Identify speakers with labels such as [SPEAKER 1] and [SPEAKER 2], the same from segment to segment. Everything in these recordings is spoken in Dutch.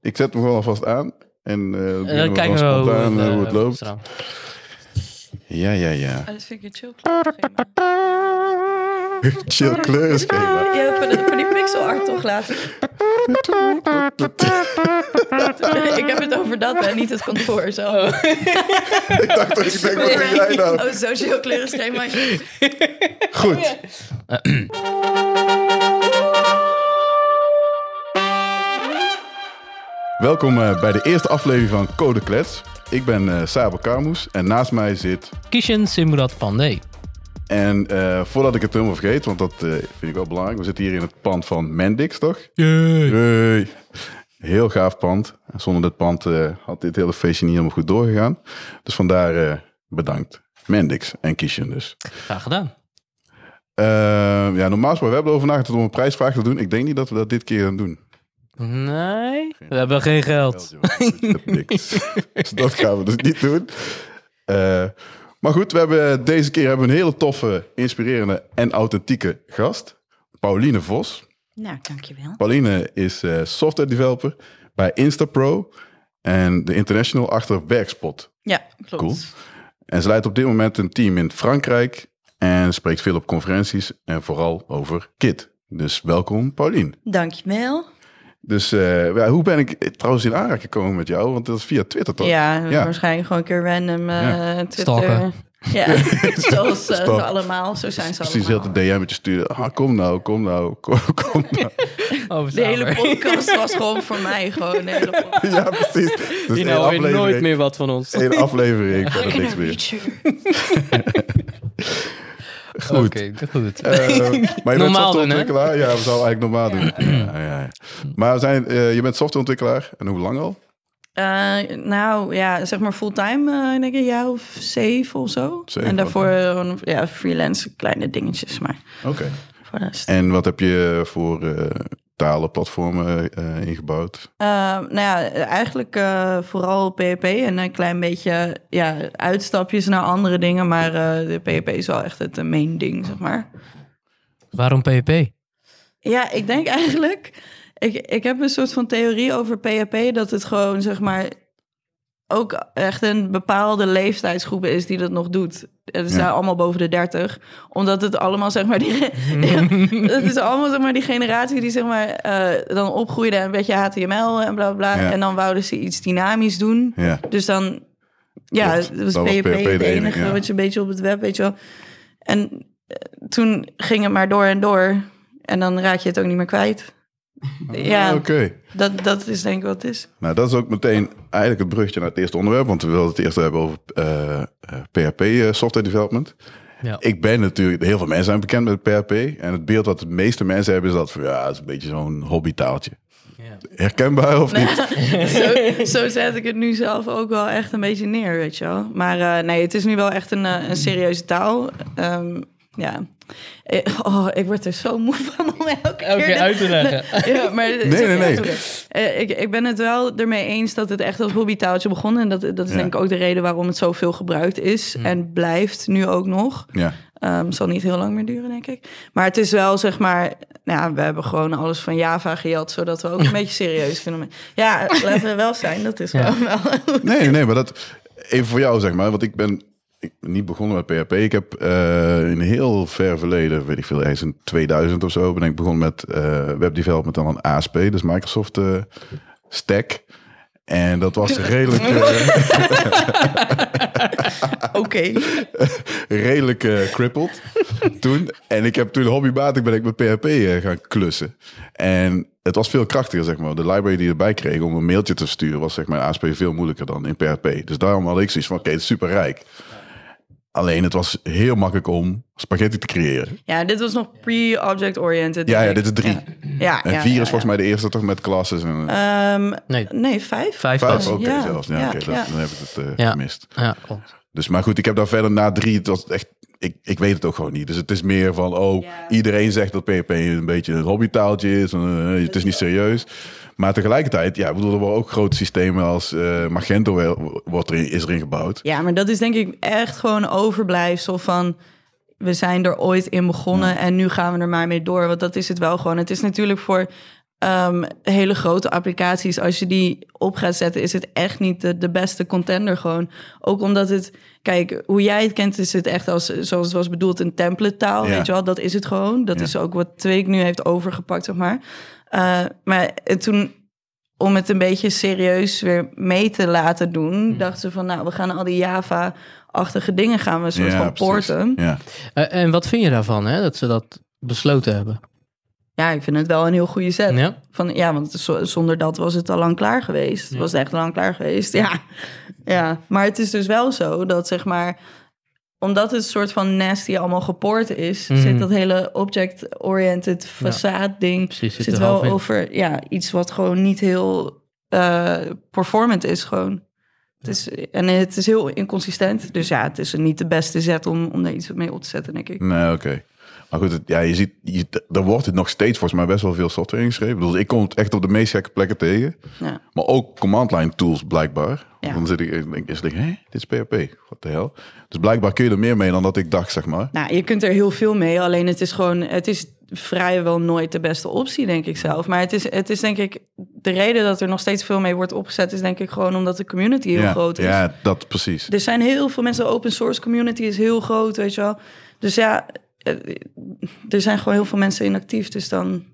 [SPEAKER 1] Ik zet hem gewoon alvast aan. En, eh,
[SPEAKER 2] En dan kijken we
[SPEAKER 1] dan
[SPEAKER 2] hoe,
[SPEAKER 1] spontaan,
[SPEAKER 2] eh,
[SPEAKER 1] eh, hoe het
[SPEAKER 2] hoe
[SPEAKER 1] loopt.
[SPEAKER 2] eraan.
[SPEAKER 1] Ja, ja, ja.
[SPEAKER 3] Ah, dat vind ik een chill kleurschema.
[SPEAKER 1] Chill kleurenschema.
[SPEAKER 3] Ja, voor, de, voor die pixel art toch later. ik heb het over dat en niet het kantoor. Zo.
[SPEAKER 1] Oh, ik dacht dat ik denk, wat doe jij nou?
[SPEAKER 3] Oh, zo'n chill kleurenschema.
[SPEAKER 1] Goed. Welkom eh, bij de eerste aflevering van Code Klets. Ik ben eh Sabel Karmoes en naast mij zit...
[SPEAKER 2] Kishen Simrat Pandey.
[SPEAKER 1] En eh, voordat ik het helemaal vergeet, want dat eh, vind ik wel belangrijk. We zitten hier in het pand van Mendix, toch? Hey. Heel gaaf pand. Zonder dat pand eh, had dit hele feestje niet helemaal goed doorgegaan. Dus vandaar eh, bedankt. Mendix en Kishen dus.
[SPEAKER 2] Graag gedaan.
[SPEAKER 1] Eh, ja, normaal gesproken, we hebben erover nagedacht om een prijsvraag te doen. Ik denk niet dat we dat dit keer gaan doen.
[SPEAKER 2] Nee, we hebben geen geld.
[SPEAKER 1] Niks. dus dat gaan we dus niet doen. Eh, maar goed, we hebben, deze keer hebben we een hele toffe, inspirerende en authentieke gast. Pauline Vos.
[SPEAKER 4] Nou, dankjewel.
[SPEAKER 1] Pauline is eh, software developer bij Instapro en de international achter Werkspot.
[SPEAKER 3] Ja, klopt.
[SPEAKER 1] Cool. En ze leidt op dit moment een team in Frankrijk en spreekt veel op conferenties en vooral over KIT. Dus welkom, Pauline.
[SPEAKER 4] Dankjewel.
[SPEAKER 1] Dus eh, ja, hoe ben ik eh, trouwens in aanraking gekomen met jou? Want dat is via Twitter toch?
[SPEAKER 4] Ja,
[SPEAKER 1] Ja.
[SPEAKER 4] waarschijnlijk gewoon een keer random eh
[SPEAKER 1] Ja.
[SPEAKER 4] Twitter.
[SPEAKER 2] Stalken.
[SPEAKER 4] Ja,
[SPEAKER 3] Zoals eh,
[SPEAKER 1] Stop.
[SPEAKER 3] ze allemaal, zo zijn ze
[SPEAKER 1] Precies, heel
[SPEAKER 3] allemaal.
[SPEAKER 1] de DM'tje sturen. Ah, kom nou, kom nou, kom, kom nou.
[SPEAKER 2] Over
[SPEAKER 3] De hele
[SPEAKER 2] Saber.
[SPEAKER 3] podcast was gewoon voor mij. Gewoon de hele podcast.
[SPEAKER 1] Ja, precies. Dus
[SPEAKER 2] Hier
[SPEAKER 1] één
[SPEAKER 2] nou hoor je nooit
[SPEAKER 1] aflevering-
[SPEAKER 2] meer wat van ons.
[SPEAKER 1] één aflevering, verder
[SPEAKER 3] Fucking
[SPEAKER 1] niks meer.
[SPEAKER 3] Richard.
[SPEAKER 1] Goed.
[SPEAKER 2] Oké, goed.
[SPEAKER 1] Eh, maar je bent
[SPEAKER 2] Normaal doen, hè?
[SPEAKER 1] softwareontwikkelaar? Ja, we zouden eigenlijk normaal doen. Ja, ja, ja. Maar we zijn, eh, je bent softwareontwikkelaar. En hoe lang al?
[SPEAKER 4] Eh, nou ja, zeg maar fulltime, eh, denk ik een jaar of zeven of zo.
[SPEAKER 1] Zeven,
[SPEAKER 4] en daarvoor gewoon, ja, freelance kleine dingetjes, maar
[SPEAKER 1] Oké.
[SPEAKER 4] voor de rest.
[SPEAKER 1] En wat heb je voor eh, talen, platformen eh, ingebouwd?
[SPEAKER 4] Eh, nou ja, eigenlijk eh, vooral PHP en een klein beetje ja, uitstapjes naar andere dingen. Maar eh, de PHP is wel echt het eh, main ding, zeg maar.
[SPEAKER 2] Waarom PHP?
[SPEAKER 4] Ja, ik denk eigenlijk. Ik, ik heb een soort van theorie over PHP dat het gewoon zeg maar ook echt een bepaalde leeftijdsgroep is die dat nog doet. Het zijn
[SPEAKER 1] Ja.
[SPEAKER 4] allemaal boven de 30. Omdat het allemaal, zeg maar, die, het is allemaal, zeg maar, die generatie die, zeg maar, eh, dan opgroeide en een beetje HTML en bla bla. bla.
[SPEAKER 1] Ja.
[SPEAKER 4] En dan wouden ze iets dynamisch doen.
[SPEAKER 1] Ja.
[SPEAKER 4] Dus dan, ja,
[SPEAKER 1] Klopt.
[SPEAKER 4] het was
[SPEAKER 1] Dan
[SPEAKER 4] PHP
[SPEAKER 1] was PHP
[SPEAKER 4] het
[SPEAKER 1] de
[SPEAKER 4] enige,
[SPEAKER 1] enige, ja.
[SPEAKER 4] wat je een beetje op het web, weet je wel. En eh, toen ging het maar door en door. En dan raak je het ook niet meer kwijt. Ja,
[SPEAKER 1] Ah, Oké.
[SPEAKER 4] dat, dat is denk ik wat het is.
[SPEAKER 1] Nou, dat is ook meteen eigenlijk het bruggetje naar het eerste onderwerp. Want we wilden het eerst hebben over eh, eh, PHP eh, software development.
[SPEAKER 2] Ja.
[SPEAKER 1] Ik ben natuurlijk, heel veel mensen zijn bekend met PHP. En het beeld wat de meeste mensen hebben is dat van ja, het is een beetje zo'n hobbytaaltje.
[SPEAKER 2] Ja.
[SPEAKER 1] Herkenbaar of niet?
[SPEAKER 4] zo, zo zet ik het nu zelf ook wel echt een beetje neer, weet je wel. Maar eh, nee, het is nu wel echt een, eh, een serieuze taal. Ehm, ja. Eh, Oh, ik word er zo moe van om elke keer...
[SPEAKER 2] Elke keer
[SPEAKER 4] dit-
[SPEAKER 2] uit te leggen.
[SPEAKER 4] Ja, maar nee,
[SPEAKER 1] nee, nee.
[SPEAKER 4] Eh, ik, ik ben het wel ermee eens dat het echt als hobbytaaltje begon. En dat, dat is
[SPEAKER 1] Ja.
[SPEAKER 4] denk ik ook de reden waarom het zoveel gebruikt is. En blijft nu ook nog.
[SPEAKER 1] Ja.
[SPEAKER 4] Ehm, zal niet heel lang meer duren, denk ik. Maar het is wel, zeg maar... Nou, ja, we hebben gewoon alles van Java gejat... zodat we ook een beetje serieus kunnen... Ja, laten we wel zijn, dat is
[SPEAKER 2] Ja.
[SPEAKER 4] gewoon wel...
[SPEAKER 1] Nee, nee, maar dat even voor jou zeg maar. Want ik ben, ik ben niet begonnen met PHP. Ik heb eh, in heel ver verleden, weet ik veel, ergens in 2000 of zo, ben ik begonnen met eh webdevelopment aan een ASP, dus Microsoft eh, Stack. En dat was redelijk, eh,
[SPEAKER 4] Oké.
[SPEAKER 1] redelijk eh, crippled toen. En ik heb toen hobbybatig ben ik met PHP eh, gaan klussen. En het was veel krachtiger, zeg maar. De library die je erbij kreeg om een mailtje te versturen... was zeg maar in ASP veel moeilijker dan in PHP. Dus daarom had ik zoiets van, oké, het is superrijk. Alleen het was heel makkelijk om spaghetti te creëren.
[SPEAKER 4] Ja, dit was nog pre-object-oriented.
[SPEAKER 1] Ja,
[SPEAKER 4] denk
[SPEAKER 1] ja, dit
[SPEAKER 4] ik.
[SPEAKER 1] is drie.
[SPEAKER 4] Ja,
[SPEAKER 1] En vier
[SPEAKER 4] ja, ja,
[SPEAKER 1] is
[SPEAKER 4] ja.
[SPEAKER 1] volgens mij de eerste toch met classes en
[SPEAKER 4] Ehm,
[SPEAKER 2] Nee,
[SPEAKER 4] nee, vijf.
[SPEAKER 2] vijf
[SPEAKER 1] vijf.
[SPEAKER 2] pas.
[SPEAKER 1] Oké,
[SPEAKER 4] ja,
[SPEAKER 1] zelfs. Ja,
[SPEAKER 4] ja,
[SPEAKER 1] oké, dat-
[SPEAKER 4] ja.
[SPEAKER 1] dan heb ik het eh,
[SPEAKER 2] Ja.
[SPEAKER 1] gemist.
[SPEAKER 2] Ja, klopt.
[SPEAKER 1] Dus, maar goed, ik heb daar verder na drie, het was echt, ik, ik weet het ook gewoon niet. Dus het is meer van, oh, iedereen zegt dat PHP een beetje een hobbytaaltje is, en, eh, het is niet serieus. Maar tegelijkertijd, ja, ik bedoel, er worden ook grote systemen als eh, Magento wel- wordt erin, is erin gebouwd.
[SPEAKER 4] Ja, maar dat is denk ik echt gewoon een overblijfsel van... we zijn er ooit in begonnen en nu gaan we er maar mee door. Want dat is het wel gewoon. Het is natuurlijk voor eh, ehm, hele grote applicaties, als je die op gaat zetten, is het echt niet de, de beste contender gewoon. Ook omdat het, kijk, hoe jij het kent, is het echt als, zoals het was bedoeld, een template taal.
[SPEAKER 1] Ja.
[SPEAKER 4] Weet je wel, dat is het gewoon. Dat
[SPEAKER 1] Ja.
[SPEAKER 4] is ook wat Tweek nu heeft overgepakt, zeg maar. Eh, maar eh, toen om het een beetje serieus weer mee te laten doen, dachten ze van, nou, we gaan al die Java-achtige dingen gaan we een soort van
[SPEAKER 1] precies.
[SPEAKER 4] porten.
[SPEAKER 1] Ja.
[SPEAKER 2] Eh, en wat vind je daarvan, hè? Dat ze dat besloten hebben.
[SPEAKER 4] Ja, ik vind het wel een heel goede set.
[SPEAKER 2] Ja?
[SPEAKER 4] Van, ja, want zo- zonder dat was het al lang klaar geweest.
[SPEAKER 2] Ja.
[SPEAKER 4] Was het echt al lang klaar geweest, ja. ja. Maar het is dus wel zo dat, zeg maar... Omdat het soort van nasty allemaal gepoord is...
[SPEAKER 2] Mhm.
[SPEAKER 4] zit dat hele object-oriented
[SPEAKER 2] Ja.
[SPEAKER 4] facade-ding...
[SPEAKER 2] Precies, zit
[SPEAKER 4] zit
[SPEAKER 2] er
[SPEAKER 4] wel
[SPEAKER 2] half in.
[SPEAKER 4] over ja, iets wat gewoon niet heel eh, performant is gewoon. Het is, en het is heel inconsistent. Dus ja, het is niet de beste zet om, om daar iets mee op te zetten, denk ik.
[SPEAKER 2] Mm.
[SPEAKER 1] Nee, oké. Maar goed, het- ja, je ziet, je, er wordt het nog steeds volgens mij best wel veel software ingeschreven. Dus ik kom het echt op de meest gekke plekken tegen.
[SPEAKER 4] Ja.
[SPEAKER 1] Maar ook command line tools blijkbaar.
[SPEAKER 4] Ja.
[SPEAKER 1] Dan zit ik en denk ik, hé, dit is PHP. Wat de hel? Dus blijkbaar kun je er meer mee dan dat ik dacht, zeg maar.
[SPEAKER 4] Nou, je kunt er heel veel mee. Alleen het is gewoon, het is vrijwel nooit de beste optie, denk ik zelf. Maar het is, het is denk ik, de reden dat er nog steeds veel mee wordt opgezet, is denk ik gewoon omdat de community heel
[SPEAKER 1] ja,
[SPEAKER 4] groot is.
[SPEAKER 1] Ja, dat precies.
[SPEAKER 4] Er zijn heel veel mensen, de open source community is heel groot, weet je wel. Dus ja, eh, er zijn gewoon heel veel mensen inactief. Dus dan,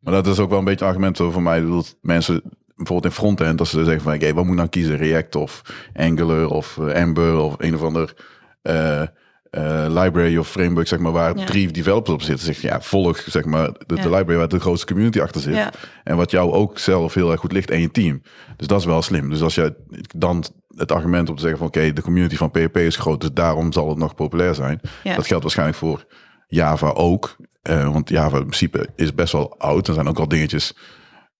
[SPEAKER 1] Maar dat is ook wel een beetje een argument voor mij. Ik bedoel, mensen bijvoorbeeld in frontend, als ze zeggen van, oké, wat moet ik nou kiezen? React of Angular of eh, Ember of een of ander eh, eh, library of framework, zeg maar, waar
[SPEAKER 4] Ja.
[SPEAKER 1] drie developers op zitten. Dus Zeg, je, ja, volg zeg maar de, de
[SPEAKER 4] Ja.
[SPEAKER 1] library waar de grootste community achter zit.
[SPEAKER 4] Ja.
[SPEAKER 1] En wat jou ook zelf heel erg goed ligt en je team. Dus dat is wel slim. Dus als je dan het argument om te zeggen van, oké, de community van PHP is groot, dus daarom zal het nog populair zijn.
[SPEAKER 4] Ja.
[SPEAKER 1] Dat geldt waarschijnlijk voor Java ook. Eh, want Java in principe is best wel oud. Er zijn ook al dingetjes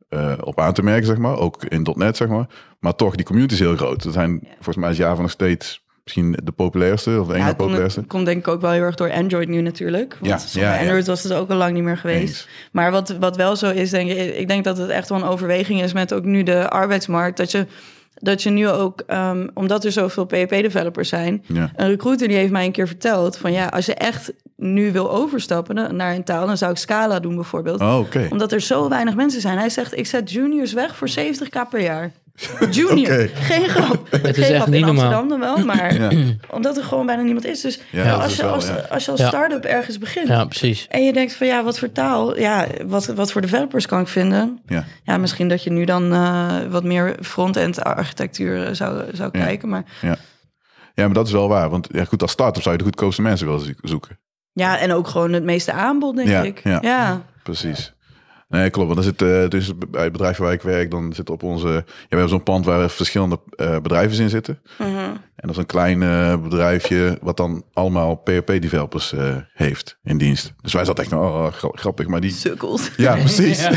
[SPEAKER 1] eh, op aan te merken, zeg maar. Ook in .NET, zeg maar. Maar toch, die community is heel groot. Er zijn, Volgens mij is Java nog steeds misschien de populairste. Of de ene
[SPEAKER 4] ja,
[SPEAKER 1] na
[SPEAKER 4] het komt,
[SPEAKER 1] populairste.
[SPEAKER 4] het komt denk ik ook wel heel erg door Android nu natuurlijk. Want
[SPEAKER 1] Ja,
[SPEAKER 4] zonder
[SPEAKER 1] ja, ja.
[SPEAKER 4] Android was het ook al lang niet meer geweest.
[SPEAKER 1] Eens.
[SPEAKER 4] Maar wat, wat wel zo is, denk ik, ik denk dat het echt wel een overweging is met ook nu de arbeidsmarkt. Dat je, dat je nu ook, ehm, omdat er zoveel PHP-developers zijn,
[SPEAKER 1] Ja.
[SPEAKER 4] een recruiter die heeft mij een keer verteld van ja, als je echt nu wil overstappen na- naar een taal, dan zou ik Scala doen bijvoorbeeld.
[SPEAKER 1] Oh, oké.
[SPEAKER 4] Omdat er zo weinig mensen zijn. Hij zegt, ik zet juniors weg voor 70k per jaar. Junior,
[SPEAKER 1] Oké.
[SPEAKER 4] geen grap.
[SPEAKER 2] is
[SPEAKER 4] geen
[SPEAKER 2] echt
[SPEAKER 4] grap.
[SPEAKER 2] niet
[SPEAKER 4] in
[SPEAKER 2] normaal.
[SPEAKER 4] Amsterdam dan wel, maar
[SPEAKER 1] Ja.
[SPEAKER 4] omdat er gewoon bijna niemand is. Dus
[SPEAKER 1] Ja, dat
[SPEAKER 4] als,
[SPEAKER 1] is
[SPEAKER 4] je,
[SPEAKER 1] wel,
[SPEAKER 4] als,
[SPEAKER 1] ja.
[SPEAKER 4] als je als
[SPEAKER 2] Ja.
[SPEAKER 4] start-up ergens begint...
[SPEAKER 2] Ja, precies.
[SPEAKER 4] en je denkt van ja, wat voor taal, ja, wat, wat voor developers kan ik vinden?
[SPEAKER 1] Ja.
[SPEAKER 4] Ja, misschien dat je nu dan eh, wat meer front-end architectuur eh, zou, zou
[SPEAKER 1] Ja.
[SPEAKER 4] kijken. Maar
[SPEAKER 1] Ja. ja, maar dat is wel waar. Want ja, goed, als start-up zou je de goedkoopste mensen willen zoek- zoeken.
[SPEAKER 4] ja, en ook gewoon het meeste aanbod, denk
[SPEAKER 1] Ja,
[SPEAKER 4] ik.
[SPEAKER 1] ja.
[SPEAKER 4] Ja.
[SPEAKER 1] Precies. Nee, klopt. Want er zit, eh, dus bij het bedrijf waar ik werk, dan zit op onze... Ja, we hebben zo'n pand waar verschillende eh, bedrijven in zitten.
[SPEAKER 4] Mhm.
[SPEAKER 1] En dat is een klein eh, bedrijfje wat dan allemaal PHP-developers eh, heeft in dienst. Dus wij zaten echt, nou, oh, gra- grappig, maar die...
[SPEAKER 4] Sukkels.
[SPEAKER 1] Ja, precies.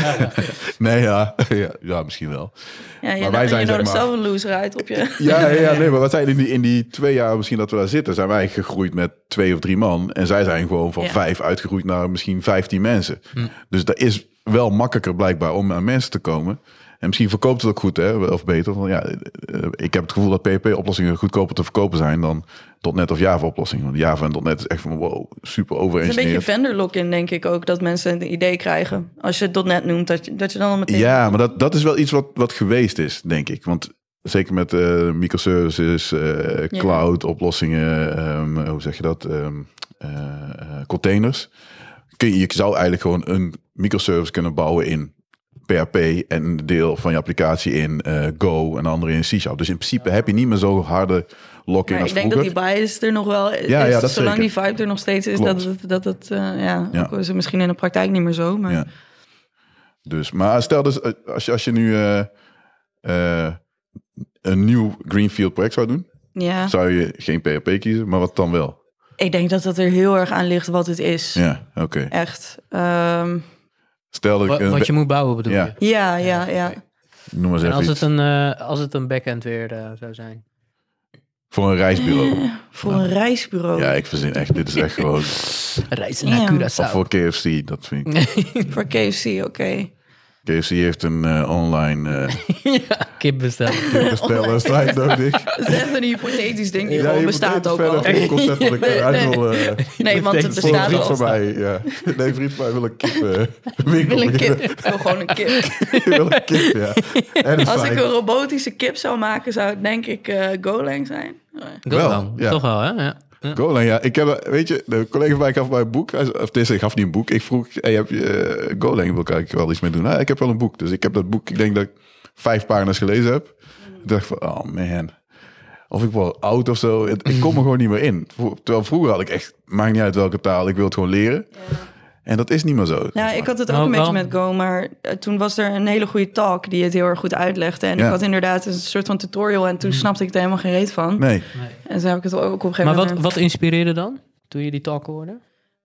[SPEAKER 1] nee, ja. ja. Ja, misschien wel.
[SPEAKER 4] Ja, je,
[SPEAKER 1] Maar wij
[SPEAKER 4] je
[SPEAKER 1] zijn, zeg
[SPEAKER 4] nodigt
[SPEAKER 1] maar-
[SPEAKER 4] zelf een loser uit op je.
[SPEAKER 1] Ja, ja, ja, nee, maar wat zijn in die, in die twee jaar misschien dat we daar zitten, zijn wij gegroeid met twee of drie man. En zij zijn gewoon van
[SPEAKER 4] Ja. Hm.
[SPEAKER 1] vijf uitgegroeid naar misschien vijftien mensen. Dus dat is wel makkelijker blijkbaar om aan mensen te komen. En misschien verkoopt het ook goed, hè, of beter. Want ja, eh, ik heb het gevoel dat PHP-oplossingen goedkoper te verkopen zijn dan .NET of Java-oplossingen. Want Java en .NET is echt van wow, super
[SPEAKER 4] Het is een beetje
[SPEAKER 1] overengineerd.
[SPEAKER 4] vendor lock-in, denk ik ook, dat mensen een idee krijgen. Als je het .NET noemt, dat je, dat je dan al meteen...
[SPEAKER 1] Ja, maar dat, dat is wel iets wat, wat geweest is, denk ik. Want zeker met eh, microservices, eh,
[SPEAKER 4] Ja.
[SPEAKER 1] cloud oplossingen, ehm, hoe zeg je dat? ehm, eh, eh, containers. Kun je, je zou eigenlijk gewoon een microservice kunnen bouwen in PHP en een deel van je applicatie in eh, Go en de andere in C Sharp. Dus in principe heb je niet meer zo harde lock-in
[SPEAKER 4] Maar
[SPEAKER 1] als
[SPEAKER 4] ik denk
[SPEAKER 1] vroeger.
[SPEAKER 4] dat die bias er nog wel is.
[SPEAKER 1] ja, dat
[SPEAKER 4] zolang
[SPEAKER 1] zeker.
[SPEAKER 4] die vibe er nog steeds is,
[SPEAKER 1] Klopt.
[SPEAKER 4] dat het, dat het eh, ja,
[SPEAKER 1] Ja.
[SPEAKER 4] ook is het misschien in de praktijk niet meer zo. Maar
[SPEAKER 1] Ja. Dus, maar stel dus, eh, als je, als je nu eh, eh, een nieuw Greenfield project zou doen,
[SPEAKER 4] ja.
[SPEAKER 1] zou je geen PHP kiezen, maar wat dan wel?
[SPEAKER 4] ik denk dat dat er heel erg aan ligt wat het is.
[SPEAKER 1] Ja, oké.
[SPEAKER 4] Echt. Ehm,
[SPEAKER 1] Stel dat ik
[SPEAKER 2] Wat,
[SPEAKER 1] een
[SPEAKER 2] wat je moet bouwen bedoel
[SPEAKER 1] eh, Ja.
[SPEAKER 2] je?
[SPEAKER 4] ja, ja, ja.
[SPEAKER 1] noem maar eens
[SPEAKER 2] En
[SPEAKER 1] even
[SPEAKER 2] als
[SPEAKER 1] iets.
[SPEAKER 2] het, een, eh, als het een backend weer eh, zou zijn.
[SPEAKER 1] voor een reisbureau.
[SPEAKER 4] Voor een reisbureau.
[SPEAKER 1] Ja, ik verzin echt, dit is echt gewoon... Of
[SPEAKER 2] Reizen
[SPEAKER 4] Ja.
[SPEAKER 2] naar Curaçao.
[SPEAKER 1] voor KFC, dat vind ik...
[SPEAKER 4] Voor KFC, oké.
[SPEAKER 1] KFC heeft een eh, online eh
[SPEAKER 2] ja, kip bestellen.
[SPEAKER 1] bestelwebsite nodig.
[SPEAKER 4] Dat is echt een hypothetisch ding die
[SPEAKER 1] Ja,
[SPEAKER 4] gewoon
[SPEAKER 1] je
[SPEAKER 4] bestaat ook
[SPEAKER 1] verder
[SPEAKER 4] al.
[SPEAKER 1] een concept dat ik eruit wil... eh,
[SPEAKER 4] Nee, want het
[SPEAKER 2] Voor
[SPEAKER 1] voor een
[SPEAKER 4] bestaat
[SPEAKER 1] vriend
[SPEAKER 4] al.
[SPEAKER 1] van mij, ja. Nee, een vriend van mij wil een kip, eh, winkel
[SPEAKER 4] Ik wil een
[SPEAKER 1] beginnen.
[SPEAKER 4] kip. Ik wil gewoon een kip.
[SPEAKER 1] wil een kip, ja. En een
[SPEAKER 4] Als ik
[SPEAKER 1] fijn.
[SPEAKER 4] een robotische kip zou maken, zou het denk ik eh Golang zijn. Maar
[SPEAKER 1] Wel,
[SPEAKER 2] Wel, dan.
[SPEAKER 1] ja.
[SPEAKER 2] Toch wel, hè? Ja. Ja.
[SPEAKER 1] Golang, ja. Ik heb, weet je, de collega van mij gaf mij een boek. Hij zei- Of deze gaf niet een boek. Ik vroeg, hey, heb je eh, Golang, wil ik eigenlijk wel iets mee doen? Nou, ik heb wel een boek. Dus ik heb dat boek, ik denk dat ik vijf pagina's gelezen heb. Ik dacht van, oh man. Of ik word oud of zo. Het- Ik kom er gewoon niet meer in. Vro- Terwijl vroeger had ik echt, maakt niet uit welke taal, ik wil het gewoon leren. En dat is niet meer zo.
[SPEAKER 4] Nou, ik had het ook
[SPEAKER 2] Nou,
[SPEAKER 4] een beetje
[SPEAKER 2] wel.
[SPEAKER 4] met Go, maar eh, toen was er een hele goede talk die het heel erg goed uitlegde. En
[SPEAKER 1] Ja.
[SPEAKER 4] ik had inderdaad een soort van tutorial en toen snapte ik er helemaal geen reet van.
[SPEAKER 1] Nee.
[SPEAKER 4] En toen heb ik het ook op een gegeven
[SPEAKER 2] Mhm. Maar wat,
[SPEAKER 4] moment...
[SPEAKER 2] wat inspireerde dan toen je die talk hoorde?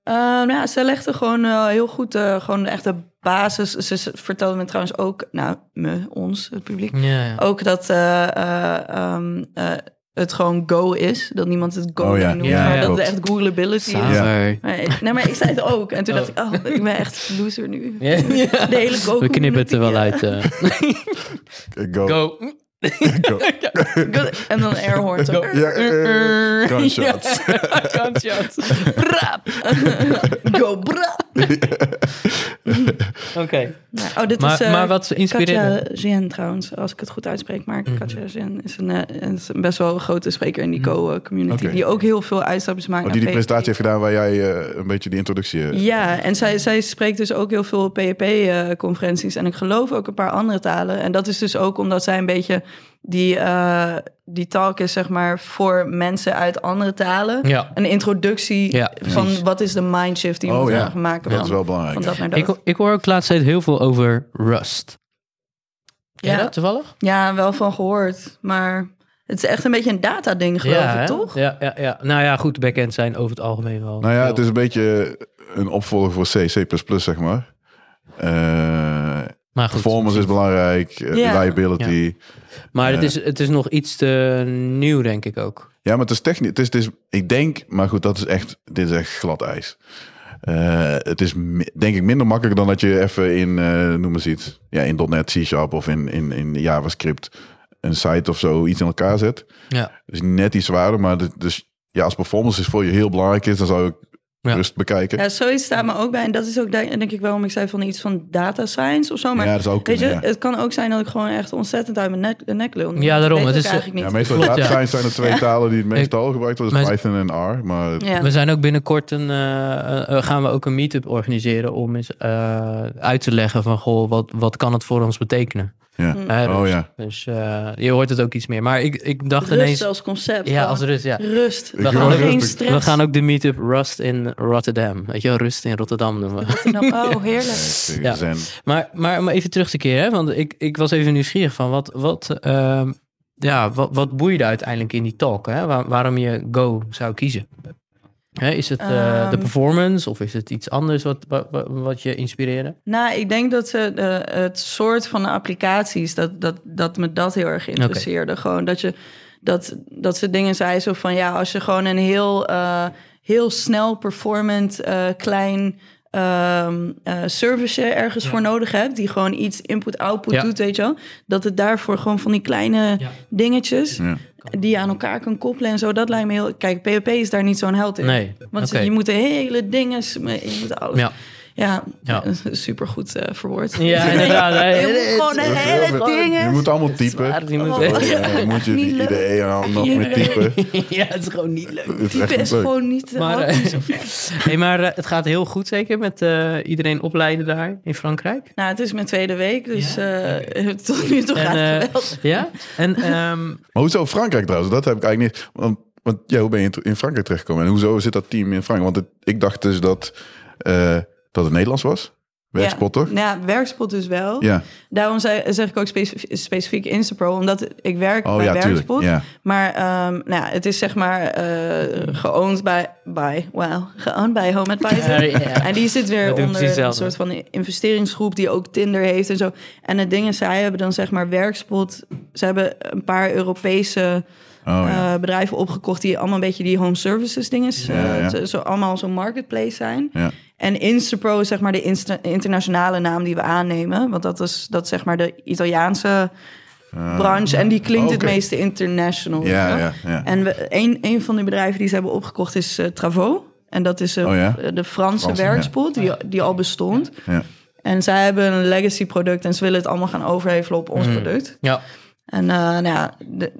[SPEAKER 4] Eh, nou ja, ze legde gewoon eh, heel goed eh, gewoon echt de basis. Ze ze vertelde me trouwens ook, nou, me, ons, het publiek.
[SPEAKER 2] Ja, ja.
[SPEAKER 4] Ook dat eh, eh, ehm, eh, het gewoon Go is. Dat niemand het Go
[SPEAKER 1] Oh ja,
[SPEAKER 4] noemt,
[SPEAKER 2] ja,
[SPEAKER 4] maar
[SPEAKER 2] ja,
[SPEAKER 4] dat
[SPEAKER 1] klopt.
[SPEAKER 4] het echt Googleability is.
[SPEAKER 2] Saver.
[SPEAKER 4] Maar, ik- nee, maar ik zei het ook. En toen
[SPEAKER 2] Oh.
[SPEAKER 4] dacht ik, oh, ik ben echt loser nu.
[SPEAKER 2] Ja, ja.
[SPEAKER 4] De hele Go
[SPEAKER 2] We knippen het er wel
[SPEAKER 4] community,
[SPEAKER 2] uit. eh.
[SPEAKER 1] Go.
[SPEAKER 2] Go.
[SPEAKER 1] Go.
[SPEAKER 4] eh, go- En dan airhorn. zo.
[SPEAKER 1] Ja, eh,
[SPEAKER 2] Ja.
[SPEAKER 1] gunshots.
[SPEAKER 2] Gunshots.
[SPEAKER 4] Brap. Go brap.
[SPEAKER 2] Oké.
[SPEAKER 4] Nou, oh, dit is
[SPEAKER 2] Maar,
[SPEAKER 4] eh,
[SPEAKER 2] maar wat ze inspireerde?
[SPEAKER 4] Katja Zien trouwens, als ik het goed uitspreek. Maar
[SPEAKER 1] Mhm.
[SPEAKER 4] Katja Zien is een, eh, is een best wel een grote spreker in die co-community.
[SPEAKER 1] Oké.
[SPEAKER 4] Die ook heel veel uitstapjes maakt.
[SPEAKER 1] Oh, die die
[SPEAKER 4] naar PHP.
[SPEAKER 1] presentatie heeft gedaan waar jij eh, een beetje die introductie... eh,
[SPEAKER 4] Ja, en zij, zij spreekt dus ook heel veel PHP-conferenties. en ik geloof ook een paar andere talen. En dat is dus ook omdat zij een beetje die, eh, die talk is, zeg maar, voor mensen uit andere talen.
[SPEAKER 2] Ja.
[SPEAKER 4] Een introductie
[SPEAKER 2] Ja,
[SPEAKER 4] van wat is de mindshift die je
[SPEAKER 1] Oh,
[SPEAKER 4] moet
[SPEAKER 1] ja.
[SPEAKER 4] gaan maken.
[SPEAKER 1] Dat
[SPEAKER 4] van-
[SPEAKER 1] is wel
[SPEAKER 4] Van
[SPEAKER 1] belangrijk.
[SPEAKER 4] dat naar dat.
[SPEAKER 2] Ik, ho- ik hoor ook laatst steeds heel veel over Rust. Ken je
[SPEAKER 4] Ja.
[SPEAKER 2] dat toevallig?
[SPEAKER 4] Ja, wel van gehoord. Maar het is echt een beetje een data-ding, geloof ik,
[SPEAKER 2] hè?
[SPEAKER 4] toch?
[SPEAKER 2] Ja, ja, ja. Nou ja, goed, backends zijn over het algemeen wel.
[SPEAKER 1] Nou ja,
[SPEAKER 2] heel-
[SPEAKER 1] het is een beetje een opvolger voor C, C++, zeg maar. Eh,
[SPEAKER 2] maar goed,
[SPEAKER 1] performance is belangrijk, eh,
[SPEAKER 4] Ja.
[SPEAKER 1] reliability. Ja.
[SPEAKER 2] Maar het, is, het is nog iets te nieuw, denk ik ook.
[SPEAKER 1] maar het is technisch. Het is, het is, ik denk, maar goed, dat is echt, dit is echt glad ijs. Eh, het is mi- denk ik minder makkelijk dan dat je even in, eh noem eens iets, ja, in .NET, C-Sharp of in, in, in JavaScript een site of zo iets in elkaar zet.
[SPEAKER 2] Ja.
[SPEAKER 1] Dus net iets zwaarder, maar dit- dus ja, als performance is voor je heel belangrijk is, dan zou ik
[SPEAKER 2] Ja.
[SPEAKER 1] rust bekijken.
[SPEAKER 4] Ja, zoiets staat me ook bij. En dat is ook denk denk ik waarom ik zei van iets van data science of zo. Maar
[SPEAKER 1] Ja, dat zou ook
[SPEAKER 4] weet je,
[SPEAKER 1] kunnen, ja.
[SPEAKER 4] het kan ook zijn dat ik gewoon echt ontzettend uit mijn nek, de nek lul.
[SPEAKER 2] Ja, daarom.
[SPEAKER 4] Ik weet
[SPEAKER 2] Het is-
[SPEAKER 4] eigenlijk
[SPEAKER 1] Ja,
[SPEAKER 4] niet.
[SPEAKER 1] meestal
[SPEAKER 2] Klopt,
[SPEAKER 1] data
[SPEAKER 2] ja.
[SPEAKER 1] science zijn er twee talen die het meestal gebruikt worden, dus
[SPEAKER 2] Maar-
[SPEAKER 1] Python en R. Maar
[SPEAKER 4] Ja.
[SPEAKER 2] We zijn ook binnenkort een, eh, eh, gaan we ook een meetup organiseren om eens eh, uit te leggen van goh, wat, wat kan het voor ons betekenen?
[SPEAKER 1] ja.
[SPEAKER 4] Mm.
[SPEAKER 2] Hè,
[SPEAKER 1] Oh,
[SPEAKER 2] rust.
[SPEAKER 1] ja.
[SPEAKER 2] Dus eh, je hoort het ook iets meer. Maar ik, ik dacht
[SPEAKER 4] Rust
[SPEAKER 2] ineens.
[SPEAKER 4] als concept.
[SPEAKER 2] Ja,
[SPEAKER 4] gewoon.
[SPEAKER 2] als rust, ja.
[SPEAKER 4] Rust.
[SPEAKER 1] Ik
[SPEAKER 2] wil
[SPEAKER 4] geen
[SPEAKER 1] rustig.
[SPEAKER 4] stress.
[SPEAKER 2] We gaan ook de meetup Rust in Rotterdam. Weet je wel, Rust in Rotterdam noemen. we.
[SPEAKER 4] Oh, heerlijk.
[SPEAKER 1] Ja.
[SPEAKER 2] Ja.
[SPEAKER 1] Zen.
[SPEAKER 2] Maar, maar om even terug te keren, hè, want ik, ik was even nieuwsgierig van wat, wat, ehm, ja, wat, wat boeide uiteindelijk in die talk? Hè? Waar- waarom je Go zou kiezen? Hè, is het eh, de
[SPEAKER 4] Ehm.
[SPEAKER 2] performance of is het iets anders wat, wat, wat- wat je inspireerde?
[SPEAKER 4] Nou, ik denk dat ze eh, het soort van applicaties, dat, dat, dat me dat heel erg interesseerde. Gewoon dat je dat, dat ze dingen zei zo van ja, als je gewoon een heel, eh, heel snel performant eh, klein ehm eh, serviceje ergens voor nodig hebt, die gewoon iets input-output
[SPEAKER 2] Ja.
[SPEAKER 4] doet, weet je wel, dat het daarvoor gewoon van die kleine
[SPEAKER 2] Ja.
[SPEAKER 4] dingetjes
[SPEAKER 1] Ja.
[SPEAKER 4] die je aan elkaar kan koppelen en zo, dat lijkt me heel. Kijk, PHP is daar niet zo'n held in.
[SPEAKER 2] Nee,
[SPEAKER 4] Want ze-
[SPEAKER 2] oké.
[SPEAKER 4] je moet de hele dingen, je moet alles.
[SPEAKER 2] Ja,
[SPEAKER 4] Ja,
[SPEAKER 2] Ja.
[SPEAKER 4] supergoed eh, verwoord.
[SPEAKER 2] ja inderdaad. hè.
[SPEAKER 4] Je moet gewoon de
[SPEAKER 1] Het is heel
[SPEAKER 4] hele
[SPEAKER 1] veel- Je
[SPEAKER 4] dingen.
[SPEAKER 1] moet allemaal typen.
[SPEAKER 2] Maar die moet-
[SPEAKER 4] Oh.
[SPEAKER 1] Oh, ja, dan moet je
[SPEAKER 4] Niet
[SPEAKER 1] die
[SPEAKER 4] leuk.
[SPEAKER 1] ideeën allemaal nog
[SPEAKER 4] Niet
[SPEAKER 1] meer typen.
[SPEAKER 2] ja, het is gewoon niet leuk.
[SPEAKER 1] Het is echt
[SPEAKER 4] Typen is
[SPEAKER 1] leuk.
[SPEAKER 4] gewoon niet. eh,
[SPEAKER 2] Maar,
[SPEAKER 4] handig.
[SPEAKER 2] eh, nee, maar eh, het gaat heel goed zeker met eh, iedereen opleiden daar in Frankrijk.
[SPEAKER 4] nou, het is mijn tweede week, dus eh, tot nu toe gaat
[SPEAKER 2] eh,
[SPEAKER 4] het geweldig.
[SPEAKER 2] ja, en ehm,
[SPEAKER 1] Maar hoezo Frankrijk trouwens? Dat heb ik eigenlijk niet. Want, want ja, hoe ben je in- in Frankrijk terechtgekomen? En hoezo zit dat team in Frankrijk? Want het- ik dacht dus dat, eh, dat het Nederlands was. Werkspot
[SPEAKER 4] ja.
[SPEAKER 1] toch?
[SPEAKER 4] Ja, werkspot dus wel.
[SPEAKER 1] Ja.
[SPEAKER 4] Daarom zei- zeg ik ook specifiek, specifiek Instapro, omdat ik werk
[SPEAKER 1] Oh
[SPEAKER 4] bij
[SPEAKER 1] ja,
[SPEAKER 4] werkspot.
[SPEAKER 1] tuurlijk. Ja.
[SPEAKER 4] Maar ehm, nou ja, het is zeg maar eh geowned bij, bij wow, geowned bij Home Advisor.
[SPEAKER 2] Ja, ja.
[SPEAKER 4] En die zit
[SPEAKER 2] Dat
[SPEAKER 4] weer
[SPEAKER 2] doen precies
[SPEAKER 4] onder een
[SPEAKER 2] hetzelfde.
[SPEAKER 4] soort van investeringsgroep die ook Tinder heeft en zo. En het ding is, zij hebben dan zeg maar werkspot. Ze hebben een paar Europese
[SPEAKER 1] Oh, ja.
[SPEAKER 4] eh, bedrijven opgekocht die allemaal een beetje die home services dingen,
[SPEAKER 1] Ja, ja.
[SPEAKER 4] zo, zo allemaal zo'n marketplace zijn.
[SPEAKER 1] Ja.
[SPEAKER 4] En Instapro is zeg maar de insta- internationale naam die we aannemen. Want dat is, dat is zeg maar de Italiaanse branche. En die klinkt
[SPEAKER 1] Ah, oh, Oké.
[SPEAKER 4] het meeste international.
[SPEAKER 1] Ja,
[SPEAKER 4] hè?
[SPEAKER 1] ja, ja.
[SPEAKER 4] En we, een, een van de bedrijven die ze hebben opgekocht is eh, Travaux. En dat is eh,
[SPEAKER 1] Oh ja?
[SPEAKER 4] de Franse,
[SPEAKER 1] Franse, ja.
[SPEAKER 4] werkspoel die, die al bestond.
[SPEAKER 1] Ja.
[SPEAKER 4] En zij hebben een legacy product en ze willen het allemaal gaan overhevelen op ons product.
[SPEAKER 2] Ja.
[SPEAKER 4] En eh, nou ja, de-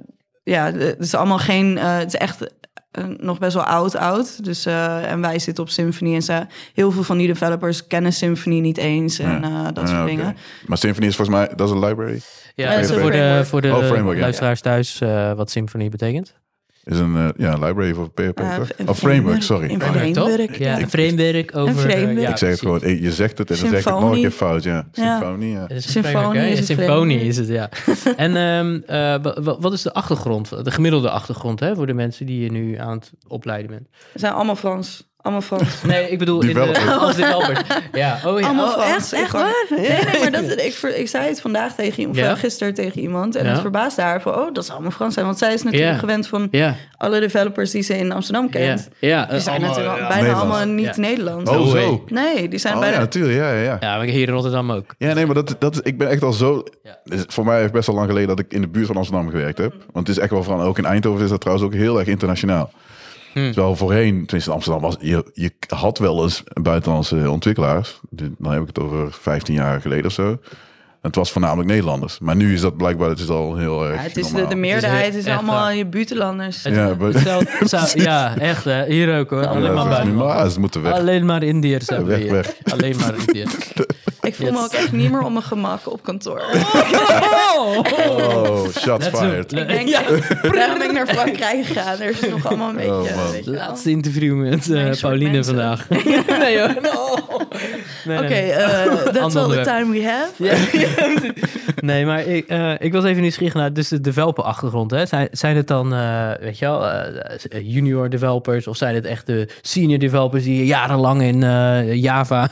[SPEAKER 4] ja, de- het is allemaal geen. eh, het is echt eh, nog best wel oud, oud. Dus, eh, en wij zitten op Symfony. En ze, heel veel van die developers kennen Symfony niet eens. En eh, dat soort
[SPEAKER 1] Ah, oké.
[SPEAKER 4] dingen.
[SPEAKER 1] Maar Symfony is volgens mij, dat is een library.
[SPEAKER 2] Ja,
[SPEAKER 4] Met
[SPEAKER 2] even
[SPEAKER 1] een
[SPEAKER 2] Eh, voor de,
[SPEAKER 4] framework.
[SPEAKER 2] voor de
[SPEAKER 1] Oh, framework, ja.
[SPEAKER 2] luisteraars thuis eh, wat symfonie betekent.
[SPEAKER 1] Is een eh, ja, library voor PHP.
[SPEAKER 4] Eh,
[SPEAKER 1] toch?
[SPEAKER 4] een
[SPEAKER 1] Of framework, sorry.
[SPEAKER 4] Een
[SPEAKER 1] Oh, ja.
[SPEAKER 4] framework.
[SPEAKER 2] Framework,
[SPEAKER 4] Framework,
[SPEAKER 2] ja.
[SPEAKER 4] ja.
[SPEAKER 2] Een framework over... eh,
[SPEAKER 4] framework.
[SPEAKER 2] ja,
[SPEAKER 1] Ik zeg
[SPEAKER 4] Ik
[SPEAKER 1] het
[SPEAKER 2] precies.
[SPEAKER 1] gewoon, eh, je zegt het en dan zeg ik het nog een
[SPEAKER 4] Symfonie.
[SPEAKER 1] keer fout. Ja,
[SPEAKER 4] Ja.
[SPEAKER 1] symfonie. Ja.
[SPEAKER 2] Het is een
[SPEAKER 4] Symfonie
[SPEAKER 2] framework, hè?
[SPEAKER 4] is
[SPEAKER 2] Ja,
[SPEAKER 4] een
[SPEAKER 2] Symfonie
[SPEAKER 4] framework.
[SPEAKER 2] is het, ja. en ehm, eh, wa- wa- wat is de achtergrond, de gemiddelde achtergrond hè, voor de mensen die je nu aan het opleiden bent?
[SPEAKER 4] Ze zijn allemaal Frans. Allemaal Frans.
[SPEAKER 2] Nee, ik bedoel in de,
[SPEAKER 1] Developers.
[SPEAKER 2] als developer. Ja, oh ja.
[SPEAKER 4] Allemaal
[SPEAKER 2] oh,
[SPEAKER 4] Frans.
[SPEAKER 2] echt?
[SPEAKER 4] Ik
[SPEAKER 2] Echt
[SPEAKER 4] gewoon-
[SPEAKER 2] waar?
[SPEAKER 4] Nee, nee, maar dat, ik, ver- ik zei het vandaag tegen iemand, of,
[SPEAKER 2] Ja.
[SPEAKER 4] eh, gisteren tegen iemand. En
[SPEAKER 2] Ja.
[SPEAKER 4] het verbaasde haar van, oh, dat zal allemaal Frans zijn. Want zij is natuurlijk
[SPEAKER 2] Ja.
[SPEAKER 4] gewend van
[SPEAKER 2] Ja,
[SPEAKER 4] alle developers die ze in Amsterdam
[SPEAKER 2] ja.
[SPEAKER 4] kent.
[SPEAKER 2] ja eh,
[SPEAKER 4] Die zijn natuurlijk al- bijna
[SPEAKER 1] Nederlands.
[SPEAKER 4] allemaal niet
[SPEAKER 2] Ja.
[SPEAKER 4] Nederlands.
[SPEAKER 1] Oh,
[SPEAKER 2] Zo,
[SPEAKER 1] zo.
[SPEAKER 4] Nee, die zijn
[SPEAKER 1] Oh, ja,
[SPEAKER 4] bijna...
[SPEAKER 1] natuurlijk. Ja, ja, ja.
[SPEAKER 2] Ja, maar hier in Rotterdam ook.
[SPEAKER 1] Ja, nee, maar dat, dat, ik ben echt al zo...
[SPEAKER 2] Ja.
[SPEAKER 1] Dus Voor mij is best al lang geleden dat ik in de buurt van Amsterdam gewerkt
[SPEAKER 4] Mm.
[SPEAKER 1] heb. Want het is echt wel van... Ook in Eindhoven is dat trouwens ook heel erg internationaal.
[SPEAKER 2] Hm.
[SPEAKER 1] Terwijl voorheen, tenminste in Amsterdam, was, je, je had wel eens buitenlandse ontwikkelaars. Dit- Dan heb ik het over 15 jaar geleden of zo. En het was voornamelijk Nederlanders. Maar nu is dat blijkbaar het is al heel erg
[SPEAKER 4] Ja, het is de,
[SPEAKER 1] normaal.
[SPEAKER 4] de meerderheid
[SPEAKER 2] echt
[SPEAKER 4] is allemaal
[SPEAKER 2] waar.
[SPEAKER 4] je buitenlanders.
[SPEAKER 1] Ja, maar-
[SPEAKER 2] Zou- zou- ja, echt. hè. Hier ook hoor.
[SPEAKER 1] Ja,
[SPEAKER 2] Alleen maar
[SPEAKER 1] dat is niet-
[SPEAKER 2] buiten.
[SPEAKER 1] maar ze moeten weg.
[SPEAKER 2] Alleen maar Indiërs hebben we
[SPEAKER 1] weg,
[SPEAKER 2] hier.
[SPEAKER 1] weg.
[SPEAKER 2] Alleen maar Indiërs.
[SPEAKER 4] Ik voel me
[SPEAKER 2] Yes.
[SPEAKER 4] ook echt niet meer op mijn gemak op kantoor.
[SPEAKER 1] Oh, shots
[SPEAKER 2] Let's
[SPEAKER 1] fired.
[SPEAKER 2] do-
[SPEAKER 4] Ik denk,
[SPEAKER 2] Ja.
[SPEAKER 4] daarom ben ik naar Frankrijk gegaan. Er is nog allemaal een beetje...
[SPEAKER 1] Oh, man.
[SPEAKER 4] weet je wel.
[SPEAKER 2] Laatste interview met eh,
[SPEAKER 4] Mijn soort
[SPEAKER 2] Pauline
[SPEAKER 4] mensen.
[SPEAKER 2] vandaag. nee hoor. No. Nee, nee,
[SPEAKER 4] Oké,
[SPEAKER 2] nee.
[SPEAKER 4] eh, that's all the
[SPEAKER 2] onderwerp.
[SPEAKER 4] time we have.
[SPEAKER 2] Nee, maar ik, eh, ik was even nieuwsgierig naar dus de developer-achtergrond. Hè? Zijn, zijn het dan, eh, weet je wel, eh, junior developers of zijn het echt de senior developers die jarenlang in eh, Java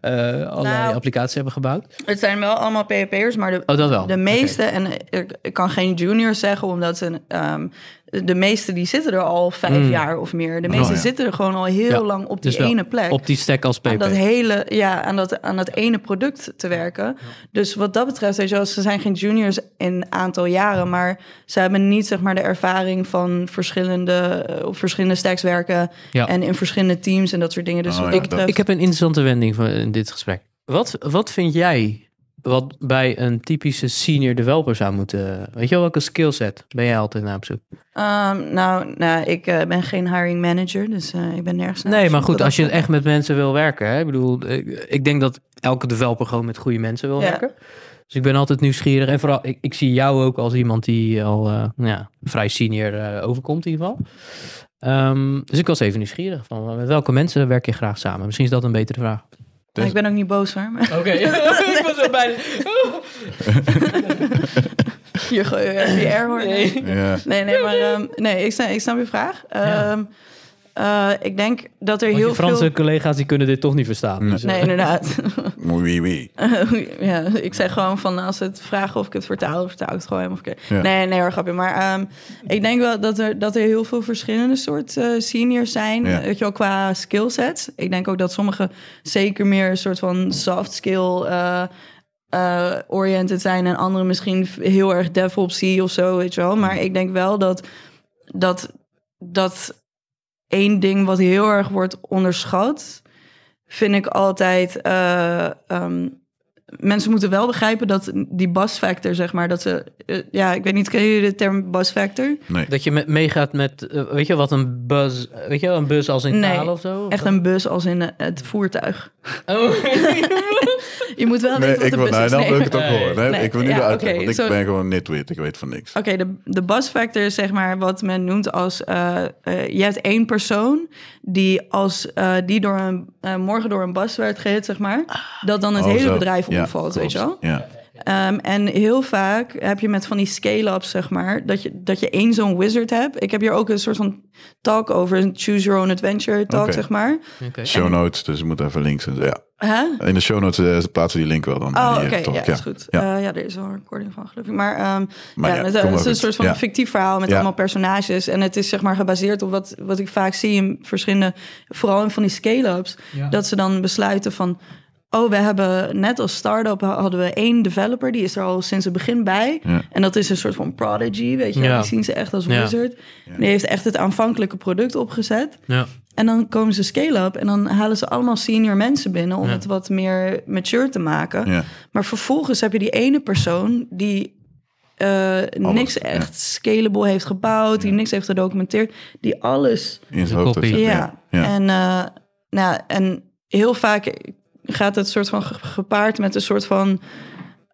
[SPEAKER 2] eh, allerlei
[SPEAKER 4] Nou.
[SPEAKER 2] applicaties hebben gebouwd?
[SPEAKER 4] Het zijn wel allemaal PHP'ers, maar de,
[SPEAKER 2] Oh, dat wel.
[SPEAKER 4] de
[SPEAKER 2] Oké.
[SPEAKER 4] meeste... En eh, ik, ik kan geen juniors zeggen, omdat ze, ehm, de meeste die zitten er al vijf
[SPEAKER 2] Mm.
[SPEAKER 4] jaar of meer. De
[SPEAKER 1] Oh,
[SPEAKER 4] meeste
[SPEAKER 1] ja.
[SPEAKER 4] zitten er gewoon al heel
[SPEAKER 2] Ja,
[SPEAKER 4] lang op
[SPEAKER 2] dus
[SPEAKER 4] die
[SPEAKER 2] wel
[SPEAKER 4] ene plek.
[SPEAKER 2] Op die stack als
[SPEAKER 4] aan
[SPEAKER 2] PP.
[SPEAKER 4] dat hele, ja, aan dat, aan dat ene product te werken. Dus wat dat betreft, weet je wel, ze zijn geen juniors in aantal jaren, maar ze hebben niet zeg maar de ervaring van verschillende eh, op verschillende stacks werken
[SPEAKER 2] Ja.
[SPEAKER 4] en in verschillende teams en dat soort dingen. Dus
[SPEAKER 1] Oh
[SPEAKER 4] wat
[SPEAKER 1] ja,
[SPEAKER 4] dat
[SPEAKER 1] dat-
[SPEAKER 4] betreft,
[SPEAKER 2] Ik heb een interessante wending van in dit gesprek. Wat, wat vind jij wat bij een typische senior developer zou moeten... Weet je wel, welke skillset ben jij altijd naar op zoek?
[SPEAKER 4] Ehm, nou, nou, ik eh, ben geen hiring manager, dus eh, ik ben nergens. naar
[SPEAKER 2] Nee,
[SPEAKER 4] op
[SPEAKER 2] maar
[SPEAKER 4] zoek.
[SPEAKER 2] goed, als je
[SPEAKER 4] Dat-
[SPEAKER 2] echt met mensen wil werken. Hè? Ik bedoel, ik, ik denk dat elke developer gewoon met goede mensen wil
[SPEAKER 4] Ja.
[SPEAKER 2] werken. Dus ik ben altijd nieuwsgierig. En vooral, ik, ik zie jou ook als iemand die al eh, nou ja, vrij senior eh, overkomt in ieder geval. Ehm, dus ik was even nieuwsgierig. Van, met welke mensen werk je graag samen? Misschien is dat een betere vraag.
[SPEAKER 4] Maar ik ben ook niet boos hoor. maar
[SPEAKER 2] Oké. ik was er bijna...
[SPEAKER 4] Hier gooi je die air hoor.
[SPEAKER 2] Nee.
[SPEAKER 1] Ja.
[SPEAKER 4] Nee, nee, maar ehm, nee, ik snap, ik snap je vraag.
[SPEAKER 2] Ja.
[SPEAKER 4] Ehm, eh, ik denk dat er
[SPEAKER 2] Want
[SPEAKER 4] heel
[SPEAKER 2] je Franse
[SPEAKER 4] veel.
[SPEAKER 2] collega's die kunnen dit toch niet verstaan.
[SPEAKER 1] Nee.
[SPEAKER 2] Dus, eh,
[SPEAKER 4] Nee, inderdaad.
[SPEAKER 1] Oui, oui.
[SPEAKER 4] ja, ik zeg gewoon van als ze het vragen of ik het vertaal, vertaal ik het gewoon helemaal verkeerd.
[SPEAKER 1] Ja.
[SPEAKER 4] Nee, nee hoor, grapje. Maar ehm, ik denk wel dat er, dat er heel veel verschillende soort eh, seniors zijn.
[SPEAKER 1] Ja.
[SPEAKER 4] Weet je wel, qua skillsets. Ik denk ook dat sommigen zeker meer een soort van soft skill eh, eh, oriented zijn. En anderen misschien heel erg DevOps of zo, weet je wel. Maar ik denk wel dat... dat, dat één ding wat heel erg wordt onderschat, vind ik altijd. eh, ehm, mensen moeten wel begrijpen dat die bus factor, zeg maar, dat ze. eh, ja, ik weet niet, kennen jullie de term bus factor?
[SPEAKER 1] Nee.
[SPEAKER 2] Dat je met, meegaat met, eh, weet je wat een bus, weet je wel, een bus als in
[SPEAKER 4] Nee,
[SPEAKER 2] taal of zo?
[SPEAKER 4] Echt een bus als in eh, het voertuig.
[SPEAKER 2] Oh.
[SPEAKER 4] Je moet wel
[SPEAKER 1] Nee,
[SPEAKER 4] weten
[SPEAKER 1] ik
[SPEAKER 4] wat
[SPEAKER 1] wil,
[SPEAKER 4] de bus
[SPEAKER 1] nou,
[SPEAKER 4] is.
[SPEAKER 1] dan
[SPEAKER 4] Nee.
[SPEAKER 1] wil ik het ook
[SPEAKER 2] Nee.
[SPEAKER 1] horen. Nee,
[SPEAKER 4] Nee.
[SPEAKER 1] Ik wil nu
[SPEAKER 4] Ja,
[SPEAKER 1] de uitleg,
[SPEAKER 4] oké,
[SPEAKER 1] want ik
[SPEAKER 4] zo-
[SPEAKER 1] ben gewoon nitwit. Ik weet van niks.
[SPEAKER 4] Oké, de, de bus factor is zeg maar wat men noemt als... eh, eh, je hebt één persoon die, als, eh, die door een, eh, morgen door een bus werd gereden, zeg maar... dat dan het
[SPEAKER 1] Oh,
[SPEAKER 4] hele
[SPEAKER 1] zo.
[SPEAKER 4] bedrijf
[SPEAKER 1] Ja,
[SPEAKER 4] omvalt, weet je
[SPEAKER 1] klopt.
[SPEAKER 4] wel?
[SPEAKER 1] Ja.
[SPEAKER 4] Ehm, en heel vaak heb je met van die scale-ups, zeg maar, dat je, dat je één zo'n wizard hebt. Ik heb hier ook een soort van talk over, een choose your own adventure talk,
[SPEAKER 1] Oké.
[SPEAKER 4] zeg maar.
[SPEAKER 2] Oké.
[SPEAKER 1] Show notes, dus je moet even links. En zo, ja.
[SPEAKER 4] Hè?
[SPEAKER 1] In de show notes eh, plaatsen we die link wel dan.
[SPEAKER 4] Oh,
[SPEAKER 1] Die,
[SPEAKER 4] oké,
[SPEAKER 1] eh, talk,
[SPEAKER 4] ja, is goed. Eh,
[SPEAKER 1] Ja.
[SPEAKER 4] Ja. ja, er is wel een recording van, geloof ik. Maar, ehm,
[SPEAKER 1] Maar
[SPEAKER 4] ja,
[SPEAKER 1] ja,
[SPEAKER 4] het,
[SPEAKER 1] kom
[SPEAKER 4] het
[SPEAKER 1] maar
[SPEAKER 4] is een
[SPEAKER 1] goed.
[SPEAKER 4] soort van
[SPEAKER 1] Ja.
[SPEAKER 4] fictief verhaal met
[SPEAKER 1] Ja.
[SPEAKER 4] allemaal personages. En het is zeg maar gebaseerd op wat, wat ik vaak zie in verschillende... vooral in van die scale-ups,
[SPEAKER 2] Ja.
[SPEAKER 4] dat ze dan besluiten van... oh, we hebben net als start-up ha- hadden we één developer... die is er al sinds het begin bij.
[SPEAKER 1] Ja.
[SPEAKER 4] En dat is een soort van prodigy, weet je. wel.
[SPEAKER 2] Ja.
[SPEAKER 4] Die zien ze echt als
[SPEAKER 2] Ja.
[SPEAKER 4] wizard. Die heeft echt het aanvankelijke product opgezet.
[SPEAKER 2] Ja.
[SPEAKER 4] En dan komen ze scale-up en dan halen ze allemaal senior mensen binnen... om
[SPEAKER 2] Ja.
[SPEAKER 4] het wat meer mature te maken.
[SPEAKER 1] Ja.
[SPEAKER 4] Maar vervolgens heb je die ene persoon die eh, niks
[SPEAKER 1] ja.
[SPEAKER 4] echt scalable heeft gebouwd, die niks heeft gedocumenteerd, die alles.
[SPEAKER 1] In
[SPEAKER 2] De
[SPEAKER 1] zijn hoofd.
[SPEAKER 2] kopie.
[SPEAKER 1] heeft,
[SPEAKER 4] Eh, Ja.
[SPEAKER 1] ja.
[SPEAKER 4] En, eh, nou, en heel vaak gaat het soort van ge- gepaard met een soort van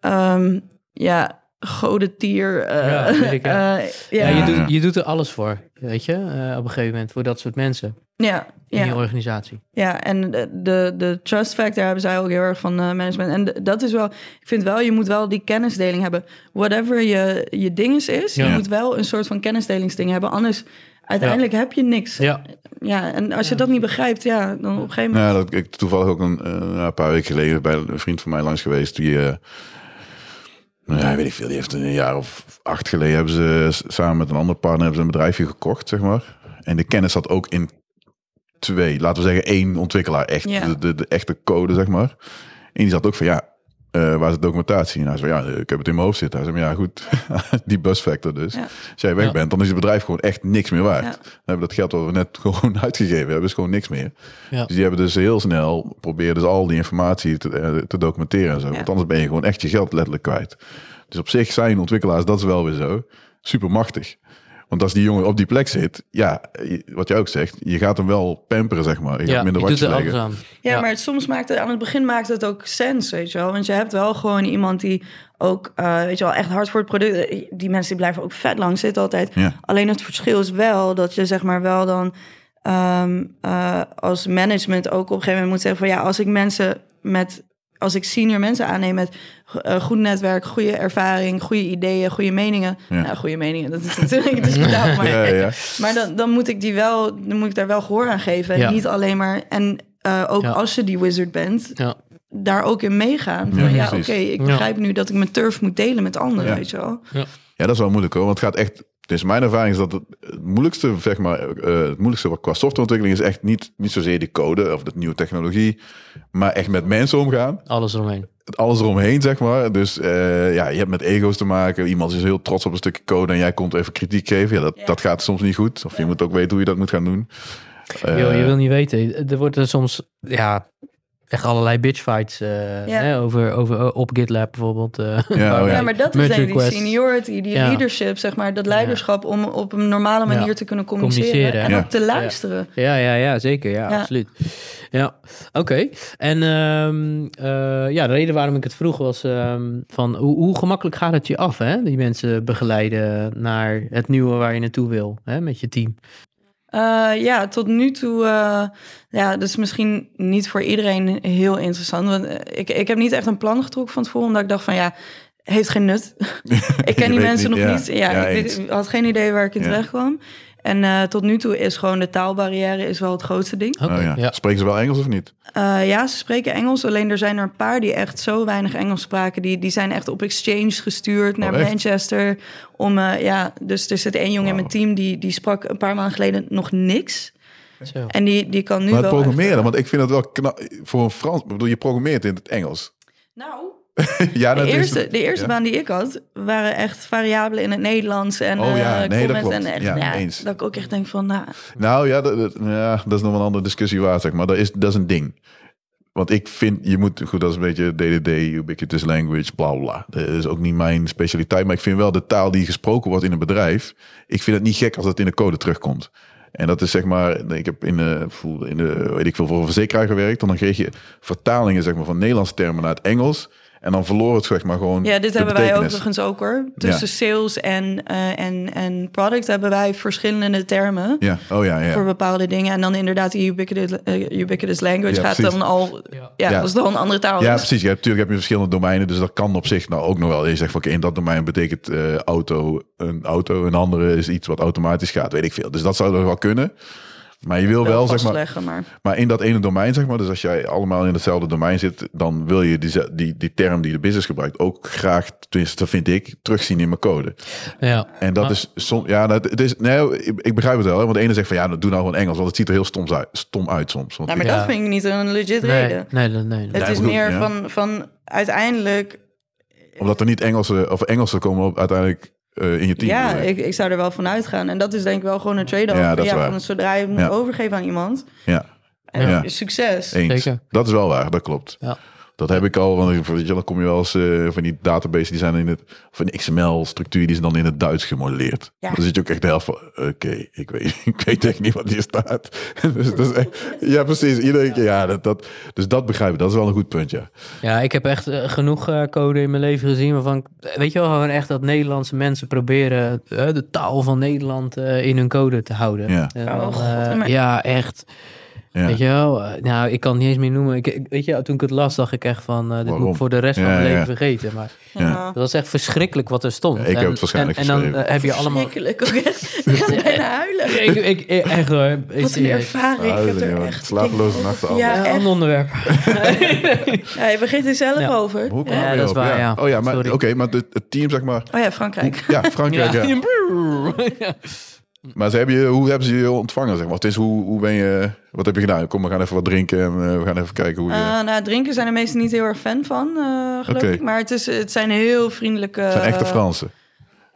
[SPEAKER 4] ehm ja, godentier. eh
[SPEAKER 2] Ja, weet ik, ja.
[SPEAKER 4] eh,
[SPEAKER 2] Ja,
[SPEAKER 4] ja,
[SPEAKER 2] je,
[SPEAKER 4] ja,
[SPEAKER 2] doet, je doet er alles voor, weet je, eh, op een gegeven moment, voor dat soort mensen
[SPEAKER 4] ja,
[SPEAKER 2] in je organisatie.
[SPEAKER 4] Ja, en de, de, de trust factor hebben zij ook heel erg van eh, management. En d- dat is wel, ik vind wel, je moet wel die kennisdeling hebben. Whatever je, je ding is, is
[SPEAKER 2] Ja.
[SPEAKER 4] je moet wel een soort van kennisdelingsding hebben. Anders, uiteindelijk heb je niks. Ja,
[SPEAKER 2] Ja,
[SPEAKER 4] en als je dat niet begrijpt, ja, dan op een gegeven moment...
[SPEAKER 1] Nou, dat, ik toevallig ook een, eh, een paar weken geleden bij een vriend van mij langs geweest. Die, eh, nou ja, weet ik veel, die heeft een jaar of acht geleden hebben ze s- samen met een andere partner hebben ze een bedrijfje gekocht, zeg maar. En de kennis zat ook in twee, laten we zeggen één ontwikkelaar, echt
[SPEAKER 4] Ja.
[SPEAKER 1] de, de, de echte code, zeg maar. En die zat ook van ja. eh, waar is de documentatie? En hij zei, ja, ik heb het in mijn hoofd zitten. Hij zei, maar ja, goed, die bus factor dus.
[SPEAKER 4] Ja.
[SPEAKER 1] Als jij weg
[SPEAKER 2] Ja.
[SPEAKER 1] bent, dan is het bedrijf gewoon echt niks meer waard.
[SPEAKER 4] Ja.
[SPEAKER 1] Dan hebben we dat geld wat we net gewoon uitgegeven hebben, is gewoon niks meer.
[SPEAKER 2] ja.
[SPEAKER 1] Dus die hebben dus heel snel proberen dus al die informatie te, eh, te documenteren en zo.
[SPEAKER 4] Ja.
[SPEAKER 1] Want anders ben je gewoon echt je geld letterlijk kwijt. Dus op zich zijn ontwikkelaars, dat is wel weer zo, supermachtig. Want als die jongen op die plek zit, ja, je- wat jij ook zegt, je gaat hem wel pamperen, zeg maar. Je
[SPEAKER 2] ja.
[SPEAKER 1] gaat
[SPEAKER 2] je
[SPEAKER 1] minder
[SPEAKER 2] doet
[SPEAKER 1] watjes
[SPEAKER 2] er alles
[SPEAKER 1] leggen.
[SPEAKER 2] aan.
[SPEAKER 4] Ja,
[SPEAKER 2] Ja.
[SPEAKER 4] maar het- soms maakt het, aan het begin maakt het ook sens, weet je wel. Want je hebt wel gewoon iemand die ook, eh, weet je wel, echt hard voor het product... eh, Die mensen die blijven ook vet lang zitten altijd.
[SPEAKER 1] Ja.
[SPEAKER 4] Alleen het verschil is wel dat je zeg maar wel dan ehm, eh, als management ook op een gegeven moment moet zeggen van ja, als ik mensen met als ik senior mensen aanneem met go- eh, goed netwerk, goede ervaring, goede ideeën, goede meningen.
[SPEAKER 1] Ja.
[SPEAKER 4] Nou, goede meningen, dat is natuurlijk discutabel. Maar,
[SPEAKER 1] Ja, ja.
[SPEAKER 4] maar dan, dan moet ik die wel, dan moet ik daar wel gehoor aan geven. En
[SPEAKER 2] Ja.
[SPEAKER 4] niet alleen maar. En eh, ook
[SPEAKER 2] Ja.
[SPEAKER 4] als je die wizard bent,
[SPEAKER 2] Ja.
[SPEAKER 4] daar ook in meegaan. Van,
[SPEAKER 1] Ja,
[SPEAKER 4] ja, oké,
[SPEAKER 1] precies.
[SPEAKER 4] ik
[SPEAKER 2] Ja.
[SPEAKER 4] begrijp nu dat ik mijn turf moet delen met anderen,
[SPEAKER 1] Ja.
[SPEAKER 4] weet je wel.
[SPEAKER 1] Ja, dat is wel moeilijk hoor. Want het gaat echt. Dus mijn ervaring is dat het, het moeilijkste, zeg maar, eh, het moeilijkste wat qua softwareontwikkeling is echt niet, niet zozeer de code of de nieuwe technologie, maar echt met mensen omgaan.
[SPEAKER 2] Alles eromheen.
[SPEAKER 1] het alles eromheen, zeg maar. Dus eh, ja, je hebt met ego's te maken. Iemand is heel trots op een stukje code en jij komt even kritiek geven. Ja, dat, dat gaat soms niet goed. Of je moet ook weten hoe je dat moet gaan doen. Eh,
[SPEAKER 2] Yo, je wil niet weten. Er worden soms ja, echt allerlei bitchfights eh,
[SPEAKER 4] Ja.
[SPEAKER 2] hè, over, over, eh, op GitLab bijvoorbeeld. eh,
[SPEAKER 1] Ja,
[SPEAKER 2] waar
[SPEAKER 1] oh ja.
[SPEAKER 2] wij-
[SPEAKER 4] Ja, maar dat is
[SPEAKER 2] Merge
[SPEAKER 4] denk ik die
[SPEAKER 2] requests.
[SPEAKER 4] seniority, die
[SPEAKER 2] Ja.
[SPEAKER 4] leadership, zeg maar, dat leiderschap om op een normale manier
[SPEAKER 2] Ja.
[SPEAKER 4] te kunnen communiceren,
[SPEAKER 2] Communiceren,
[SPEAKER 4] en
[SPEAKER 1] ja.
[SPEAKER 4] ook te luisteren.
[SPEAKER 2] Ja, ja, ja, zeker. Ja,
[SPEAKER 4] Ja.
[SPEAKER 2] absoluut. Ja, oké. En ehm, eh, ja, de reden waarom ik het vroeg was ehm, van hoe, hoe gemakkelijk gaat het je af, hè? Die mensen begeleiden naar het nieuwe waar je naartoe wil, hè, met je team.
[SPEAKER 4] Eh, ja, tot nu toe, eh, ja, dat is misschien niet voor iedereen heel interessant. Want eh, ik, ik heb niet echt een plan getrokken van tevoren, omdat ik dacht van ja, heeft geen nut. ik
[SPEAKER 1] Je
[SPEAKER 4] ken die
[SPEAKER 1] weet
[SPEAKER 4] mensen
[SPEAKER 1] niet,
[SPEAKER 4] nog
[SPEAKER 1] ja.
[SPEAKER 4] niet. Ja,
[SPEAKER 1] Ja,
[SPEAKER 4] ik,
[SPEAKER 1] eens.
[SPEAKER 4] weet- ik had geen idee waar ik in
[SPEAKER 1] Ja.
[SPEAKER 4] terecht kwam. En eh, tot nu toe is gewoon de taalbarrière is wel het grootste ding.
[SPEAKER 2] Oké,
[SPEAKER 1] oh ja. Spreken ze wel Engels of niet?
[SPEAKER 4] Eh, ja, ze spreken Engels. Alleen er zijn er een paar die echt zo weinig Engels spraken. Die, die zijn echt op exchange gestuurd naar
[SPEAKER 1] Oh, echt?
[SPEAKER 4] Manchester. Om, eh, ja, dus er zit één jongen in mijn
[SPEAKER 1] Wauw.
[SPEAKER 4] team die, die sprak een paar maanden geleden nog niks.
[SPEAKER 2] Zo.
[SPEAKER 4] En die, die kan nu
[SPEAKER 1] maar het
[SPEAKER 4] wel...
[SPEAKER 1] programmeren,
[SPEAKER 4] echt- eh,
[SPEAKER 1] want ik vind dat wel knap. Voor een Frans, ik bedoel, je programmeert in het Engels.
[SPEAKER 4] Nou,
[SPEAKER 1] ja,
[SPEAKER 4] de
[SPEAKER 1] dat
[SPEAKER 4] eerste,
[SPEAKER 1] is,
[SPEAKER 4] de eerste
[SPEAKER 1] ja.
[SPEAKER 4] baan die ik had, waren echt variabelen in het Nederlands. En,
[SPEAKER 1] Oh ja,
[SPEAKER 4] eh,
[SPEAKER 1] nee, dat
[SPEAKER 4] comments
[SPEAKER 1] klopt.
[SPEAKER 4] En echt,
[SPEAKER 1] Ja,
[SPEAKER 4] ja,
[SPEAKER 1] eens.
[SPEAKER 4] Dat ik ook echt denk van, nou,
[SPEAKER 1] Nou ja dat, dat- ja, dat is nog wel een andere discussie waard, zeg maar. Dat is, dat is een ding. Want ik vind, je moet, goed, dat is een beetje DDD, ubiquitous language, bla bla, bla. Dat is ook niet mijn specialiteit. Maar ik vind wel de taal die gesproken wordt in een bedrijf. Ik vind het niet gek als dat in de code terugkomt. En dat is zeg maar, ik heb in de, voel- in de weet ik veel, voor een verzekeraar gewerkt. En dan kreeg je vertalingen zeg maar, van Nederlandse termen naar het Engels. En En dan verloor het zeg maar gewoon
[SPEAKER 4] Ja, dit
[SPEAKER 1] de
[SPEAKER 4] hebben wij
[SPEAKER 1] betekenis.
[SPEAKER 4] overigens ook hoor. Tussen sales en, eh, en, en product hebben wij verschillende termen.
[SPEAKER 1] Ja, oh ja, ja.
[SPEAKER 4] Voor bepaalde dingen. En dan inderdaad, die ubiquitous, eh, ubiquitous language
[SPEAKER 1] Ja,
[SPEAKER 4] gaat
[SPEAKER 1] precies.
[SPEAKER 4] dan al.
[SPEAKER 2] Ja.
[SPEAKER 4] Ja,
[SPEAKER 1] Ja.
[SPEAKER 4] als dan een andere taal.
[SPEAKER 1] Ja,
[SPEAKER 4] is.
[SPEAKER 1] precies. Je hebt, natuurlijk heb je verschillende domeinen, dus dat kan op zich nou ook nog wel. Je zegt van oké, in dat domein betekent eh, auto een auto, een andere is iets wat automatisch gaat, weet ik veel. Dus dat zou nog wel kunnen. Maar je wil wel, zeg maar,
[SPEAKER 4] vastleggen, maar.
[SPEAKER 1] maar in dat ene domein, zeg maar, dus als jij allemaal in hetzelfde domein zit, dan wil je die, die, die term die de business gebruikt ook graag, tenminste, dat vind ik, terugzien in mijn code.
[SPEAKER 2] Ja.
[SPEAKER 1] En dat
[SPEAKER 4] Ah.
[SPEAKER 2] Maar-
[SPEAKER 1] is soms, ja, dat, het is, nee, ik, ik begrijp het wel, hè, want de ene zegt van ja, doe nou gewoon Engels, want het ziet er heel stom uit, stom uit soms. Want
[SPEAKER 4] Nou, maar
[SPEAKER 2] Ja.
[SPEAKER 4] dat vind ik niet een legit
[SPEAKER 2] Nee,
[SPEAKER 4] reden.
[SPEAKER 2] nee, nee, nee.
[SPEAKER 4] Het
[SPEAKER 1] Ja,
[SPEAKER 4] is
[SPEAKER 1] ik bedoel,
[SPEAKER 4] meer
[SPEAKER 1] ja.
[SPEAKER 4] van, van uiteindelijk.
[SPEAKER 1] Omdat er niet Engelse of Engelsen komen op uiteindelijk eh, in je team.
[SPEAKER 4] Ja,
[SPEAKER 1] bedoel
[SPEAKER 4] ik, ik zou er wel van uitgaan. En dat is denk ik wel gewoon een trade-off.
[SPEAKER 1] Ja, dat is waar.
[SPEAKER 4] van zodra je het moet
[SPEAKER 1] Ja.
[SPEAKER 4] overgeven aan iemand.
[SPEAKER 1] ja
[SPEAKER 4] En
[SPEAKER 1] Ja.
[SPEAKER 4] Succes.
[SPEAKER 1] eens.
[SPEAKER 2] Zeker.
[SPEAKER 1] Dat is wel waar, dat klopt.
[SPEAKER 2] Ja.
[SPEAKER 1] Dat heb ik al, want ik- weet je, dan kom je wel eens eh, van die databases die zijn in het, of een XML-structuur die is dan in het Duits gemodelleerd.
[SPEAKER 4] Ja.
[SPEAKER 1] Dan zit je ook echt de helft van, oké, ik, weet, ik weet echt niet wat hier staat. dus dat is echt, ja, precies. Iedereen, ja, dat, dat, dus dat begrijp ik, dat is wel een goed punt, ja.
[SPEAKER 2] Ja, ik heb echt eh, genoeg eh, code in mijn leven gezien waarvan, ik- weet je wel, gewoon echt dat Nederlandse mensen proberen eh, de taal van Nederland eh, in hun code te houden.
[SPEAKER 1] Ja.
[SPEAKER 2] En dan,
[SPEAKER 4] Oh, god,
[SPEAKER 2] eh,
[SPEAKER 4] maar-
[SPEAKER 2] ja, echt.
[SPEAKER 1] ja.
[SPEAKER 2] Weet je wel, eh, nou, ik kan het niet eens meer noemen. Ik, ik- weet je, toen ik het las, dacht ik echt van, eh, dit moet
[SPEAKER 1] Waarom?
[SPEAKER 2] ik voor de rest van
[SPEAKER 1] Ja,
[SPEAKER 2] mijn leven
[SPEAKER 1] ja.
[SPEAKER 2] vergeten. Maar
[SPEAKER 1] Ja.
[SPEAKER 2] dat was echt verschrikkelijk wat er stond.
[SPEAKER 1] Ja, ik heb
[SPEAKER 2] En-
[SPEAKER 1] het waarschijnlijk
[SPEAKER 2] En, en dan
[SPEAKER 1] geschreven.
[SPEAKER 2] eh, heb je allemaal...
[SPEAKER 4] Schrikkelijk ook echt. Ik ga bijna huilen.
[SPEAKER 2] Ik, ik, ik- echt hoor. ik-
[SPEAKER 4] Wat een
[SPEAKER 2] serieus.
[SPEAKER 4] ervaring.
[SPEAKER 1] Ah, dat
[SPEAKER 4] ik heb
[SPEAKER 1] is
[SPEAKER 4] er
[SPEAKER 1] niet waar.
[SPEAKER 4] echt...
[SPEAKER 1] Slapeloze nachten al.
[SPEAKER 4] Ja.
[SPEAKER 2] Ja,
[SPEAKER 4] echt.
[SPEAKER 2] een onderwerp.
[SPEAKER 4] Ja, je begint er zelf
[SPEAKER 2] Ja.
[SPEAKER 4] over.
[SPEAKER 1] Hoe kwam
[SPEAKER 2] Ja,
[SPEAKER 1] je
[SPEAKER 2] dat is
[SPEAKER 1] op?
[SPEAKER 2] waar, ja.
[SPEAKER 1] Oh ja, maar oké,
[SPEAKER 2] Sorry.
[SPEAKER 1] maar het, het team, zeg maar.
[SPEAKER 4] Oh ja, Frankrijk.
[SPEAKER 1] Ja, Frankrijk, ja. Maar ze hebben je, hoe hebben ze je ontvangen, zeg maar? Het is hoe, hoe ben je, wat heb je gedaan? Kom, we gaan even wat drinken en eh, we gaan even kijken hoe je...
[SPEAKER 4] Eh, nou, drinken zijn de meesten niet heel erg fan van, eh, geloof
[SPEAKER 1] Oké.
[SPEAKER 4] ik. Maar het, is, het zijn heel vriendelijke...
[SPEAKER 1] Het zijn echte Fransen.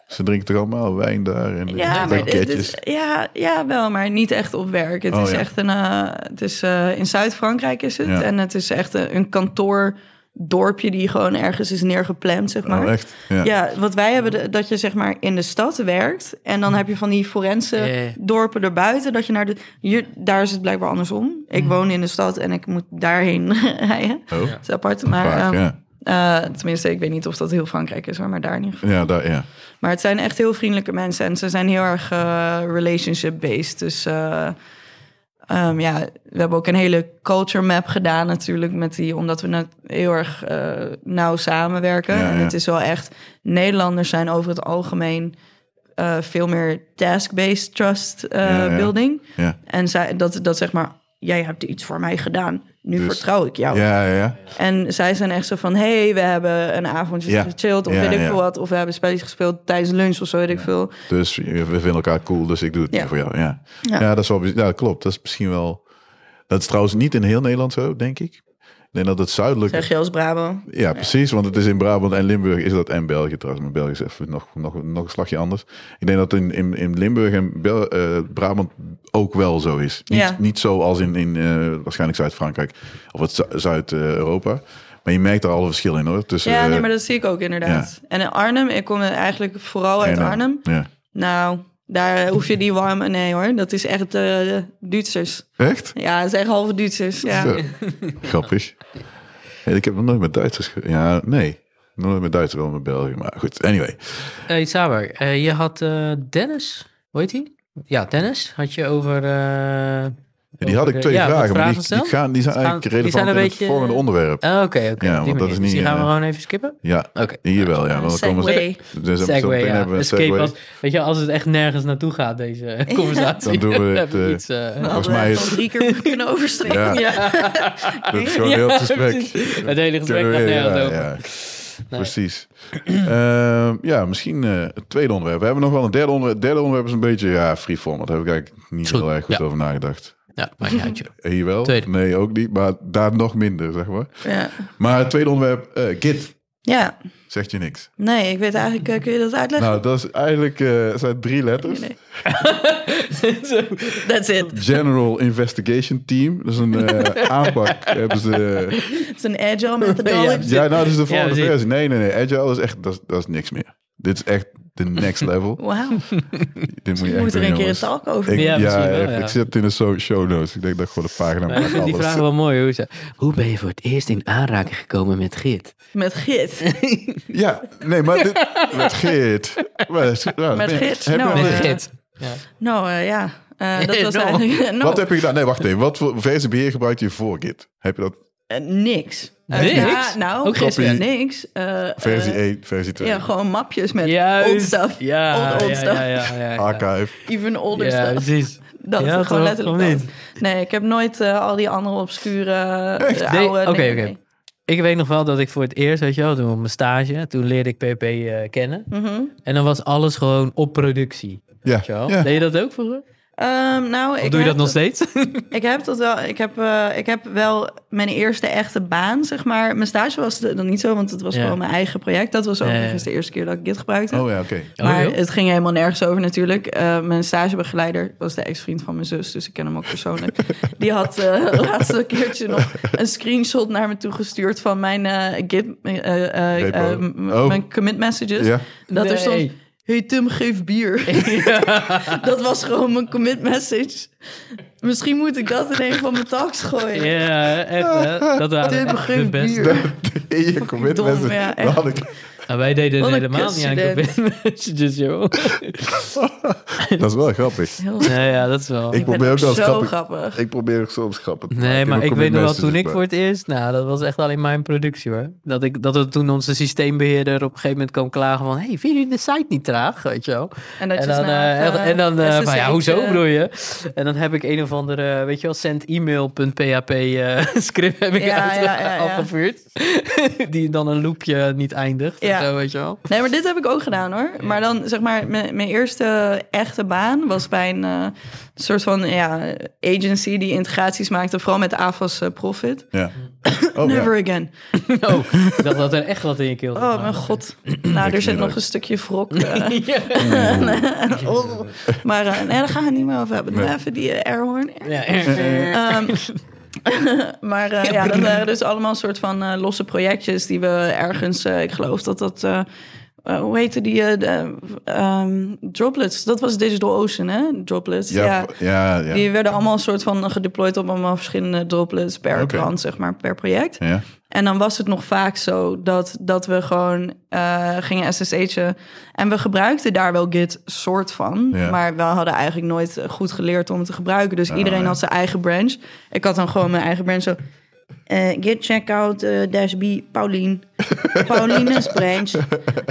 [SPEAKER 1] Ze drinken toch allemaal wijn daar en
[SPEAKER 4] Ja, maar dit-
[SPEAKER 1] pakketjes.
[SPEAKER 4] dit- ja, ja, wel, maar niet echt op werk. Het
[SPEAKER 1] Oh,
[SPEAKER 4] is
[SPEAKER 1] ja.
[SPEAKER 4] echt een... eh, het is, eh, in Zuid-Frankrijk is het.
[SPEAKER 1] Ja.
[SPEAKER 4] En het is echt eh, een, een kantoordorpje die gewoon ergens is neergepland, zeg maar.
[SPEAKER 1] Oh, echt? Ja.
[SPEAKER 4] Ja, wat wij hebben, de- dat je zeg maar in de stad werkt. En
[SPEAKER 1] Hm.
[SPEAKER 4] dan heb je van die forense
[SPEAKER 2] Ja, ja.
[SPEAKER 4] dorpen erbuiten. Dat je naar de. Hier, daar is het blijkbaar andersom. Ik woon in de stad en ik moet daarheen rijden.
[SPEAKER 1] Hm. Oh,
[SPEAKER 4] Dat is apart. Maar
[SPEAKER 1] vaak,
[SPEAKER 4] ehm,
[SPEAKER 1] ja.
[SPEAKER 4] eh, tenminste, ik weet niet of dat heel Frankrijk is hoor, maar daar in ieder geval.
[SPEAKER 1] Ja, daar, ja.
[SPEAKER 4] Maar het zijn echt heel vriendelijke mensen en ze zijn heel erg eh, relationship-based. Dus eh, ehm, ja, we hebben ook een hele culture map gedaan natuurlijk met die, omdat we net heel erg eh, nauw samenwerken.
[SPEAKER 1] Ja,
[SPEAKER 4] En
[SPEAKER 1] ja.
[SPEAKER 4] het is wel echt, Nederlanders zijn over het algemeen eh, veel meer task-based trust eh,
[SPEAKER 1] Ja, ja.
[SPEAKER 4] building.
[SPEAKER 1] Ja,
[SPEAKER 4] En zij, dat, dat zeg maar, jij hebt iets voor mij gedaan, nu
[SPEAKER 1] Dus-
[SPEAKER 4] vertrouw ik jou.
[SPEAKER 1] ja, ja. ja.
[SPEAKER 4] En zij zijn echt zo van, hé, hey, we hebben een avondje
[SPEAKER 1] Ja.
[SPEAKER 4] gechilled of
[SPEAKER 1] Ja,
[SPEAKER 4] weet ik
[SPEAKER 1] ja.
[SPEAKER 4] veel wat. Of we hebben spelletjes gespeeld tijdens lunch of zo, weet ik veel.
[SPEAKER 1] Dus we vinden elkaar cool, dus ik doe het
[SPEAKER 4] Ja.
[SPEAKER 1] voor jou. Ja, ja.
[SPEAKER 4] Ja.
[SPEAKER 1] dat is wel, ja, dat klopt. Dat is misschien wel... Dat is trouwens niet in heel Nederland zo, denk ik. Ik denk dat het zuidelijk...
[SPEAKER 4] Zeg je als Brabo.
[SPEAKER 1] Ja, precies. Want het is in Brabant en Limburg is dat en België trouwens. Maar België is even nog, nog, nog een slagje anders. Ik denk dat in, in, in Limburg en Bel- eh, Brabant ook wel zo is. Niet,
[SPEAKER 4] Ja.
[SPEAKER 1] niet zo als in, in eh, waarschijnlijk Zuid-Frankrijk of het Zu- Zuid-Europa. Maar je merkt daar al een verschil in hoor. Tussen,
[SPEAKER 4] Ja, nee,
[SPEAKER 1] eh,
[SPEAKER 4] maar dat zie ik ook inderdaad. En in Arnhem, ik kom eigenlijk vooral uit
[SPEAKER 1] en, eh,
[SPEAKER 4] Arnhem.
[SPEAKER 1] Ja.
[SPEAKER 4] Nou, daar hoef je die warme... Nee hoor, dat is echt eh Duitsers.
[SPEAKER 1] Echt?
[SPEAKER 4] Ja, het is echt halve Duitsers. Ja.
[SPEAKER 1] Zo. Grappig. Hey, ik heb nog nooit met Duitsers... ge- Ja, nee. Nooit met Duitsers, wel met België. Maar goed, anyway.
[SPEAKER 2] Hey Saber, eh, je had eh, Dennis, hoe heet hij? Ja, Dennis had je over... eh,
[SPEAKER 1] Die had
[SPEAKER 2] over
[SPEAKER 1] ik
[SPEAKER 2] de-
[SPEAKER 1] twee
[SPEAKER 2] ja, wat
[SPEAKER 1] vragen, maar die,
[SPEAKER 2] gesteld?
[SPEAKER 1] die, gaan, die zijn
[SPEAKER 2] Gaan-
[SPEAKER 1] eigenlijk
[SPEAKER 2] die
[SPEAKER 1] relevant
[SPEAKER 2] zijn een
[SPEAKER 1] in
[SPEAKER 2] beetje-
[SPEAKER 1] het volgende onderwerp.
[SPEAKER 2] Ah, Oké, oké.
[SPEAKER 1] Ja,
[SPEAKER 2] op die
[SPEAKER 1] want dat
[SPEAKER 2] manier.
[SPEAKER 1] is
[SPEAKER 2] Dus die
[SPEAKER 1] niet,
[SPEAKER 2] gaan we
[SPEAKER 1] eh,
[SPEAKER 2] gewoon even skippen?
[SPEAKER 1] Ja,
[SPEAKER 2] Oké.
[SPEAKER 1] Hier wel, ja. Want dan komen ze-
[SPEAKER 4] Segway.
[SPEAKER 1] dus dan-
[SPEAKER 2] Segway,
[SPEAKER 1] zometeen
[SPEAKER 2] ja.
[SPEAKER 1] hebben we een
[SPEAKER 2] Escape
[SPEAKER 1] segway.
[SPEAKER 2] als, weet je, als het echt nergens naartoe gaat, deze conversatie.
[SPEAKER 1] Dan doen we
[SPEAKER 2] heb
[SPEAKER 1] het,
[SPEAKER 2] ik
[SPEAKER 1] eh,
[SPEAKER 2] iets, eh,
[SPEAKER 4] Dan
[SPEAKER 1] Volgens
[SPEAKER 4] hadden we
[SPEAKER 1] mij
[SPEAKER 4] het
[SPEAKER 1] is-
[SPEAKER 4] al drie keer moeten kunnen oversteken.
[SPEAKER 1] Ja,
[SPEAKER 2] Oh.
[SPEAKER 1] dat is gewoon
[SPEAKER 2] Ja,
[SPEAKER 1] heel het gesprek.
[SPEAKER 2] precies. Het hele gesprek gaat
[SPEAKER 1] Ja,
[SPEAKER 2] nergens
[SPEAKER 1] ja,
[SPEAKER 2] over.
[SPEAKER 1] ja. Precies. Ehm, ja, misschien eh, het tweede onderwerp. We hebben nog wel een derde onderwerp. Het derde onderwerp is een beetje ja, freeform. want Daar heb ik eigenlijk niet
[SPEAKER 2] Is goed,
[SPEAKER 1] heel erg goed
[SPEAKER 2] ja.
[SPEAKER 1] over nagedacht.
[SPEAKER 2] Ja, maakt niet uit, joh.
[SPEAKER 1] Hier wel?
[SPEAKER 2] Tweede.
[SPEAKER 1] Nee, ook niet. Maar daar nog minder, zeg maar.
[SPEAKER 4] Ja.
[SPEAKER 1] Maar het tweede onderwerp, eh, Git,
[SPEAKER 4] ja,
[SPEAKER 1] zegt je niks.
[SPEAKER 4] nee, ik weet eigenlijk... eh, kun je dat uitleggen?
[SPEAKER 1] Nou, dat is eigenlijk eh, het zijn drie letters.
[SPEAKER 4] Nee.
[SPEAKER 2] Zo.
[SPEAKER 1] Nou,
[SPEAKER 4] That's it.
[SPEAKER 1] General Investigation Team. Dat is een eh, aanpak. Hebben ze, eh,
[SPEAKER 4] It's an agile methodology.
[SPEAKER 1] Ja, nou, dat is de volgende
[SPEAKER 2] precies.
[SPEAKER 1] versie. Nee, nee, nee. Agile is echt, dat is, dat is niks meer. Dit is echt the next level.
[SPEAKER 4] Wauw.
[SPEAKER 1] Dit moet je
[SPEAKER 4] We
[SPEAKER 1] echt doen,
[SPEAKER 4] moeten er een keer een
[SPEAKER 1] jongens.
[SPEAKER 4] talk over
[SPEAKER 1] Ik,
[SPEAKER 2] Ja,
[SPEAKER 1] ja,
[SPEAKER 2] misschien wel,
[SPEAKER 1] ik-
[SPEAKER 2] ja.
[SPEAKER 1] ik zit in de so- show notes. Ik denk dat ik gewoon de pagina
[SPEAKER 2] Maar ik
[SPEAKER 1] met
[SPEAKER 2] vind die vraag
[SPEAKER 1] alles.
[SPEAKER 2] wel mooi. Hoe, ze, hoe ben je voor het eerst in aanraking gekomen met git?
[SPEAKER 4] Met Git.
[SPEAKER 1] Ja, nee, maar dit, met Geert. Met, ja,
[SPEAKER 4] Met
[SPEAKER 1] ben-
[SPEAKER 4] Geert,
[SPEAKER 1] heb je
[SPEAKER 4] nou,
[SPEAKER 1] al-
[SPEAKER 4] eh,
[SPEAKER 2] Met git. Ja.
[SPEAKER 4] Nou eh, ja, Eh, dat was
[SPEAKER 2] No.
[SPEAKER 4] eigenlijk... No.
[SPEAKER 1] Wat heb je gedaan? Nee, wacht even. Wat voor versie gebruik je voor Git? Heb je dat
[SPEAKER 4] Eh, niks. Eh,
[SPEAKER 2] Niks?
[SPEAKER 4] ja, nou,
[SPEAKER 2] Ook geen
[SPEAKER 1] Copy.
[SPEAKER 4] niks. Eh, eh,
[SPEAKER 1] versie 1, versie 2?
[SPEAKER 4] Ja, gewoon mapjes met old
[SPEAKER 2] Juist.
[SPEAKER 4] stuff.
[SPEAKER 2] Ja,
[SPEAKER 4] old, old
[SPEAKER 2] ja,
[SPEAKER 4] stuff.
[SPEAKER 2] ja, ja, ja, ja.
[SPEAKER 1] Archive.
[SPEAKER 4] Even older
[SPEAKER 2] Ja,
[SPEAKER 4] stuff.
[SPEAKER 2] precies.
[SPEAKER 4] Dat,
[SPEAKER 2] Ja,
[SPEAKER 4] gewoon
[SPEAKER 2] gewoon-
[SPEAKER 4] letterlijk
[SPEAKER 2] gewoon
[SPEAKER 4] dat. Nee, ik heb nooit eh, al die andere obscure eh, oude...
[SPEAKER 2] Nee,
[SPEAKER 4] nee,
[SPEAKER 2] oké,
[SPEAKER 4] nee,
[SPEAKER 2] oké.
[SPEAKER 4] nee.
[SPEAKER 2] Ik weet nog wel dat ik voor het eerst, weet je wel, toen op mijn stage, toen leerde ik PP eh, kennen.
[SPEAKER 4] Mhm.
[SPEAKER 2] En dan was alles gewoon op productie.
[SPEAKER 1] Ja.
[SPEAKER 2] Weet je wel?
[SPEAKER 1] ja.
[SPEAKER 2] Deed je dat ook vroeger?
[SPEAKER 4] Ehm, nou,
[SPEAKER 2] Of
[SPEAKER 4] ik
[SPEAKER 2] doe je
[SPEAKER 4] heb
[SPEAKER 2] dat nog steeds? Oh,
[SPEAKER 4] Ik heb dat wel. Ik heb, eh, ik heb wel mijn eerste echte baan, zeg maar. Mijn stage was de- dan niet zo, want het was
[SPEAKER 2] Ja.
[SPEAKER 4] gewoon mijn eigen project. Dat was
[SPEAKER 2] ja.
[SPEAKER 4] overigens de eerste keer dat ik Git gebruikte.
[SPEAKER 1] Oh ja, oké.
[SPEAKER 4] maar
[SPEAKER 2] joh.
[SPEAKER 4] het ging helemaal nergens over natuurlijk. Eh, mijn stagebegeleider was de ex-vriend van mijn zus, dus ik ken hem ook persoonlijk. Die had eh, de laatste keertje nog een screenshot naar me toegestuurd van mijn eh, Git, eh, eh, eh,
[SPEAKER 1] Repo.
[SPEAKER 4] m-
[SPEAKER 1] Oh.
[SPEAKER 4] mijn commit messages.
[SPEAKER 1] Ja.
[SPEAKER 4] Dat er stond,
[SPEAKER 2] Nee.
[SPEAKER 4] hey Tim, geef bier. dat was gewoon mijn commit message. Misschien moet ik dat in een van mijn talks gooien.
[SPEAKER 2] Ja, echt. hè? Dat waren
[SPEAKER 4] Tim,
[SPEAKER 2] echt de
[SPEAKER 4] geef
[SPEAKER 2] beste.
[SPEAKER 4] bier.
[SPEAKER 1] In je commit
[SPEAKER 4] dom,
[SPEAKER 1] message.
[SPEAKER 4] ja,
[SPEAKER 1] Dan
[SPEAKER 4] echt.
[SPEAKER 1] had ik-
[SPEAKER 2] Nou, wij deden
[SPEAKER 4] Wat een
[SPEAKER 2] helemaal niet aan
[SPEAKER 4] kutstudent.
[SPEAKER 2] commit messages, dus, joh.
[SPEAKER 1] Dat is wel grappig.
[SPEAKER 4] Heel-
[SPEAKER 2] Nee, ja, dat is wel.
[SPEAKER 1] Ik
[SPEAKER 4] Ik ben
[SPEAKER 1] probeer
[SPEAKER 4] ook
[SPEAKER 1] ook wel
[SPEAKER 4] zo
[SPEAKER 1] grappig.
[SPEAKER 4] grappig.
[SPEAKER 1] Ik probeer ook soms grappig. te
[SPEAKER 2] Nee,
[SPEAKER 1] maken.
[SPEAKER 2] maar
[SPEAKER 1] heb
[SPEAKER 2] ik
[SPEAKER 1] een
[SPEAKER 2] weet nog wel,
[SPEAKER 1] commit
[SPEAKER 2] toen ik
[SPEAKER 1] message
[SPEAKER 2] voor het eerst... Nou, dat was echt alleen mijn productie, hoor. Dat, ik, dat er toen onze systeembeheerder op een gegeven moment kwam klagen van... hey, vinden jullie de site niet traag, weet je wel?
[SPEAKER 4] En, dat
[SPEAKER 2] En
[SPEAKER 4] je
[SPEAKER 2] dan,
[SPEAKER 4] snel
[SPEAKER 2] eh,
[SPEAKER 4] even,
[SPEAKER 2] en dan eh,
[SPEAKER 4] eh,
[SPEAKER 2] van, ja,
[SPEAKER 4] SSH,
[SPEAKER 2] hoezo
[SPEAKER 4] eh,
[SPEAKER 2] bedoel je? En dan heb ik een of andere, eh, weet je wel, send e-mail.php eh, script heb ik
[SPEAKER 4] Ja,
[SPEAKER 2] uit- eh,
[SPEAKER 4] ja, ja, ja.
[SPEAKER 2] afgevuurd. Die dan een loopje niet eindigt
[SPEAKER 4] Ja.
[SPEAKER 2] en zo, weet je wel.
[SPEAKER 4] Nee, maar dit heb ik ook gedaan hoor. Maar dan zeg maar, mijn, mijn eerste echte baan was bij een eh, soort van ja, agency die integraties maakte, vooral met AFAS eh, Profit.
[SPEAKER 1] Ja. Oh, ja.
[SPEAKER 4] Never again.
[SPEAKER 2] Oh, ik dacht dat er echt wat in je keel zat.
[SPEAKER 4] Oh mijn god. Nou, er
[SPEAKER 1] Ah, niet
[SPEAKER 4] zit nog
[SPEAKER 1] leuk.
[SPEAKER 4] een stukje wrok. eh,
[SPEAKER 2] Ja.
[SPEAKER 4] Oh. Maar eh, nee, daar gaan we het niet meer over hebben. Doe
[SPEAKER 1] Nee.
[SPEAKER 4] Even die eh, airhorn.
[SPEAKER 2] Ja, erg.
[SPEAKER 4] Ehm, maar eh, ja, dat waren dus allemaal soort van eh, losse projectjes die we ergens... eh, ik geloof dat dat... eh, eh, hoe heette die? eh, de, ehm, droplets. Dat was Digital Ocean, hè? Droplets. Ja,
[SPEAKER 1] Ja, ja, ja.
[SPEAKER 4] Die werden allemaal soort van gedeployed op allemaal verschillende droplets per
[SPEAKER 1] Oké.
[SPEAKER 4] brand, zeg maar, per project.
[SPEAKER 1] Ja.
[SPEAKER 4] En dan was het nog vaak zo dat, dat we gewoon eh, gingen SSH'en. En we gebruikten daar wel Git soort van.
[SPEAKER 1] Ja. Ah,
[SPEAKER 4] Maar we hadden eigenlijk nooit eh, goed geleerd om het te gebruiken. Dus iedereen
[SPEAKER 1] ja.
[SPEAKER 4] had zijn eigen branch. Ik had dan gewoon mijn eigen branch zo... eh, git checkout eh, dash B Paulien. Paulines branch.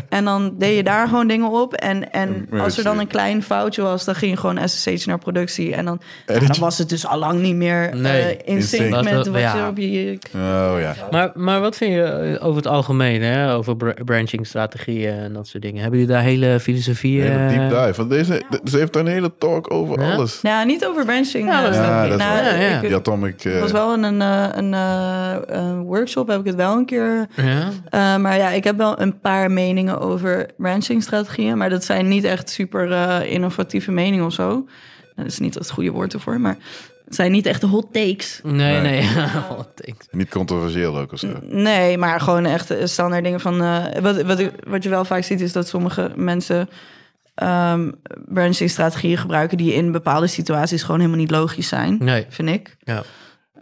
[SPEAKER 4] En dan deed je daar gewoon dingen op. En, en
[SPEAKER 1] Ja,
[SPEAKER 4] als er dan
[SPEAKER 1] precies.
[SPEAKER 4] een klein foutje was, dan ging je gewoon SSH naar productie. En dan,
[SPEAKER 1] Edit.
[SPEAKER 4] dan was het dus al lang niet meer eh,
[SPEAKER 2] Nee,
[SPEAKER 4] in
[SPEAKER 1] in
[SPEAKER 4] sync
[SPEAKER 1] sync.
[SPEAKER 4] met
[SPEAKER 2] Dat-
[SPEAKER 4] wat
[SPEAKER 2] ja.
[SPEAKER 4] je op je
[SPEAKER 1] Oh ja.
[SPEAKER 2] Maar, maar wat vind je eh, over het algemeen, hè? over br- branching-strategieën en dat soort dingen? Hebben jullie daar hele filosofieën?
[SPEAKER 1] Hele deep
[SPEAKER 2] eh,
[SPEAKER 1] dive. Want deze, ze heeft daar een hele talk over
[SPEAKER 2] Ja?
[SPEAKER 1] alles.
[SPEAKER 4] Nou, niet over branching.
[SPEAKER 2] Ja, dat is
[SPEAKER 4] eh,
[SPEAKER 1] Ja, dat is
[SPEAKER 4] nou,
[SPEAKER 1] wel-
[SPEAKER 2] ja, ja.
[SPEAKER 4] ik-
[SPEAKER 1] Die Atomic... eh,
[SPEAKER 4] Het was wel in een, eh, een, eh, een workshop, heb ik het wel een keer.
[SPEAKER 2] Ja?
[SPEAKER 4] eh, maar ja, ik heb wel een paar meningen over branching-strategieën. Maar dat zijn niet echt super eh, innovatieve meningen of zo. Dat is niet het goede woord ervoor, maar het zijn niet echt de hot takes.
[SPEAKER 1] Nee.
[SPEAKER 2] Nee, nee. Oh, thanks.
[SPEAKER 1] Niet controversieel ook
[SPEAKER 4] Mm,
[SPEAKER 1] of zo.
[SPEAKER 4] Nee, maar gewoon echt eh, standaard dingen van... eh, wat, wat, ik- wat je wel vaak ziet is dat sommige mensen ehm branching-strategieën gebruiken... die in bepaalde situaties gewoon helemaal niet logisch zijn,
[SPEAKER 2] Nee.
[SPEAKER 4] vind ik.
[SPEAKER 2] Ja.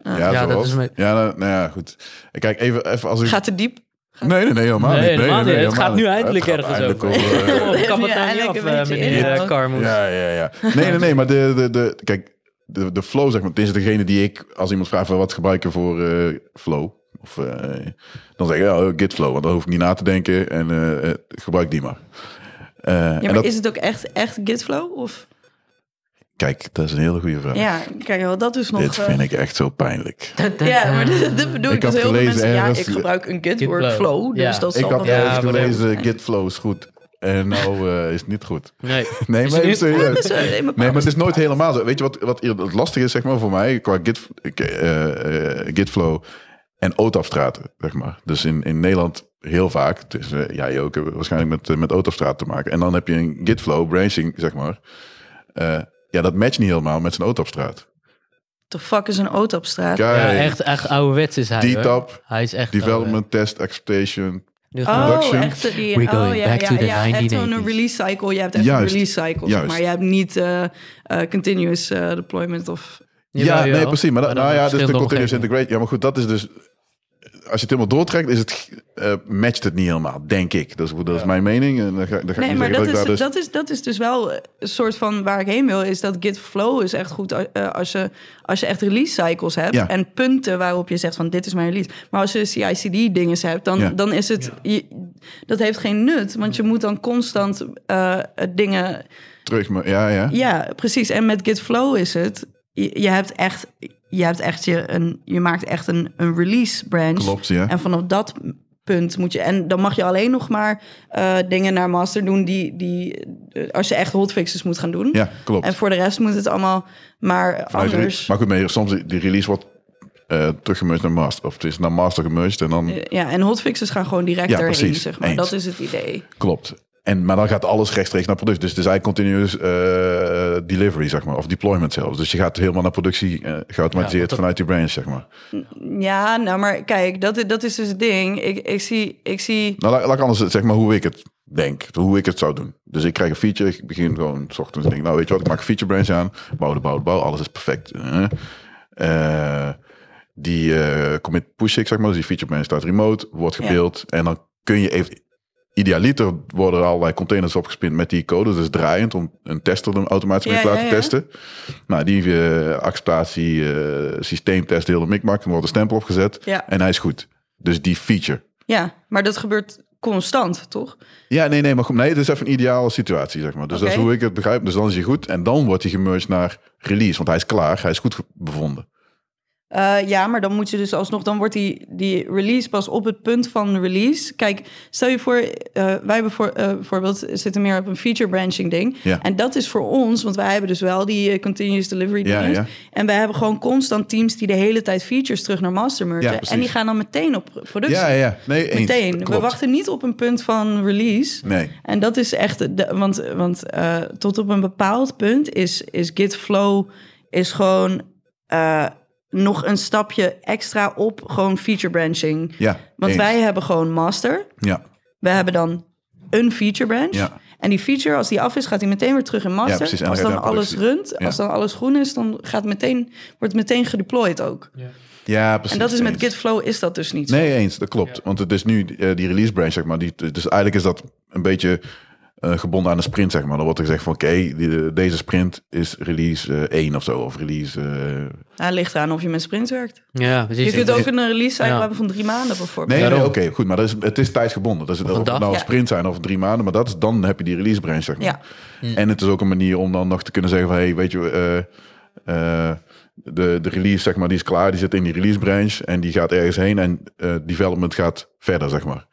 [SPEAKER 1] Ah,
[SPEAKER 4] ah.
[SPEAKER 1] Ja,
[SPEAKER 2] Ja, dat
[SPEAKER 1] zoals.
[SPEAKER 2] is me-
[SPEAKER 1] Ja, nou, nou ja, goed. Ik Kijk, even, even als ik...
[SPEAKER 4] Gaat te diep.
[SPEAKER 1] Nee, nee, nee, helemaal
[SPEAKER 2] Nee,
[SPEAKER 1] niet. Nee,
[SPEAKER 2] helemaal
[SPEAKER 1] nee,
[SPEAKER 2] niet.
[SPEAKER 1] nee,
[SPEAKER 2] Het gaat nu
[SPEAKER 1] helemaal niet.
[SPEAKER 2] eindelijk
[SPEAKER 1] Het gaat
[SPEAKER 2] ergens
[SPEAKER 1] eindelijk
[SPEAKER 2] over.
[SPEAKER 1] over, eh,
[SPEAKER 2] Oh, kap het nou niet
[SPEAKER 4] Eindelijk
[SPEAKER 2] af,
[SPEAKER 4] een
[SPEAKER 2] eh,
[SPEAKER 4] beetje
[SPEAKER 2] meneer eh,
[SPEAKER 4] inhoud.
[SPEAKER 2] Carmoes.
[SPEAKER 1] Ja, ja, ja. Nee, nee, nee, maar de, de, de, kijk, de, de flow, zeg maar, dit is degene die ik, als iemand vraagt van wat gebruik je voor eh, flow, of, eh, dan zeg ik, ja, eh, git flow, want dan hoef ik niet na te denken en eh, eh, gebruik die maar. Eh,
[SPEAKER 4] Ja,
[SPEAKER 1] en
[SPEAKER 4] maar
[SPEAKER 1] dat,
[SPEAKER 4] is het ook echt, echt Gitflow? Of?
[SPEAKER 1] Kijk, dat is een hele goede vraag.
[SPEAKER 4] Ja, kijk wel, dat is nog...
[SPEAKER 1] Dit
[SPEAKER 4] eh,
[SPEAKER 1] vind ik echt zo pijnlijk.
[SPEAKER 4] Ja, maar dit, dit bedoel ik.
[SPEAKER 1] Ik had
[SPEAKER 4] dus heel veel
[SPEAKER 1] gelezen
[SPEAKER 4] mensen, ja,
[SPEAKER 1] ergens-
[SPEAKER 4] ik gebruik een Git
[SPEAKER 2] eh, Gitflow.
[SPEAKER 4] workflow, dus
[SPEAKER 2] Ja.
[SPEAKER 4] dat
[SPEAKER 1] Ik
[SPEAKER 4] zal
[SPEAKER 1] had
[SPEAKER 4] wel-
[SPEAKER 2] Ja,
[SPEAKER 1] ergens
[SPEAKER 2] whatever.
[SPEAKER 1] gelezen, git flow is goed. En nou eh, is het niet goed.
[SPEAKER 2] Nee.
[SPEAKER 1] Nee,
[SPEAKER 2] Is
[SPEAKER 1] maar
[SPEAKER 2] het
[SPEAKER 1] even
[SPEAKER 2] niet-
[SPEAKER 1] serieus.
[SPEAKER 4] Ja, dat is, eh, in bepaalde-
[SPEAKER 1] Nee, maar het is nooit helemaal zo. Weet je wat, wat het lastig is, zeg maar, voor mij, qua Git, eh, eh, Gitflow en OTAF-straten, zeg maar. Dus in, in Nederland heel vaak, dus eh, jij ook, eh, waarschijnlijk met, eh, met OTAF-straten te maken. En dan heb je een Gitflow, branching, zeg maar. Eh, ja, dat matcht niet helemaal met zijn OTAF-straat.
[SPEAKER 4] The fuck is een auto op straat?
[SPEAKER 1] Kijk,
[SPEAKER 2] Ja, echt, echt ouderwets is hij. hoor.
[SPEAKER 1] D-tap,
[SPEAKER 2] Hij is echt. eh,
[SPEAKER 1] development, test, expectation,
[SPEAKER 2] Nu gaan we-
[SPEAKER 4] Oh,
[SPEAKER 1] Production.
[SPEAKER 4] echt die,
[SPEAKER 2] We're
[SPEAKER 4] oh,
[SPEAKER 2] going
[SPEAKER 4] ja,
[SPEAKER 2] back
[SPEAKER 4] ja,
[SPEAKER 2] to the
[SPEAKER 4] ja, echt zo'n
[SPEAKER 2] 1980s.
[SPEAKER 4] release cycle. Je hebt echt
[SPEAKER 1] Juist,
[SPEAKER 4] een release cycle, zeg
[SPEAKER 1] juist.
[SPEAKER 4] maar je hebt niet eh, eh, continuous eh, deployment of...
[SPEAKER 1] Ja,
[SPEAKER 2] Jawel, jawel.
[SPEAKER 1] nee, precies. Maar, dat-
[SPEAKER 2] dan
[SPEAKER 1] nou ja, dus de
[SPEAKER 2] verschillende
[SPEAKER 1] continuous
[SPEAKER 2] omgevingen.
[SPEAKER 1] integration. Ja, maar goed, dat is dus... Als je het helemaal doortrekt, is het, eh, matcht het niet helemaal, denk ik. Dat is, dat is mijn mening. En dan ga, dan ga ik
[SPEAKER 4] Nee,
[SPEAKER 1] niet
[SPEAKER 4] maar
[SPEAKER 1] zeggen
[SPEAKER 4] dat
[SPEAKER 1] dat ik
[SPEAKER 4] is,
[SPEAKER 1] daar dus...
[SPEAKER 4] dat, is, dat is dus wel een soort van waar ik heen wil, is dat Git Flow is echt goed eh, als je, als je echt release cycles hebt
[SPEAKER 1] Ja.
[SPEAKER 4] en punten waarop je zegt van dit is mijn release. Maar als je CI/CD dinges hebt, dan,
[SPEAKER 1] Ja.
[SPEAKER 4] dan is het, je- dat heeft geen nut, want je moet dan constant eh, dingen
[SPEAKER 1] Terug, maar, ja, ja.
[SPEAKER 4] Ja, precies. En met Git Flow is het. Je, je hebt echt, je hebt echt je een, je maakt echt een, een release branch.
[SPEAKER 1] Klopt, ja.
[SPEAKER 4] En vanaf dat punt moet je. En dan mag je alleen nog maar eh, dingen naar master doen die, die eh, als je echt hotfixes moet gaan doen.
[SPEAKER 1] Ja, klopt.
[SPEAKER 4] En voor de rest moet het allemaal maar
[SPEAKER 1] Vanuit de re-
[SPEAKER 4] anders.
[SPEAKER 1] Maar goed, maar soms die- die release wordt eh teruggemerged naar master. Of het is naar master gemerged en dan
[SPEAKER 4] Ja, en hotfixes gaan gewoon direct
[SPEAKER 1] Ja,
[SPEAKER 4] erheen,
[SPEAKER 1] precies.
[SPEAKER 4] zeg maar.
[SPEAKER 1] Eens.
[SPEAKER 4] Dat is het idee.
[SPEAKER 1] klopt. En, maar dan gaat alles rechtstreeks naar product. Dus het is eigenlijk continuous eh, delivery, zeg maar. Of deployment zelfs. Dus je gaat helemaal naar productie eh, geautomatiseerd
[SPEAKER 2] Ja, dat-
[SPEAKER 1] vanuit je branch, zeg maar.
[SPEAKER 4] Ja, nou, maar kijk, dat, is- dat is dus het ding. Ik, ik zie, ik zie
[SPEAKER 1] Nou, laat, laat ik anders zeg maar hoe ik het denk. Hoe ik het zou doen. Dus ik krijg een feature. Ik begin gewoon s ochtends. en Denk, nou, weet je wat? Ik maak een feature branch aan. Bouw de bouw de bouw. Alles is perfect. Eh, eh, die eh, commit push ik, zeg maar. Dus die feature branch staat remote. Wordt
[SPEAKER 4] Ja.
[SPEAKER 1] gebeeld. En dan kun je even... Idealiter worden er allerlei containers opgespind met die code. Dus draaiend om een tester hem automatisch mee
[SPEAKER 4] Ja,
[SPEAKER 1] te
[SPEAKER 4] ja,
[SPEAKER 1] laten
[SPEAKER 4] ja.
[SPEAKER 1] testen. Nou, die eh acceptatie, eh, systeemtest, de hele mikmak. Dan wordt een stempel opgezet.
[SPEAKER 4] Ja.
[SPEAKER 1] En hij is goed. Dus die feature.
[SPEAKER 4] Ja, maar dat gebeurt constant, toch?
[SPEAKER 1] Ja, nee, nee, maar goed. Nee, het is even een ideale situatie, zeg maar. Dus dat is
[SPEAKER 4] Oké.
[SPEAKER 1] hoe ik het begrijp. Dus dan is hij goed. En dan wordt hij gemerged naar release. Want hij is klaar. Hij is goed ge- bevonden.
[SPEAKER 4] Eh, ja, maar dan moet je dus alsnog, dan wordt die, die release pas op het punt van release. Kijk, stel je voor, eh, wij hebben voor, eh, bijvoorbeeld zitten meer op een feature branching ding.
[SPEAKER 1] Ja.
[SPEAKER 4] En dat is voor ons, want wij hebben dus wel die eh, continuous delivery
[SPEAKER 1] Ja,
[SPEAKER 4] dinges.
[SPEAKER 1] ja.
[SPEAKER 4] En wij hebben gewoon constant teams die de hele tijd features terug naar master mergen.
[SPEAKER 1] Ja, precies.
[SPEAKER 4] en die gaan dan meteen op pr- productie.
[SPEAKER 1] Ja, ja. Nee, eens.
[SPEAKER 4] Dus meteen. We
[SPEAKER 1] Klopt.
[SPEAKER 4] wachten niet op een punt van release.
[SPEAKER 1] Nee.
[SPEAKER 4] En dat is echt, de- want, want eh, tot op een bepaald punt is, is Git Flow is gewoon eh, nog een stapje extra op gewoon feature branching.
[SPEAKER 1] Ja,
[SPEAKER 4] want
[SPEAKER 1] eens.
[SPEAKER 4] wij hebben gewoon master.
[SPEAKER 1] Ja.
[SPEAKER 4] We hebben dan een feature branch.
[SPEAKER 1] Ja.
[SPEAKER 4] En die feature, als die af is, gaat hij meteen weer terug in master.
[SPEAKER 1] Ja, precies. En dan
[SPEAKER 4] als
[SPEAKER 1] gaat
[SPEAKER 4] dan
[SPEAKER 1] hij naar
[SPEAKER 4] alles
[SPEAKER 1] productie.
[SPEAKER 4] runt,
[SPEAKER 1] Ja.
[SPEAKER 4] als dan alles groen is, dan gaat meteen, wordt het meteen gedeployed ook.
[SPEAKER 1] Ja, precies.
[SPEAKER 4] en dat is met
[SPEAKER 1] eens.
[SPEAKER 4] Git Flow is dat dus niet. zo.
[SPEAKER 1] Nee, eens. Dat klopt. Want het is nu eh, die release branch, zeg maar. Die, dus eigenlijk is dat een beetje eh, gebonden aan een sprint, zeg maar. Dan wordt er gezegd van, oké, die- deze sprint is release eh, 1 of zo. Of release... eh,
[SPEAKER 4] Nou, ligt eraan of je met sprint werkt.
[SPEAKER 2] Ja,
[SPEAKER 4] Je
[SPEAKER 2] precies.
[SPEAKER 4] kunt ook een release cycle
[SPEAKER 2] Ja.
[SPEAKER 4] hebben van drie maanden bijvoorbeeld.
[SPEAKER 1] Nee, nee,
[SPEAKER 2] Daarom.
[SPEAKER 1] oké, goed. Maar dat is, het is tijdsgebonden. Dus het, of het
[SPEAKER 2] dag.
[SPEAKER 1] nou een
[SPEAKER 4] Ja.
[SPEAKER 1] sprint zijn of drie maanden. Maar dat is, dan heb je die release branch, zeg maar.
[SPEAKER 4] Ja. Hmm.
[SPEAKER 1] En het is ook een manier om dan nog te kunnen zeggen van... Hey, weet je, eh, eh, de, de release, zeg maar, die is klaar. Die zit in die release branch. En die gaat ergens heen. En eh, development gaat verder, zeg maar.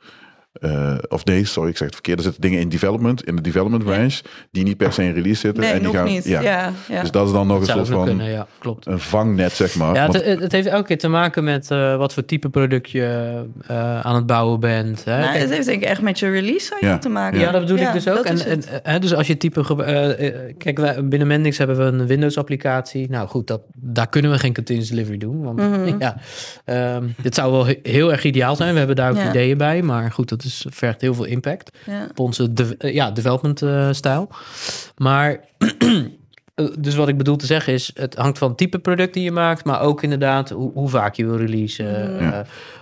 [SPEAKER 1] Eh, of nee, sorry, ik zeg het verkeerd. Er zitten dingen in development, in de development branch... die niet per se in release zitten.
[SPEAKER 4] Nee,
[SPEAKER 1] en die
[SPEAKER 4] nog
[SPEAKER 1] gaan,
[SPEAKER 4] niet. Ja. Ja,
[SPEAKER 1] Dus dat is dan nog een
[SPEAKER 2] zou
[SPEAKER 1] soort
[SPEAKER 2] ook nog
[SPEAKER 1] van
[SPEAKER 2] kunnen, ja, klopt.
[SPEAKER 1] een vangnet, zeg maar.
[SPEAKER 2] Ja,
[SPEAKER 1] Want-
[SPEAKER 2] het, het- het heeft elke keer te maken met eh, wat voor type product je eh, aan het bouwen bent. Hè?
[SPEAKER 4] Nou,
[SPEAKER 2] Kijk,
[SPEAKER 4] het heeft denk ik echt met je release cycle
[SPEAKER 1] Ja.
[SPEAKER 4] te maken.
[SPEAKER 2] Ja, dat bedoel ik dus ook.
[SPEAKER 4] dat
[SPEAKER 2] En,
[SPEAKER 4] is het.
[SPEAKER 2] en, hè, dus als je type. ge- eh, eh, kijk, wij, binnen Mendix hebben we een Windows-applicatie. Nou goed, dat, daar kunnen we geen continuous delivery doen. Want
[SPEAKER 4] Mhm.
[SPEAKER 2] ja, ehm, dit zou wel he- heel erg ideaal zijn. We hebben daar ook
[SPEAKER 4] Ja.
[SPEAKER 2] ideeën bij. Maar goed, dat is, vergt heel veel impact
[SPEAKER 4] ja.
[SPEAKER 2] op onze de- eh, ja, development-stijl. maar. eh, Dus wat ik bedoel te zeggen is, het hangt van het type product die je maakt, maar ook inderdaad hoe, hoe vaak je wil releasen,
[SPEAKER 1] Ja.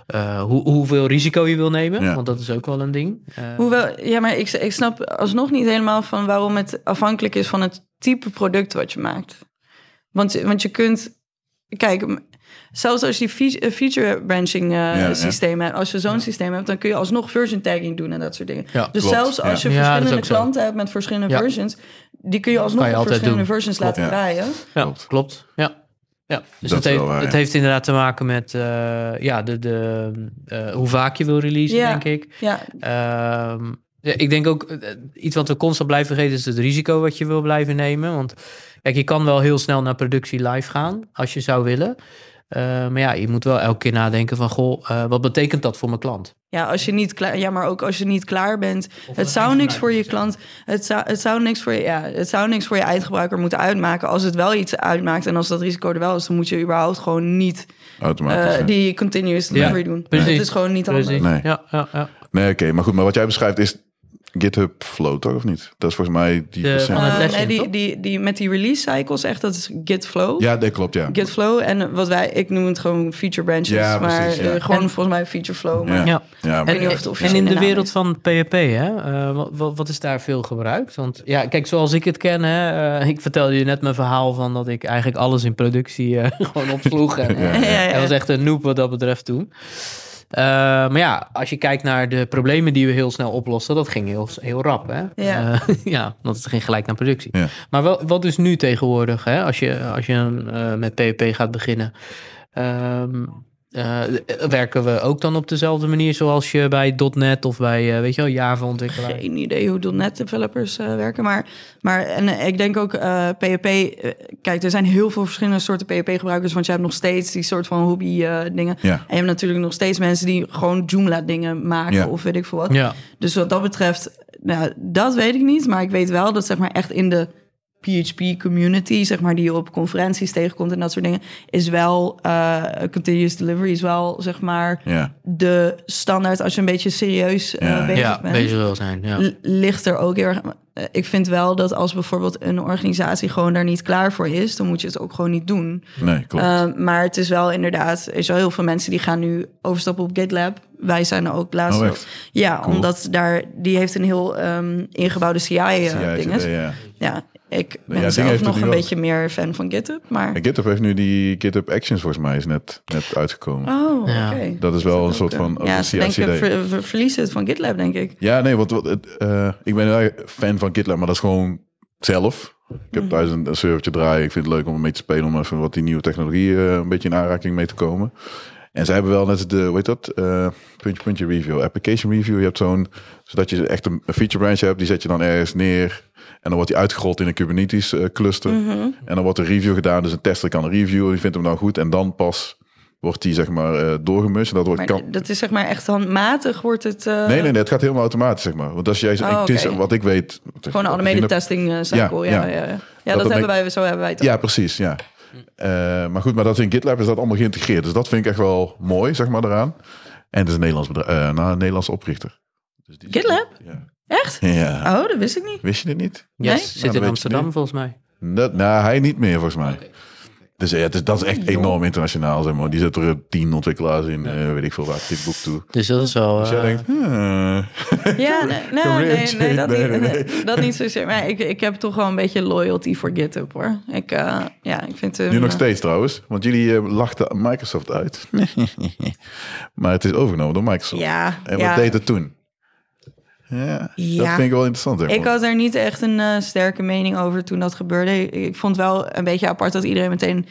[SPEAKER 2] eh, eh, hoe, hoeveel risico je wil nemen,
[SPEAKER 1] Ja.
[SPEAKER 2] want dat is ook wel een ding. Eh,
[SPEAKER 4] Hoewel, ja, maar ik, ik snap alsnog niet helemaal van waarom het afhankelijk is van het type product wat je maakt. Want, want je kunt, kijk, m- zelfs als je die fea- eh, feature branching eh,
[SPEAKER 1] ja.
[SPEAKER 4] systeem hebt, als je zo'n systeem hebt, dan kun je alsnog version tagging doen en dat soort dingen.
[SPEAKER 2] Ja,
[SPEAKER 4] dus
[SPEAKER 1] klopt,
[SPEAKER 4] zelfs als
[SPEAKER 1] ja.
[SPEAKER 4] je
[SPEAKER 2] Ja, dat is
[SPEAKER 4] verschillende
[SPEAKER 2] ook zo.
[SPEAKER 4] klanten hebt met verschillende
[SPEAKER 2] Ja.
[SPEAKER 4] versions, die kun je alsnog
[SPEAKER 2] Kan je
[SPEAKER 4] op
[SPEAKER 2] altijd
[SPEAKER 4] verschillende
[SPEAKER 2] doen.
[SPEAKER 4] versions laten
[SPEAKER 1] Ja.
[SPEAKER 4] draaien.
[SPEAKER 2] Ja,
[SPEAKER 1] Klopt.
[SPEAKER 2] klopt. Ja. Ja, dus
[SPEAKER 1] Dat
[SPEAKER 2] het
[SPEAKER 1] is
[SPEAKER 2] heeft,
[SPEAKER 1] wel waar,
[SPEAKER 2] het
[SPEAKER 1] ja.
[SPEAKER 2] heeft inderdaad te maken met eh, ja, de, de, eh, hoe vaak je wil releasen,
[SPEAKER 4] Ja.
[SPEAKER 2] denk ik.
[SPEAKER 4] Ja,
[SPEAKER 2] Ehm, ja, ik denk ook eh, iets wat we constant blijven vergeten is het risico wat je wil blijven nemen. Want kijk, je kan wel heel snel naar productie live gaan als je zou willen. Eh, maar ja, je moet wel elke keer nadenken van, goh, eh, wat betekent dat voor mijn klant?
[SPEAKER 4] Ja, als je niet klaar, ja, maar ook als je niet klaar bent. het zou niks voor je klant. Het zou, het zou niks voor je. Ja, het zou niks voor je eindgebruiker moeten uitmaken. Als het wel iets uitmaakt en als dat risico er wel is, dan moet je überhaupt gewoon niet eh,
[SPEAKER 1] automatisch. ja.
[SPEAKER 4] die continuous delivery doen.
[SPEAKER 2] precies.
[SPEAKER 4] Het is gewoon niet anders.
[SPEAKER 2] Precies.
[SPEAKER 1] Nee.
[SPEAKER 2] Ja, ja, ja,
[SPEAKER 1] Nee, oké. maar goed, maar wat jij beschrijft is GitHub Flow, toch? Of niet? Dat is volgens mij die
[SPEAKER 2] De-
[SPEAKER 1] percent-
[SPEAKER 2] van het
[SPEAKER 4] Eh,
[SPEAKER 2] lesje,
[SPEAKER 4] nee, die,
[SPEAKER 2] toch?
[SPEAKER 4] die, die, met die release cycles, echt, dat is Git Flow.
[SPEAKER 1] Ja, dat klopt, ja.
[SPEAKER 4] Git Flow en wat wij, ik noem het gewoon feature branches,
[SPEAKER 1] Ja,
[SPEAKER 4] maar
[SPEAKER 1] precies, ja.
[SPEAKER 4] eh, gewoon
[SPEAKER 2] En-
[SPEAKER 4] volgens mij feature flow. Maar
[SPEAKER 1] Ja.
[SPEAKER 2] Ja.
[SPEAKER 1] ja.
[SPEAKER 4] weet
[SPEAKER 2] En,
[SPEAKER 4] niet of het
[SPEAKER 2] en
[SPEAKER 4] officiële
[SPEAKER 2] in de
[SPEAKER 4] naam
[SPEAKER 2] wereld
[SPEAKER 4] is.
[SPEAKER 2] van PHP, hè? eh, wa- wa- wat, is daar veel gebruikt? Want ja, kijk, zoals ik het ken, hè, eh, ik vertelde je net mijn verhaal van dat ik eigenlijk alles in productie eh, gewoon opsloeg. En,
[SPEAKER 1] Ja.
[SPEAKER 4] Ja, ja,
[SPEAKER 2] Dat was
[SPEAKER 4] ja.
[SPEAKER 2] echt een noob wat dat betreft toen. Eh, maar ja, als je kijkt naar de problemen die we heel snel oplossen, dat ging heel, heel rap. Hè?
[SPEAKER 4] Ja.
[SPEAKER 2] Eh, ja, want het ging gelijk naar productie.
[SPEAKER 1] Ja.
[SPEAKER 2] Maar wel, wat is nu tegenwoordig, hè? als je, als je eh, met PHP gaat beginnen? Ehm, eh, werken we ook dan op dezelfde manier zoals je bij .NET of bij, eh, weet je wel, Java ontwikkelaar?
[SPEAKER 4] geen idee hoe .NET developers eh, werken. Maar, maar en, eh, ik denk ook eh PHP... eh, kijk, er zijn heel veel verschillende soorten PHP gebruikers. Want je hebt nog steeds die soort van hobby eh, dingen.
[SPEAKER 1] Ja.
[SPEAKER 4] En je hebt natuurlijk nog steeds mensen die gewoon Joomla dingen maken.
[SPEAKER 1] Ja.
[SPEAKER 4] Of weet ik veel wat.
[SPEAKER 2] Ja,
[SPEAKER 4] Dus wat dat betreft, nou, dat weet ik niet. Maar ik weet wel dat zeg maar echt in de PHP community, zeg maar, die je op conferenties tegenkomt en dat soort dingen, is wel eh, continuous delivery is wel zeg maar
[SPEAKER 1] Ja.
[SPEAKER 4] de standaard als je een beetje serieus eh,
[SPEAKER 1] Ja.
[SPEAKER 4] bezig
[SPEAKER 2] ja
[SPEAKER 4] bent.
[SPEAKER 2] bezig wil zijn. Ja.
[SPEAKER 4] l- Ligt er ook heel erg. eh, Ik vind wel dat als bijvoorbeeld een organisatie gewoon daar niet klaar voor is, dan moet je het ook gewoon niet doen.
[SPEAKER 1] Nee, klopt.
[SPEAKER 4] Eh, maar het is wel inderdaad, er zijn heel veel mensen die gaan nu overstappen op GitLab. Wij zijn er ook laatst.
[SPEAKER 1] Oh,
[SPEAKER 4] op.
[SPEAKER 1] echt?
[SPEAKER 4] ja,
[SPEAKER 1] Cool.
[SPEAKER 4] omdat daar, die heeft een heel ehm, ingebouwde
[SPEAKER 1] ja,
[SPEAKER 4] CI-dinges.
[SPEAKER 1] ja, ja.
[SPEAKER 4] ja, ik ben
[SPEAKER 1] ding heeft
[SPEAKER 4] zelf
[SPEAKER 1] het
[SPEAKER 4] nog
[SPEAKER 1] nu
[SPEAKER 4] een
[SPEAKER 1] ook.
[SPEAKER 4] beetje meer fan van GitHub, maar...
[SPEAKER 1] En GitHub heeft nu die GitHub Actions volgens mij is net, net uitgekomen.
[SPEAKER 4] Oh,
[SPEAKER 2] Ja.
[SPEAKER 4] oké.
[SPEAKER 1] Dat is wel een
[SPEAKER 4] ook,
[SPEAKER 1] soort
[SPEAKER 4] eh,
[SPEAKER 1] van
[SPEAKER 4] Ja,
[SPEAKER 1] open
[SPEAKER 4] ze denken,
[SPEAKER 1] CI/CD.
[SPEAKER 4] ver, ver- verliezen het van GitLab, denk ik.
[SPEAKER 1] Ja, nee, want wat, het, eh, ik ben heel erg fan van GitLab, maar dat is gewoon zelf. Ik heb thuis een, een servertje draaien. Ik vind het leuk om mee te spelen, om even wat die nieuwe technologie eh, een beetje in aanraking mee te komen. En zij hebben wel net de, hoe heet dat? Eh, puntje, puntje review, application review. Je hebt zo'n, zodat je echt een een feature branch hebt, die zet je dan ergens neer. En dan wordt die uitgerold in een Kubernetes eh, cluster. En dan wordt een review gedaan, dus een tester kan een review, die vindt hem dan goed. En dan pas wordt die, zeg maar, eh doorgemust. En dat wordt,
[SPEAKER 4] Maar
[SPEAKER 1] kan,
[SPEAKER 4] dat is zeg maar echt handmatig wordt het... eh,
[SPEAKER 1] Nee, nee, nee, het gaat helemaal automatisch, zeg maar. Want als jij,
[SPEAKER 4] Oh,
[SPEAKER 1] ik- het is
[SPEAKER 4] oké.
[SPEAKER 1] wat ik weet...
[SPEAKER 4] Gewoon een automated testing eh, cycle,
[SPEAKER 1] ja.
[SPEAKER 4] ja. Ja, ja, ja. ja
[SPEAKER 1] dat
[SPEAKER 4] dat,
[SPEAKER 1] make-
[SPEAKER 4] hebben wij, zo hebben wij het ook.
[SPEAKER 1] Ja, precies, ja. Eh, maar goed, maar dat in GitLab is dat allemaal geïntegreerd. Dus dat vind ik echt wel mooi, zeg maar, eraan. En het is een Nederlands bedrijf, eh, nou, een Nederlands oprichter. Dus die-
[SPEAKER 4] GitLab?
[SPEAKER 1] Ja.
[SPEAKER 4] Echt?
[SPEAKER 1] Ja.
[SPEAKER 4] Oh, dat wist ik niet.
[SPEAKER 1] Wist je dit niet?
[SPEAKER 2] Yes,
[SPEAKER 4] Nee?
[SPEAKER 1] Nou,
[SPEAKER 2] zit
[SPEAKER 1] dan
[SPEAKER 2] in
[SPEAKER 1] weet je het
[SPEAKER 2] Amsterdam
[SPEAKER 1] nu.
[SPEAKER 2] volgens mij.
[SPEAKER 1] Dat, nou, hij niet meer, volgens mij. Dus ja, het is, dat is echt enorm internationaal, zeg maar. Die zet er tien ontwikkelaars in, eh, weet ik veel waar, dit boek toe.
[SPEAKER 2] Dus dat is wel...
[SPEAKER 1] Dus jij
[SPEAKER 2] eh,
[SPEAKER 1] denkt, hmm.
[SPEAKER 4] Ja, nee, nee,
[SPEAKER 1] Career
[SPEAKER 4] nee,
[SPEAKER 1] change,
[SPEAKER 4] nee, dat,
[SPEAKER 1] nee, nee,
[SPEAKER 4] niet,
[SPEAKER 1] nee.
[SPEAKER 4] nee, dat niet zozeer. Maar ik, ik heb toch wel een beetje loyalty voor GitHub hoor. Ik, eh, ja, ik vind eh, het.
[SPEAKER 1] Nu nog steeds trouwens, want jullie eh, lachten Microsoft uit. maar het is overgenomen door Microsoft.
[SPEAKER 4] Ja,
[SPEAKER 1] En wat
[SPEAKER 4] ja.
[SPEAKER 1] deed het toen? Ja, Dat
[SPEAKER 4] Ja.
[SPEAKER 1] vind ik wel interessant. Zeg
[SPEAKER 4] Ik
[SPEAKER 1] maar.
[SPEAKER 4] had daar niet echt een eh, sterke mening over toen dat gebeurde. Ik, ik vond wel een beetje apart dat iedereen meteen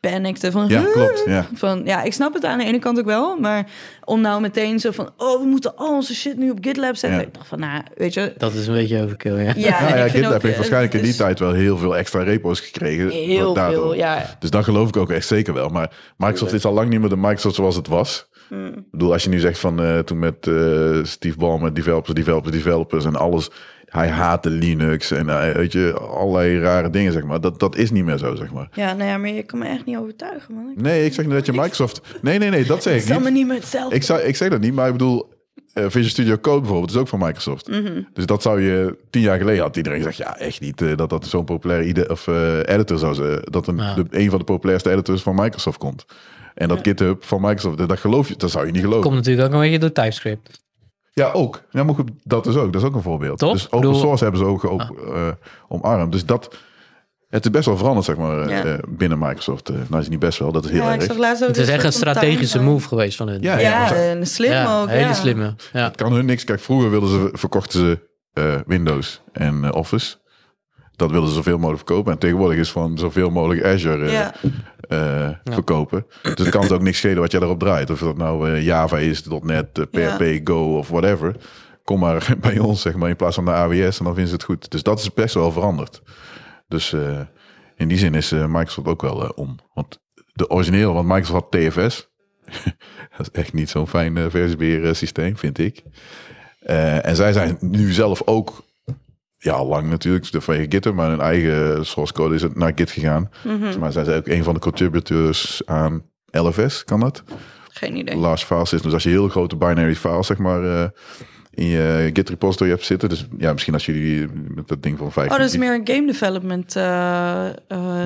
[SPEAKER 4] panikte van...
[SPEAKER 1] Ja,
[SPEAKER 4] "Huh?"
[SPEAKER 1] klopt. Ja.
[SPEAKER 4] Van, ja, ik snap het aan de ene kant ook wel, maar om nou meteen zo van, oh, we moeten al onze shit nu op GitLab zetten.
[SPEAKER 1] Ja.
[SPEAKER 4] Ik dacht van, nou, weet je,
[SPEAKER 2] Dat is een beetje overkill, ja.
[SPEAKER 4] ja,
[SPEAKER 1] Nou
[SPEAKER 4] en
[SPEAKER 1] ja,
[SPEAKER 4] ik vind
[SPEAKER 1] GitLab
[SPEAKER 4] ook,
[SPEAKER 1] heeft
[SPEAKER 4] eh,
[SPEAKER 1] waarschijnlijk in die
[SPEAKER 4] dus
[SPEAKER 1] tijd wel heel veel extra repo's gekregen.
[SPEAKER 4] Heel
[SPEAKER 1] daardoor.
[SPEAKER 4] veel, ja.
[SPEAKER 1] Dus dat geloof ik ook echt zeker wel. Maar Microsoft is al lang niet meer de Microsoft zoals het was.
[SPEAKER 4] Hmm.
[SPEAKER 1] Ik bedoel, als je nu zegt van eh, toen met eh, Steve Ballmer, developers, developers, developers en alles. Hij haatte Linux en eh, weet je, allerlei rare dingen, zeg maar. Dat, dat is niet meer zo, zeg maar.
[SPEAKER 4] Ja, nou ja, maar je kan me echt niet overtuigen, man. Ik
[SPEAKER 1] Nee, ik zeg niet dat je Microsoft... Nee, nee, nee, dat zeg ik
[SPEAKER 4] zal me
[SPEAKER 1] niet.
[SPEAKER 4] niet meer hetzelfde.
[SPEAKER 1] Ik, zou, ik zeg dat niet, maar ik bedoel... eh, Visual Studio Code bijvoorbeeld is ook van Microsoft.
[SPEAKER 4] Mhm.
[SPEAKER 1] Dus dat zou je tien jaar geleden had iedereen gezegd... ja, echt niet eh, dat dat zo'n populair ide- of, eh, editor zou zijn. Dat een,
[SPEAKER 2] Ja.
[SPEAKER 1] de, een van de populairste editors van Microsoft komt. En dat GitHub van Microsoft, eh, dat, geloof je, dat zou je niet geloven.
[SPEAKER 2] Komt natuurlijk ook een beetje door TypeScript.
[SPEAKER 1] Ja, ook. Ja, maar goed, dat is ook. Dat is ook een voorbeeld.
[SPEAKER 2] Toch?
[SPEAKER 1] Dus open
[SPEAKER 2] Bedoel- Ah.
[SPEAKER 1] source hebben ze ook geop- eh, omarmd. Dus dat... Het is best wel veranderd, zeg maar, eh,
[SPEAKER 4] Ja.
[SPEAKER 1] eh, binnen Microsoft. Eh, nou, is het niet best wel, dat is heel
[SPEAKER 4] ja, ik
[SPEAKER 1] erg.
[SPEAKER 4] zag laatst ook
[SPEAKER 2] Het is echt een
[SPEAKER 4] soort van
[SPEAKER 2] strategische
[SPEAKER 4] tuin-
[SPEAKER 2] move geweest van hun.
[SPEAKER 1] Ja, ja,
[SPEAKER 4] Ja,
[SPEAKER 1] maar-
[SPEAKER 4] en slim
[SPEAKER 2] Ja,
[SPEAKER 4] ook.
[SPEAKER 2] hele
[SPEAKER 4] ja.
[SPEAKER 2] slimme. Ja.
[SPEAKER 1] kan hun niks. Kijk, vroeger wilden ze, verkochten ze eh, Windows en eh, Office. Dat wilden ze zoveel mogelijk verkopen. En tegenwoordig is van zoveel mogelijk Azure eh,
[SPEAKER 4] Ja.
[SPEAKER 1] eh, verkopen. Dus dan kan het ook niks schelen wat je daarop draait. Of dat nou eh, Java is, .NET, eh, PHP, Go of whatever. Kom maar bij ons, zeg maar, in plaats van naar AWS. En dan vinden ze het goed. Dus dat is best wel veranderd. Dus eh, in die zin is eh, Microsoft ook wel eh, om. Want de origineel, want Microsoft had TFS. dat is echt niet zo'n fijn eh, versiebeheer systeem, vind ik. Eh, en zij zijn nu zelf ook, ja, al lang natuurlijk, de vanwege GitHub, maar hun eigen source code is het
[SPEAKER 4] Mhm.
[SPEAKER 1] naar Git gegaan. Maar zij zijn ook een van de contributors aan LFS, kan dat?
[SPEAKER 4] Geen idee.
[SPEAKER 1] large file system. Dus als je heel grote binary files, zeg maar, eh, in je Git repository hebt zitten. Dus ja, misschien als jullie met dat ding van vijf.
[SPEAKER 4] Oh, dat is meer een game development. eh, eh,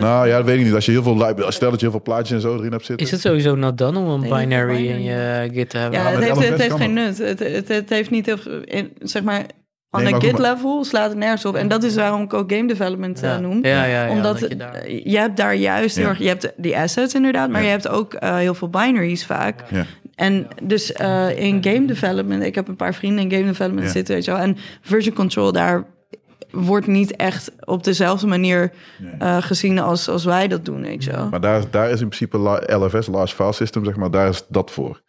[SPEAKER 1] Nou ja, dat weet ik niet. Als je heel veel, li- stel dat je heel veel plaatjes en zo erin hebt zitten.
[SPEAKER 2] Is het sowieso not done om een
[SPEAKER 4] Nee, niet
[SPEAKER 2] binary,
[SPEAKER 4] binary.
[SPEAKER 2] in je Git te hebben?
[SPEAKER 4] ja,
[SPEAKER 1] maar
[SPEAKER 4] het
[SPEAKER 1] met
[SPEAKER 4] heeft,
[SPEAKER 1] alle
[SPEAKER 4] het heeft
[SPEAKER 1] versies
[SPEAKER 4] geen nut. Het, het, het heeft niet heel veel- in- zeg maar, on
[SPEAKER 1] Nee,
[SPEAKER 4] a
[SPEAKER 1] maar goed,
[SPEAKER 4] git level slaat het nergens op. En dat is waarom ik ook game development eh,
[SPEAKER 2] Ja.
[SPEAKER 4] noem.
[SPEAKER 2] Ja, ja, ja,
[SPEAKER 4] Omdat
[SPEAKER 2] dat je daar-
[SPEAKER 4] eh, je hebt daar juist heel
[SPEAKER 1] Ja.
[SPEAKER 4] erg, je hebt die assets inderdaad, maar
[SPEAKER 1] Ja.
[SPEAKER 4] je hebt ook eh, heel veel binaries vaak.
[SPEAKER 1] Ja.
[SPEAKER 4] En dus eh, in game development, ik heb een paar vrienden in game development
[SPEAKER 1] Ja.
[SPEAKER 4] zitten, weet je wel. En version control daar wordt niet echt op dezelfde manier eh, gezien als, als wij dat doen, weet je wel.
[SPEAKER 1] Maar daar, daar is in principe la- LFS, Large File System, zeg maar, daar is dat voor.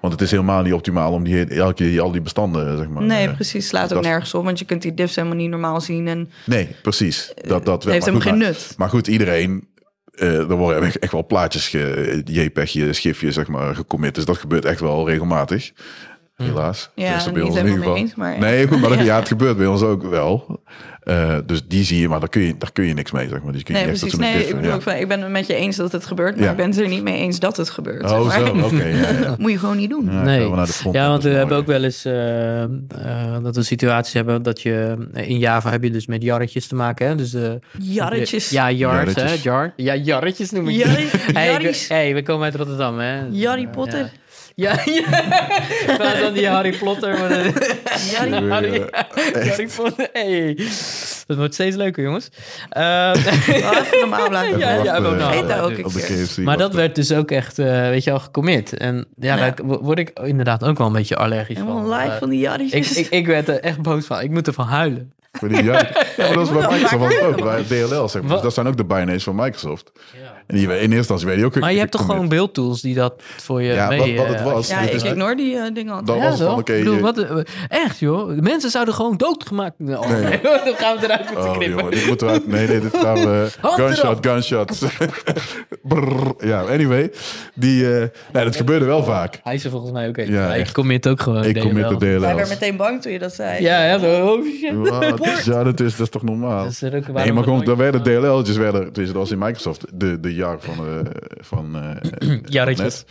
[SPEAKER 1] Want het is helemaal niet optimaal om die, elke keer al die bestanden, zeg maar.
[SPEAKER 4] Nee,
[SPEAKER 1] eh,
[SPEAKER 4] precies. Slaat ook
[SPEAKER 1] dat-
[SPEAKER 4] nergens op, want je kunt die diffs helemaal niet normaal zien. En
[SPEAKER 1] Nee, precies. Dat, dat wel.
[SPEAKER 4] heeft
[SPEAKER 1] Maar goed,
[SPEAKER 4] helemaal geen
[SPEAKER 1] maar-
[SPEAKER 4] nut.
[SPEAKER 1] Maar goed, iedereen... eh er worden echt, echt wel plaatjes, ge, JPEG, schifjes, zeg maar, gecommit. Dus dat gebeurt echt wel regelmatig. Helaas.
[SPEAKER 4] Ja,
[SPEAKER 1] Dus dat
[SPEAKER 4] niet helemaal mee eens, maar-
[SPEAKER 1] Nee, goed, maar dat, ja, het gebeurt bij ons ook wel. Eh, dus die zie je, maar daar kun je, daar kun je niks mee, zeg maar. Dus je kunt
[SPEAKER 4] nee,
[SPEAKER 1] niet echt
[SPEAKER 4] precies.
[SPEAKER 1] tot zo'n
[SPEAKER 4] Nee, ik
[SPEAKER 1] diff-
[SPEAKER 4] bedoel,
[SPEAKER 1] ja.
[SPEAKER 4] ook van, ik ben het met je eens dat het gebeurt, maar
[SPEAKER 1] Ja.
[SPEAKER 4] ik ben het er niet mee eens dat het gebeurt. zeg
[SPEAKER 1] Oh,
[SPEAKER 4] maar.
[SPEAKER 1] zo, oké. ja, ja.
[SPEAKER 4] Moet je gewoon niet doen.
[SPEAKER 1] Ja,
[SPEAKER 2] nee.
[SPEAKER 1] gaan we naar de front.
[SPEAKER 2] Ja,
[SPEAKER 1] Dat
[SPEAKER 2] want
[SPEAKER 1] is
[SPEAKER 2] we hebben
[SPEAKER 1] mooi.
[SPEAKER 2] ook wel eens eh, eh, dat we situaties hebben dat je in Java heb je dus met jarretjes te maken. Hè? Dus, de-
[SPEAKER 4] Jarretjes.
[SPEAKER 2] Ja, yards, hè?
[SPEAKER 1] Jarretjes.
[SPEAKER 2] Jar. Ja, jarretjes noem ik
[SPEAKER 4] Jarri-
[SPEAKER 2] die. Hey, we,
[SPEAKER 4] jarries.
[SPEAKER 2] hey, we komen uit Rotterdam, hè?
[SPEAKER 4] Harry Potter.
[SPEAKER 2] Ja, ja. Terwijl dan die Harry Potter. Maar dan-
[SPEAKER 4] Harry-
[SPEAKER 1] Weer,
[SPEAKER 2] Harry,
[SPEAKER 1] eh,
[SPEAKER 2] Harry Potter. Hey. Dat wordt steeds leuker, jongens. Eh,
[SPEAKER 4] Oh, even normaal blijven.
[SPEAKER 2] Ja, ja,
[SPEAKER 1] wachten,
[SPEAKER 2] maar
[SPEAKER 1] eh,
[SPEAKER 2] nou,
[SPEAKER 4] Heet dat ook een
[SPEAKER 1] op de
[SPEAKER 4] keer.
[SPEAKER 1] KFC
[SPEAKER 2] maar dat
[SPEAKER 1] wachten.
[SPEAKER 2] werd dus ook echt, eh, weet je al, gecommit. En ja,
[SPEAKER 4] Nou Ja.
[SPEAKER 2] daar word ik inderdaad ook wel een beetje allergisch
[SPEAKER 4] Helemaal
[SPEAKER 2] van.
[SPEAKER 4] live
[SPEAKER 2] Eh,
[SPEAKER 4] van die
[SPEAKER 2] ik,
[SPEAKER 4] jarretjes.
[SPEAKER 2] ik, ik werd er echt boos van. Ik moet ervan huilen.
[SPEAKER 1] Voor die jarretjes. ja, maar dat is bij
[SPEAKER 4] moet
[SPEAKER 1] Microsoft
[SPEAKER 4] wel vaker
[SPEAKER 1] ook, bij DLL, zeg maar. Dus
[SPEAKER 2] Wat?
[SPEAKER 1] dat zijn ook de binaries van Microsoft. En die, in eerste instantie weet je ook...
[SPEAKER 2] Maar je hebt toch gewoon beeldtools die dat voor je
[SPEAKER 1] Ja,
[SPEAKER 2] mee...
[SPEAKER 1] wat- wat het
[SPEAKER 2] eh,
[SPEAKER 1] was,
[SPEAKER 2] als je-
[SPEAKER 4] ja,
[SPEAKER 1] dit
[SPEAKER 4] ik
[SPEAKER 1] is de-
[SPEAKER 4] ignore die eh, dingen altijd.
[SPEAKER 1] Dan
[SPEAKER 2] Ja,
[SPEAKER 1] was het
[SPEAKER 2] toch?
[SPEAKER 1] van, oké...
[SPEAKER 2] Ik bedoel,
[SPEAKER 1] je-
[SPEAKER 2] wat, eh, echt joh, de mensen zouden gewoon doodgemaakt... Oh, nee. dan gaan we eruit moeten
[SPEAKER 1] Oh,
[SPEAKER 2] knippen.
[SPEAKER 1] jongen, dit moeten we uit- Nee, nee, dit gaan we...
[SPEAKER 2] Hand
[SPEAKER 1] gunshot, gunshot. Brrr. ja, anyway. Die, eh, nee, dat gebeurde wel vaak.
[SPEAKER 2] Hij is er volgens mij ook even.
[SPEAKER 1] Ja,
[SPEAKER 2] Ja, ik
[SPEAKER 1] echt.
[SPEAKER 2] commit ook gewoon.
[SPEAKER 1] Ik
[SPEAKER 2] DLL.
[SPEAKER 1] kom met de
[SPEAKER 4] Jij werd
[SPEAKER 1] DLL's.
[SPEAKER 4] meteen bang toen je dat zei.
[SPEAKER 2] Ja, ja, zo, oh shit.
[SPEAKER 1] Wat? Ja, dat is, dat is toch normaal?
[SPEAKER 2] Dat is er ook- waarom
[SPEAKER 1] Nee, maar
[SPEAKER 2] dat
[SPEAKER 1] gewoon,
[SPEAKER 2] nooit-
[SPEAKER 1] daar werden DLL'tjes, werden, tenminste, dat was in Microsoft, de, de jar van, eh van eh,
[SPEAKER 2] Jarretjes.
[SPEAKER 1] net.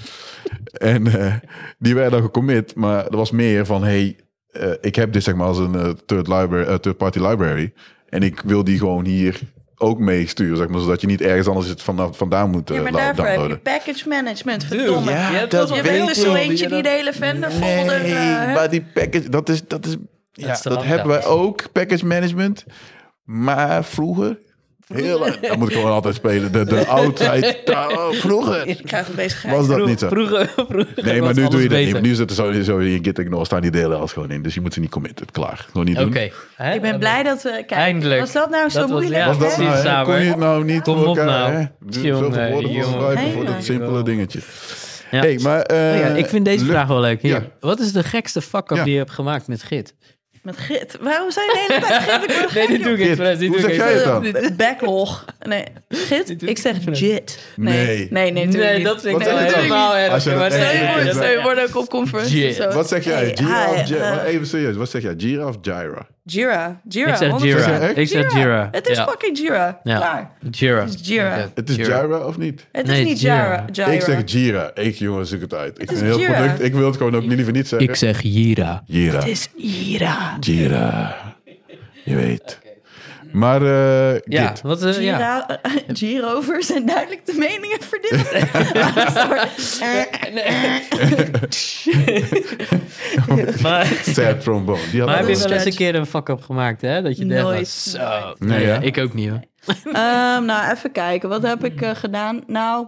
[SPEAKER 1] En eh, die werden dan gecommit, maar er was meer van, hey, eh, ik heb dit zeg maar als een eh, third, library, eh, third party library en ik wil die gewoon hier ook meesturen, zeg maar, zodat je niet ergens anders het vanaf, vandaan moet eh,
[SPEAKER 4] Ja, maar
[SPEAKER 1] la-
[SPEAKER 4] daarvoor heb je
[SPEAKER 1] downloaden.
[SPEAKER 4] package management,
[SPEAKER 2] Dude,
[SPEAKER 4] verdomme.
[SPEAKER 1] ja,
[SPEAKER 2] je hebt
[SPEAKER 1] Ah, dat
[SPEAKER 2] wel
[SPEAKER 4] Je
[SPEAKER 2] een
[SPEAKER 1] weet
[SPEAKER 4] bent
[SPEAKER 1] ik
[SPEAKER 4] dus
[SPEAKER 2] beeldtool
[SPEAKER 4] zo
[SPEAKER 1] wel.
[SPEAKER 4] eentje die de hele vendor folder... eh,
[SPEAKER 1] maar die package, dat is, dat is, ja,
[SPEAKER 2] is te
[SPEAKER 1] dat
[SPEAKER 2] lang
[SPEAKER 1] hebben
[SPEAKER 2] dan.
[SPEAKER 1] wij ook, package management. Maar vroeger, heel lang, dat moet ik gewoon altijd spelen, de, de oudheid, oh, vroeger
[SPEAKER 4] ik krijg het bezigheid.
[SPEAKER 1] was dat
[SPEAKER 2] Vroeg-
[SPEAKER 1] niet zo.
[SPEAKER 2] Vroeger, vroeger
[SPEAKER 1] Nee, maar
[SPEAKER 2] was
[SPEAKER 1] nu doe
[SPEAKER 2] alles
[SPEAKER 1] je dat niet.
[SPEAKER 2] beter.
[SPEAKER 1] Nu zitten sowieso in Git Ignore staan die delen als gewoon in. Dus je moet ze niet committen. Klaar. Gewoon niet
[SPEAKER 2] Oké.
[SPEAKER 1] doen.
[SPEAKER 2] Hè? Eh,
[SPEAKER 4] Ik ben blij dat we... Kijk,
[SPEAKER 2] Eindelijk.
[SPEAKER 4] was dat nou zo
[SPEAKER 2] Dat was-
[SPEAKER 4] moeilijk?
[SPEAKER 2] ja,
[SPEAKER 1] Was dat
[SPEAKER 4] hè?
[SPEAKER 2] precies,
[SPEAKER 1] nou, hè?
[SPEAKER 2] Saber.
[SPEAKER 1] Kon je het nou niet
[SPEAKER 2] Kom
[SPEAKER 1] voor
[SPEAKER 2] op
[SPEAKER 1] elkaar,
[SPEAKER 2] nou.
[SPEAKER 1] hè? Zoveel
[SPEAKER 2] Jongen,
[SPEAKER 1] woorden voor
[SPEAKER 2] jongen.
[SPEAKER 1] gebruiken voor dat
[SPEAKER 4] Nee,
[SPEAKER 1] simpele
[SPEAKER 2] joh.
[SPEAKER 1] dingetje.
[SPEAKER 2] Ja.
[SPEAKER 1] hey, maar...
[SPEAKER 2] Oh
[SPEAKER 1] eh,
[SPEAKER 2] ja, ik vind deze
[SPEAKER 1] lukt-
[SPEAKER 2] vraag wel leuk. Hier.
[SPEAKER 1] Ja.
[SPEAKER 2] Wat is de gekste fuck-up
[SPEAKER 1] Ja.
[SPEAKER 2] die je hebt gemaakt met Git?
[SPEAKER 4] Met git. Waarom zijn de hele tijd git? Ik word er
[SPEAKER 2] Nee,
[SPEAKER 4] gek,
[SPEAKER 2] dit doe ik
[SPEAKER 1] Git.
[SPEAKER 2] expres. dit
[SPEAKER 1] Hoe
[SPEAKER 2] doe ik
[SPEAKER 1] zeg jij het
[SPEAKER 2] expres.
[SPEAKER 1] dan?
[SPEAKER 4] B- Backlog. Nee, git?
[SPEAKER 2] doe
[SPEAKER 4] Ik zeg
[SPEAKER 2] ik.
[SPEAKER 4] jit.
[SPEAKER 1] Nee.
[SPEAKER 4] Nee, nee, nee, natuurlijk
[SPEAKER 2] Nee,
[SPEAKER 4] niet.
[SPEAKER 2] dat vind ik
[SPEAKER 1] Wat
[SPEAKER 2] wel
[SPEAKER 1] is het dan?
[SPEAKER 2] helemaal erg.
[SPEAKER 1] Als je
[SPEAKER 2] hoor,
[SPEAKER 1] dat
[SPEAKER 2] maar
[SPEAKER 1] echt
[SPEAKER 4] Stel
[SPEAKER 2] nee,
[SPEAKER 1] doet,
[SPEAKER 2] nee,
[SPEAKER 4] je voor-
[SPEAKER 1] dan-
[SPEAKER 2] dat-
[SPEAKER 4] stel je wordt ook op conferenties.
[SPEAKER 2] Jit.
[SPEAKER 4] of zo.
[SPEAKER 1] Wat zeg jij?
[SPEAKER 4] Hey,
[SPEAKER 1] Jira
[SPEAKER 4] hi,
[SPEAKER 2] ah,
[SPEAKER 1] of Jira?
[SPEAKER 4] eh,
[SPEAKER 1] Maar Even serieus. Wat zeg jij? Jira of Jira?
[SPEAKER 4] Jira. Jira.
[SPEAKER 2] Ik zeg
[SPEAKER 4] 100%.
[SPEAKER 1] Zeg
[SPEAKER 2] Jira.
[SPEAKER 1] je echt?
[SPEAKER 2] Ik zeg Jira.
[SPEAKER 4] Het is
[SPEAKER 2] Ja.
[SPEAKER 4] fucking Jira.
[SPEAKER 2] Ja.
[SPEAKER 4] Klaar.
[SPEAKER 2] Jira.
[SPEAKER 4] Het is Jira.
[SPEAKER 2] Oké,
[SPEAKER 1] Het is Jira of niet?
[SPEAKER 4] Het
[SPEAKER 2] Nee,
[SPEAKER 4] is niet
[SPEAKER 2] Jira.
[SPEAKER 4] Jira.
[SPEAKER 1] Ik
[SPEAKER 4] Jira.
[SPEAKER 1] zeg Jira. Ik, jongen, zoek het uit. Ik,
[SPEAKER 4] is
[SPEAKER 1] vind het heel
[SPEAKER 4] Jira.
[SPEAKER 1] product, ik wil het gewoon ook liever niet zeggen.
[SPEAKER 2] Ik zeg Jira.
[SPEAKER 1] Jira.
[SPEAKER 4] Het is Jira.
[SPEAKER 1] Jira. Je weet. Maar eh
[SPEAKER 2] Ja,
[SPEAKER 1] Git.
[SPEAKER 2] wat, eh, ja.
[SPEAKER 4] Jira, Girovers zijn duidelijk de meningen verdeeld. Sorry.
[SPEAKER 2] Maar,
[SPEAKER 1] Sad trombone. Die had
[SPEAKER 2] maar heb je
[SPEAKER 1] ook-
[SPEAKER 2] wel eens een
[SPEAKER 4] Stretch.
[SPEAKER 2] keer een fuck-up gemaakt, hè? Dat je denkt,
[SPEAKER 4] Nooit,
[SPEAKER 2] nou, zo.
[SPEAKER 4] nooit.
[SPEAKER 1] Nee,
[SPEAKER 2] Nee,
[SPEAKER 1] ja.
[SPEAKER 2] Ik ook niet, hoor.
[SPEAKER 4] Ehm, nou, even kijken. Wat heb ik eh, gedaan? Nou,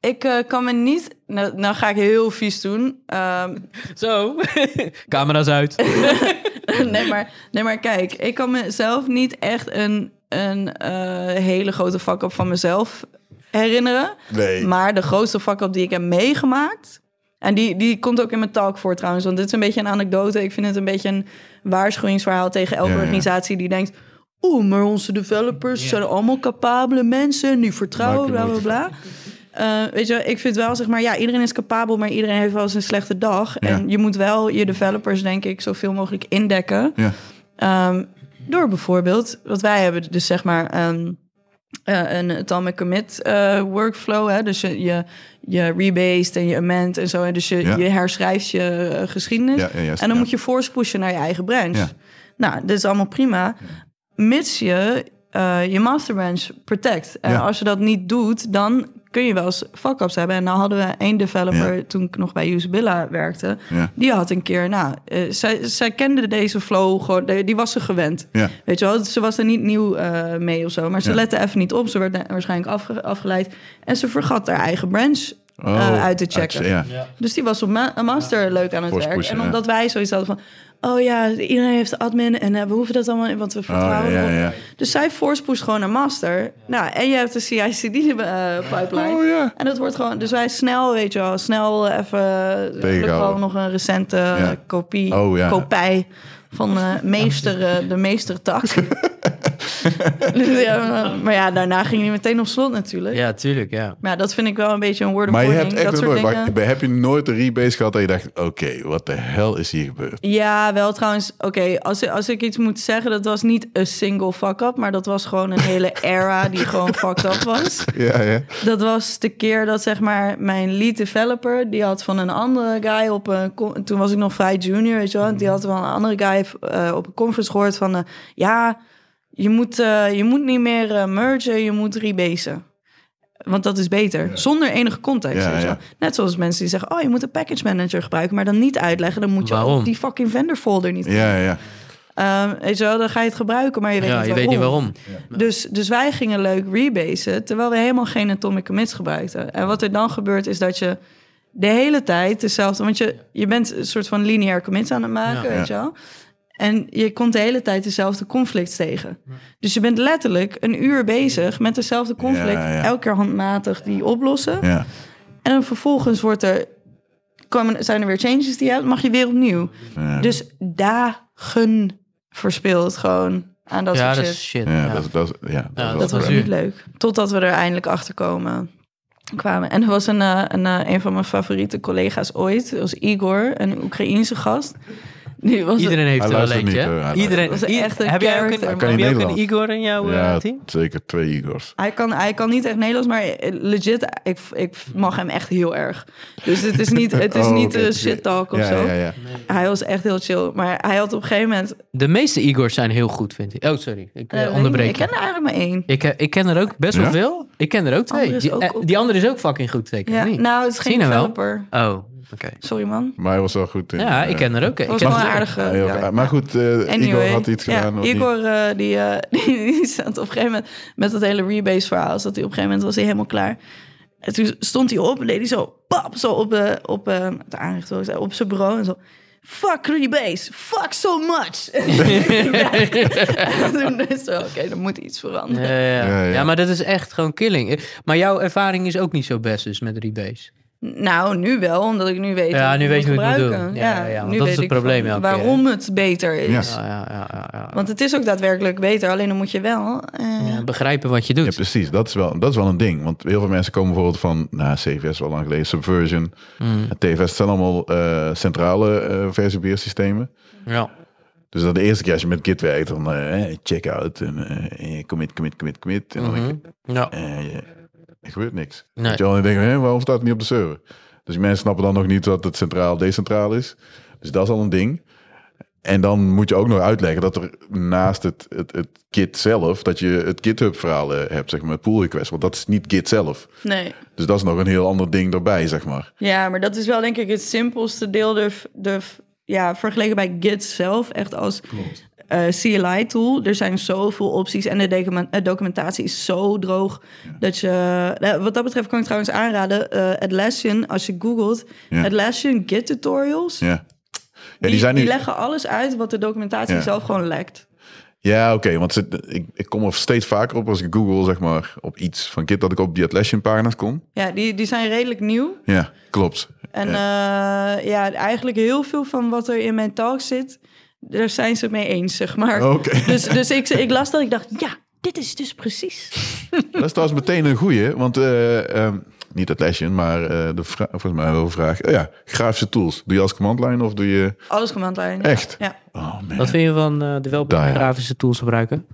[SPEAKER 4] ik eh, kan me niet... Nou, nou ga ik heel vies doen. Ehm,
[SPEAKER 2] Zo. Camera's uit.
[SPEAKER 4] nee, maar, nee, maar kijk. Ik kan mezelf niet echt een, een eh, hele grote fuck-up van mezelf herinneren.
[SPEAKER 1] Nee.
[SPEAKER 4] Maar de grootste fuck-up die ik heb meegemaakt... En die, die komt ook in mijn talk voor trouwens. Want dit is een beetje een anekdote. Ik vind het een beetje een waarschuwingsverhaal tegen elke
[SPEAKER 1] Ja, ja.
[SPEAKER 4] organisatie die denkt... Oeh, maar onze developers zijn allemaal capabele mensen. Nu vertrouwen,
[SPEAKER 1] Maak er
[SPEAKER 4] bla bla
[SPEAKER 1] nooit
[SPEAKER 4] bla. Eh, weet je, wel, ik vind wel zeg maar, ja, iedereen is capabel, maar iedereen heeft wel eens een slechte dag. En je moet wel je developers, denk ik, zoveel mogelijk indekken.
[SPEAKER 1] Ja.
[SPEAKER 4] Ehm, door bijvoorbeeld, wat wij hebben, dus zeg maar, ehm, eh, een atomic commit eh, workflow. Hè? Dus je, je, je rebased en je amend en zo. En dus je,
[SPEAKER 1] Ja.
[SPEAKER 4] je herschrijft je eh, geschiedenis.
[SPEAKER 1] Ja, ja, juist,
[SPEAKER 4] en dan
[SPEAKER 1] ja.
[SPEAKER 4] moet je force pushen naar je eigen branch.
[SPEAKER 1] Ja.
[SPEAKER 4] Nou, dit is allemaal prima. Mits je eh, je master branch protect. En
[SPEAKER 1] Ja.
[SPEAKER 4] als je dat niet doet, dan kun je wel eens fuck-ups hebben. En nou hadden we één developer
[SPEAKER 1] Ja.
[SPEAKER 4] toen ik nog bij Usabilla werkte.
[SPEAKER 1] Ja.
[SPEAKER 4] Die had een keer, nou, eh, zij, zij kende deze flow gewoon, die die was ze gewend.
[SPEAKER 1] Ja.
[SPEAKER 4] Weet je wel, ze was er niet nieuw eh, mee of zo. Maar ze
[SPEAKER 1] Ja.
[SPEAKER 4] lette even niet op. Ze werd eh, waarschijnlijk afge- afgeleid. En ze vergat haar eigen branch eh,
[SPEAKER 1] Oh,
[SPEAKER 4] uit te checken.
[SPEAKER 1] ja.
[SPEAKER 4] Dus die was op ma- een master leuk aan het
[SPEAKER 1] Force
[SPEAKER 4] werk.
[SPEAKER 1] pushen,
[SPEAKER 4] en
[SPEAKER 1] ja.
[SPEAKER 4] omdat wij zoiets hadden van... Oh ja, iedereen heeft de admin en eh, we hoeven dat allemaal... want we
[SPEAKER 1] Oh, ja,
[SPEAKER 4] vertrouwen
[SPEAKER 1] ja,
[SPEAKER 4] erop.
[SPEAKER 1] ja.
[SPEAKER 4] Dus zij force push gewoon naar master. Nou, en je hebt de CI/CD-pipeline.
[SPEAKER 1] Oh, ja.
[SPEAKER 4] eh, En dat wordt gewoon... Dus wij snel, weet je wel, snel even...
[SPEAKER 1] Tegenhouden.
[SPEAKER 4] gelukkig hadden we nog een recente eh,
[SPEAKER 1] Ja.
[SPEAKER 4] kopie,
[SPEAKER 1] Oh, ja.
[SPEAKER 4] kopij van eh, meester, eh, de meestertak. Dus ja, maar ja, daarna ging hij meteen op slot natuurlijk.
[SPEAKER 2] Ja, tuurlijk, ja.
[SPEAKER 4] Maar ja, dat vind ik wel een beetje een word of
[SPEAKER 1] Maar je
[SPEAKER 4] warning,
[SPEAKER 1] hebt echt
[SPEAKER 4] dat
[SPEAKER 1] nog
[SPEAKER 4] soort
[SPEAKER 1] nooit,
[SPEAKER 4] dingen.
[SPEAKER 1] maar heb je nooit een rebase gehad dat je dacht, oké, wat de hel is hier gebeurd?
[SPEAKER 4] Ja, wel trouwens. Oké, als, als ik iets moet zeggen, dat was niet een single fuck-up, maar dat was gewoon een hele era die gewoon fucked up was.
[SPEAKER 1] Ja, ja.
[SPEAKER 4] Dat was de keer dat zeg maar mijn lead developer, die had van een andere guy op een... con- Toen was ik nog vrij junior, weet je wel.
[SPEAKER 1] Mhm.
[SPEAKER 4] Die had van een andere guy eh, op een conference gehoord van... eh, ja, je moet, eh, je moet niet meer eh, mergen, je moet rebasen. Want dat is beter. Zonder enige context.
[SPEAKER 1] Ja,
[SPEAKER 4] weet je wel.
[SPEAKER 1] ja.
[SPEAKER 4] Net zoals mensen die zeggen, oh, je moet een package manager gebruiken, maar dan niet uitleggen. Dan moet je
[SPEAKER 2] Waarom?
[SPEAKER 4] ook die fucking vendor folder niet
[SPEAKER 1] Ja, ja.
[SPEAKER 4] Ehm, weet je wel, dan ga je het gebruiken, maar je weet,
[SPEAKER 2] Ja,
[SPEAKER 4] niet,
[SPEAKER 2] je
[SPEAKER 4] waarom.
[SPEAKER 2] weet niet waarom.
[SPEAKER 4] Dus, dus wij gingen leuk rebasen, terwijl we helemaal geen atomic commits gebruikten. En wat er dan gebeurt, is dat je de hele tijd dezelfde... Want je, je bent een soort van lineair commits aan het maken,
[SPEAKER 1] Ja.
[SPEAKER 4] weet je wel. En je komt de hele tijd dezelfde conflict tegen. Dus je bent letterlijk een uur bezig met dezelfde conflict...
[SPEAKER 1] Ja, ja.
[SPEAKER 4] elke keer handmatig die oplossen.
[SPEAKER 1] ja.
[SPEAKER 4] En dan vervolgens wordt er, komen, zijn er weer changes die je hebt, mag je weer opnieuw.
[SPEAKER 1] Ja.
[SPEAKER 4] Dus dagen verspild gewoon aan dat
[SPEAKER 2] ja,
[SPEAKER 4] soort
[SPEAKER 2] dat
[SPEAKER 4] shit.
[SPEAKER 2] is shit.
[SPEAKER 1] Ja,
[SPEAKER 2] ja.
[SPEAKER 1] dat, is- dat, is- ja, dat,
[SPEAKER 2] Ja,
[SPEAKER 1] is wel
[SPEAKER 4] Dat was
[SPEAKER 1] crap.
[SPEAKER 2] duur.
[SPEAKER 4] niet leuk. Totdat we er eindelijk achter komen. Kwamen. En er was een, eh, een, eh, een van mijn favoriete collega's ooit. Dat was Igor, een Oekraïense gast. Die was
[SPEAKER 2] Iedereen heeft
[SPEAKER 1] Hij
[SPEAKER 2] er wel
[SPEAKER 1] luistert
[SPEAKER 2] eentje.
[SPEAKER 1] niet, hoor,
[SPEAKER 2] hè?
[SPEAKER 1] hij
[SPEAKER 2] Iedereen.
[SPEAKER 4] luistert. Dat is echt een
[SPEAKER 2] heb jij ook een,
[SPEAKER 4] character,
[SPEAKER 1] man.
[SPEAKER 2] heb jij ook een
[SPEAKER 1] Nederlands.
[SPEAKER 2] Igor in jouw eh,
[SPEAKER 1] Ja,
[SPEAKER 2] team?
[SPEAKER 1] zeker twee Igors.
[SPEAKER 4] Hij kan, hij kan niet echt Nederlands, maar eh, legit, ik, ik mag hem echt heel erg. Dus het is niet, het is
[SPEAKER 1] Oh,
[SPEAKER 4] niet
[SPEAKER 1] oké,
[SPEAKER 4] eh,
[SPEAKER 1] oké.
[SPEAKER 4] shit talk of
[SPEAKER 1] ja,
[SPEAKER 4] zo.
[SPEAKER 1] Ja, ja,
[SPEAKER 4] Hij was echt heel chill. Maar hij had op een gegeven moment...
[SPEAKER 2] De meeste Igors zijn heel goed, vind ik. Oh, sorry. Ik eh,
[SPEAKER 4] eh,
[SPEAKER 2] onderbreek
[SPEAKER 4] Ik
[SPEAKER 2] je.
[SPEAKER 4] ken er eigenlijk maar één.
[SPEAKER 2] Ik, eh, ik ken er ook best wel
[SPEAKER 1] Ja?
[SPEAKER 2] veel. Ik ken er ook twee.
[SPEAKER 4] Andere is
[SPEAKER 2] Die,
[SPEAKER 4] ook
[SPEAKER 2] eh,
[SPEAKER 4] op-
[SPEAKER 2] die andere is ook fucking goed, zeker.
[SPEAKER 4] Ja,
[SPEAKER 2] of niet?
[SPEAKER 4] nou, het is geen
[SPEAKER 2] Zie je nou wel?
[SPEAKER 4] developer.
[SPEAKER 2] Oh, oké.
[SPEAKER 4] Sorry man.
[SPEAKER 1] Maar hij was wel goed in.
[SPEAKER 2] Ja, ik
[SPEAKER 1] eh,
[SPEAKER 2] ken er ook. eh, Ik
[SPEAKER 4] was
[SPEAKER 2] ken
[SPEAKER 4] wel
[SPEAKER 2] er ook.
[SPEAKER 4] aardig.
[SPEAKER 1] heel
[SPEAKER 4] Ja.
[SPEAKER 1] gaaf. Maar goed, eh, Igor had iets
[SPEAKER 4] ja,
[SPEAKER 1] gedaan. wat niet-
[SPEAKER 4] Igor eh, die, eh, die, die zat op een gegeven moment met dat hele rebase verhaal. Zat hij op een gegeven moment was hij helemaal klaar. En toen stond hij op en deed hij zo, pap, zo op, eh, op eh, het aanrecht, wil ik zeggen, op zijn bureau en zo. Fuck rebase, fuck so much. En toen is zo, oké, dan moet iets veranderen.
[SPEAKER 2] Ja, ja,
[SPEAKER 1] Ja,
[SPEAKER 2] ja.
[SPEAKER 1] ja.
[SPEAKER 2] Ja, maar dat is echt gewoon killing. Eh, Maar jouw ervaring is ook niet zo best dus met rebase.
[SPEAKER 4] Nou, nu wel, omdat ik nu weet
[SPEAKER 2] Ja,
[SPEAKER 4] hoe ik
[SPEAKER 2] nu
[SPEAKER 4] het
[SPEAKER 2] weet je hoe je het moet
[SPEAKER 4] gebruiken.
[SPEAKER 2] doen. Ja, ja, want dat is
[SPEAKER 4] weet
[SPEAKER 2] het
[SPEAKER 4] ik
[SPEAKER 2] probleem
[SPEAKER 4] van
[SPEAKER 2] elke keer, hè?
[SPEAKER 4] Waarom het beter is.
[SPEAKER 1] Ja.
[SPEAKER 2] Ah, Ja, ja, ja, ja, ja.
[SPEAKER 4] Want het is ook daadwerkelijk beter, alleen dan moet je wel... eh,
[SPEAKER 2] Ja, begrijpen wat je
[SPEAKER 1] Ja,
[SPEAKER 2] doet.
[SPEAKER 1] precies. Dat is, wel, dat is wel een ding. Want heel veel mensen komen bijvoorbeeld van, nou, CVS wel lang geleden, Subversion. En TVS zijn allemaal eh, centrale eh versie-beheersystemen.
[SPEAKER 2] Ja.
[SPEAKER 1] Dus dat de eerste keer als je met Git werkt, dan eh, check-out en eh, commit, commit, commit, commit. En dan denk je,
[SPEAKER 2] Ja.
[SPEAKER 1] eh, er gebeurt niks.
[SPEAKER 2] Nee.
[SPEAKER 1] Weet je wel, en dan denk je, hè, waarom staat het niet op de server? Dus die mensen snappen dan nog niet dat het centraal decentraal is. Dus dat is al een ding. En dan moet je ook nog uitleggen dat er naast het, het, het Git zelf, dat je het GitHub verhaal eh, hebt, zeg maar, pull request. Want dat is niet Git zelf.
[SPEAKER 4] Nee.
[SPEAKER 1] Dus dat is nog een heel ander ding erbij, zeg maar.
[SPEAKER 4] Ja, maar dat is wel denk ik het simpelste deel. De, de, ja, vergeleken bij Git zelf, echt als eh, CLI-tool. Er zijn zoveel opties en de document- eh, documentatie is zo droog. Dat je, nou, wat dat betreft kan ik trouwens aanraden, eh Atlassian, als je googelt,
[SPEAKER 1] Ja.
[SPEAKER 4] Atlassian Git tutorials.
[SPEAKER 1] Ja. Ja,
[SPEAKER 4] die,
[SPEAKER 1] die zijn nu...
[SPEAKER 4] die leggen alles uit wat de documentatie
[SPEAKER 1] Ja.
[SPEAKER 4] zelf gewoon lekt.
[SPEAKER 1] Ja, oké, want ze- ik, ik kom er steeds vaker op als ik Google, zeg maar, op iets van Git, dat ik op die Atlassian pagina's kom.
[SPEAKER 4] Ja, die, die zijn redelijk nieuw.
[SPEAKER 1] Ja, klopt.
[SPEAKER 4] En
[SPEAKER 1] Ja.
[SPEAKER 4] ja. ja, eigenlijk heel veel van wat er in mijn talk zit, daar zijn ze het mee eens, zeg maar.
[SPEAKER 1] Oké.
[SPEAKER 4] Dus, dus ik, ik las dat, ik dacht, ja, dit is dus precies.
[SPEAKER 1] Dat is trouwens meteen een goeie, want eh, ehm, niet dat lesje, maar eh, de vra- volgens mij wel een vraag. Oh ja, grafische tools. Doe je als command line of doe je
[SPEAKER 4] Alles command line.
[SPEAKER 1] echt?
[SPEAKER 4] Ja.
[SPEAKER 1] Oh man.
[SPEAKER 2] Wat vind je van eh developers
[SPEAKER 1] Daar,
[SPEAKER 2] die
[SPEAKER 1] ja.
[SPEAKER 2] grafische tools gebruiken?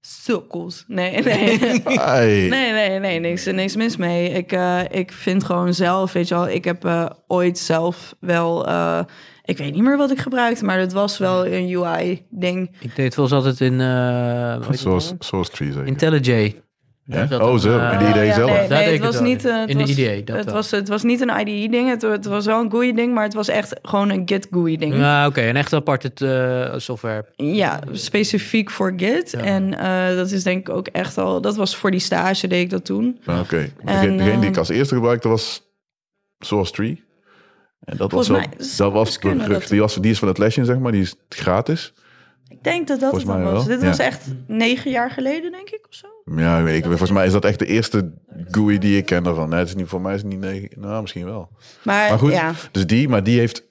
[SPEAKER 4] Sukkels. Nee, nee.
[SPEAKER 1] Ai.
[SPEAKER 4] Nee, nee, nee, niks, niks mis mee. Ik, eh, ik vind gewoon zelf, weet je wel, ik heb eh, ooit zelf wel, eh, ik weet niet meer wat ik gebruikte, maar dat was wel een UI-ding.
[SPEAKER 2] Ik deed volgens altijd in... eh, hoe heet die
[SPEAKER 1] Source,
[SPEAKER 2] nou?
[SPEAKER 1] source Tree zeker.
[SPEAKER 2] IntelliJ.
[SPEAKER 1] Ja?
[SPEAKER 2] Daar zat
[SPEAKER 1] Oh,
[SPEAKER 2] dat,
[SPEAKER 1] zo.
[SPEAKER 2] eh,
[SPEAKER 1] En die idee zelf.
[SPEAKER 4] Nee,
[SPEAKER 2] Daar
[SPEAKER 4] nee
[SPEAKER 2] deed
[SPEAKER 4] het
[SPEAKER 2] ik
[SPEAKER 4] was
[SPEAKER 2] het wel
[SPEAKER 4] niet eh, het
[SPEAKER 2] in. In de
[SPEAKER 4] was-
[SPEAKER 2] IDE, dat
[SPEAKER 4] Het
[SPEAKER 2] wel.
[SPEAKER 4] was, het was niet een IDE-ding, het, het was wel een GUI-ding, maar het was echt gewoon een Git-GUI-ding. Ja.
[SPEAKER 2] Ah, Oké, een echt aparte eh, software.
[SPEAKER 4] specifiek voor Git.
[SPEAKER 2] Ja.
[SPEAKER 4] En eh, dat is denk ik ook echt al, dat was voor die stage deed ik dat toen.
[SPEAKER 1] Ah, Oké.
[SPEAKER 4] En,
[SPEAKER 1] Degene, degene die ik
[SPEAKER 4] ehm,
[SPEAKER 1] als eerste gebruikte was Source Tree. En dat was,
[SPEAKER 4] Volgens
[SPEAKER 1] wel,
[SPEAKER 4] mij zou
[SPEAKER 1] dat was
[SPEAKER 4] best
[SPEAKER 1] de
[SPEAKER 4] kunnen
[SPEAKER 1] brug.
[SPEAKER 4] dat-
[SPEAKER 1] Die, was, die is van het lesje, zeg maar. Die is gratis.
[SPEAKER 4] Ik denk dat dat
[SPEAKER 1] Volgens mij
[SPEAKER 4] het dan was.
[SPEAKER 1] wel,
[SPEAKER 4] Dit
[SPEAKER 1] ja.
[SPEAKER 4] was echt negen jaar geleden, denk ik, of zo.
[SPEAKER 1] Ja, weet ik. Volgens mij is dat echt de eerste GUI die ik ken daarvan. Nee, het is niet, voor mij is het niet... Nee, nou, misschien wel.
[SPEAKER 4] Maar,
[SPEAKER 1] Maar goed,
[SPEAKER 4] ja.
[SPEAKER 1] dus die, maar die heeft...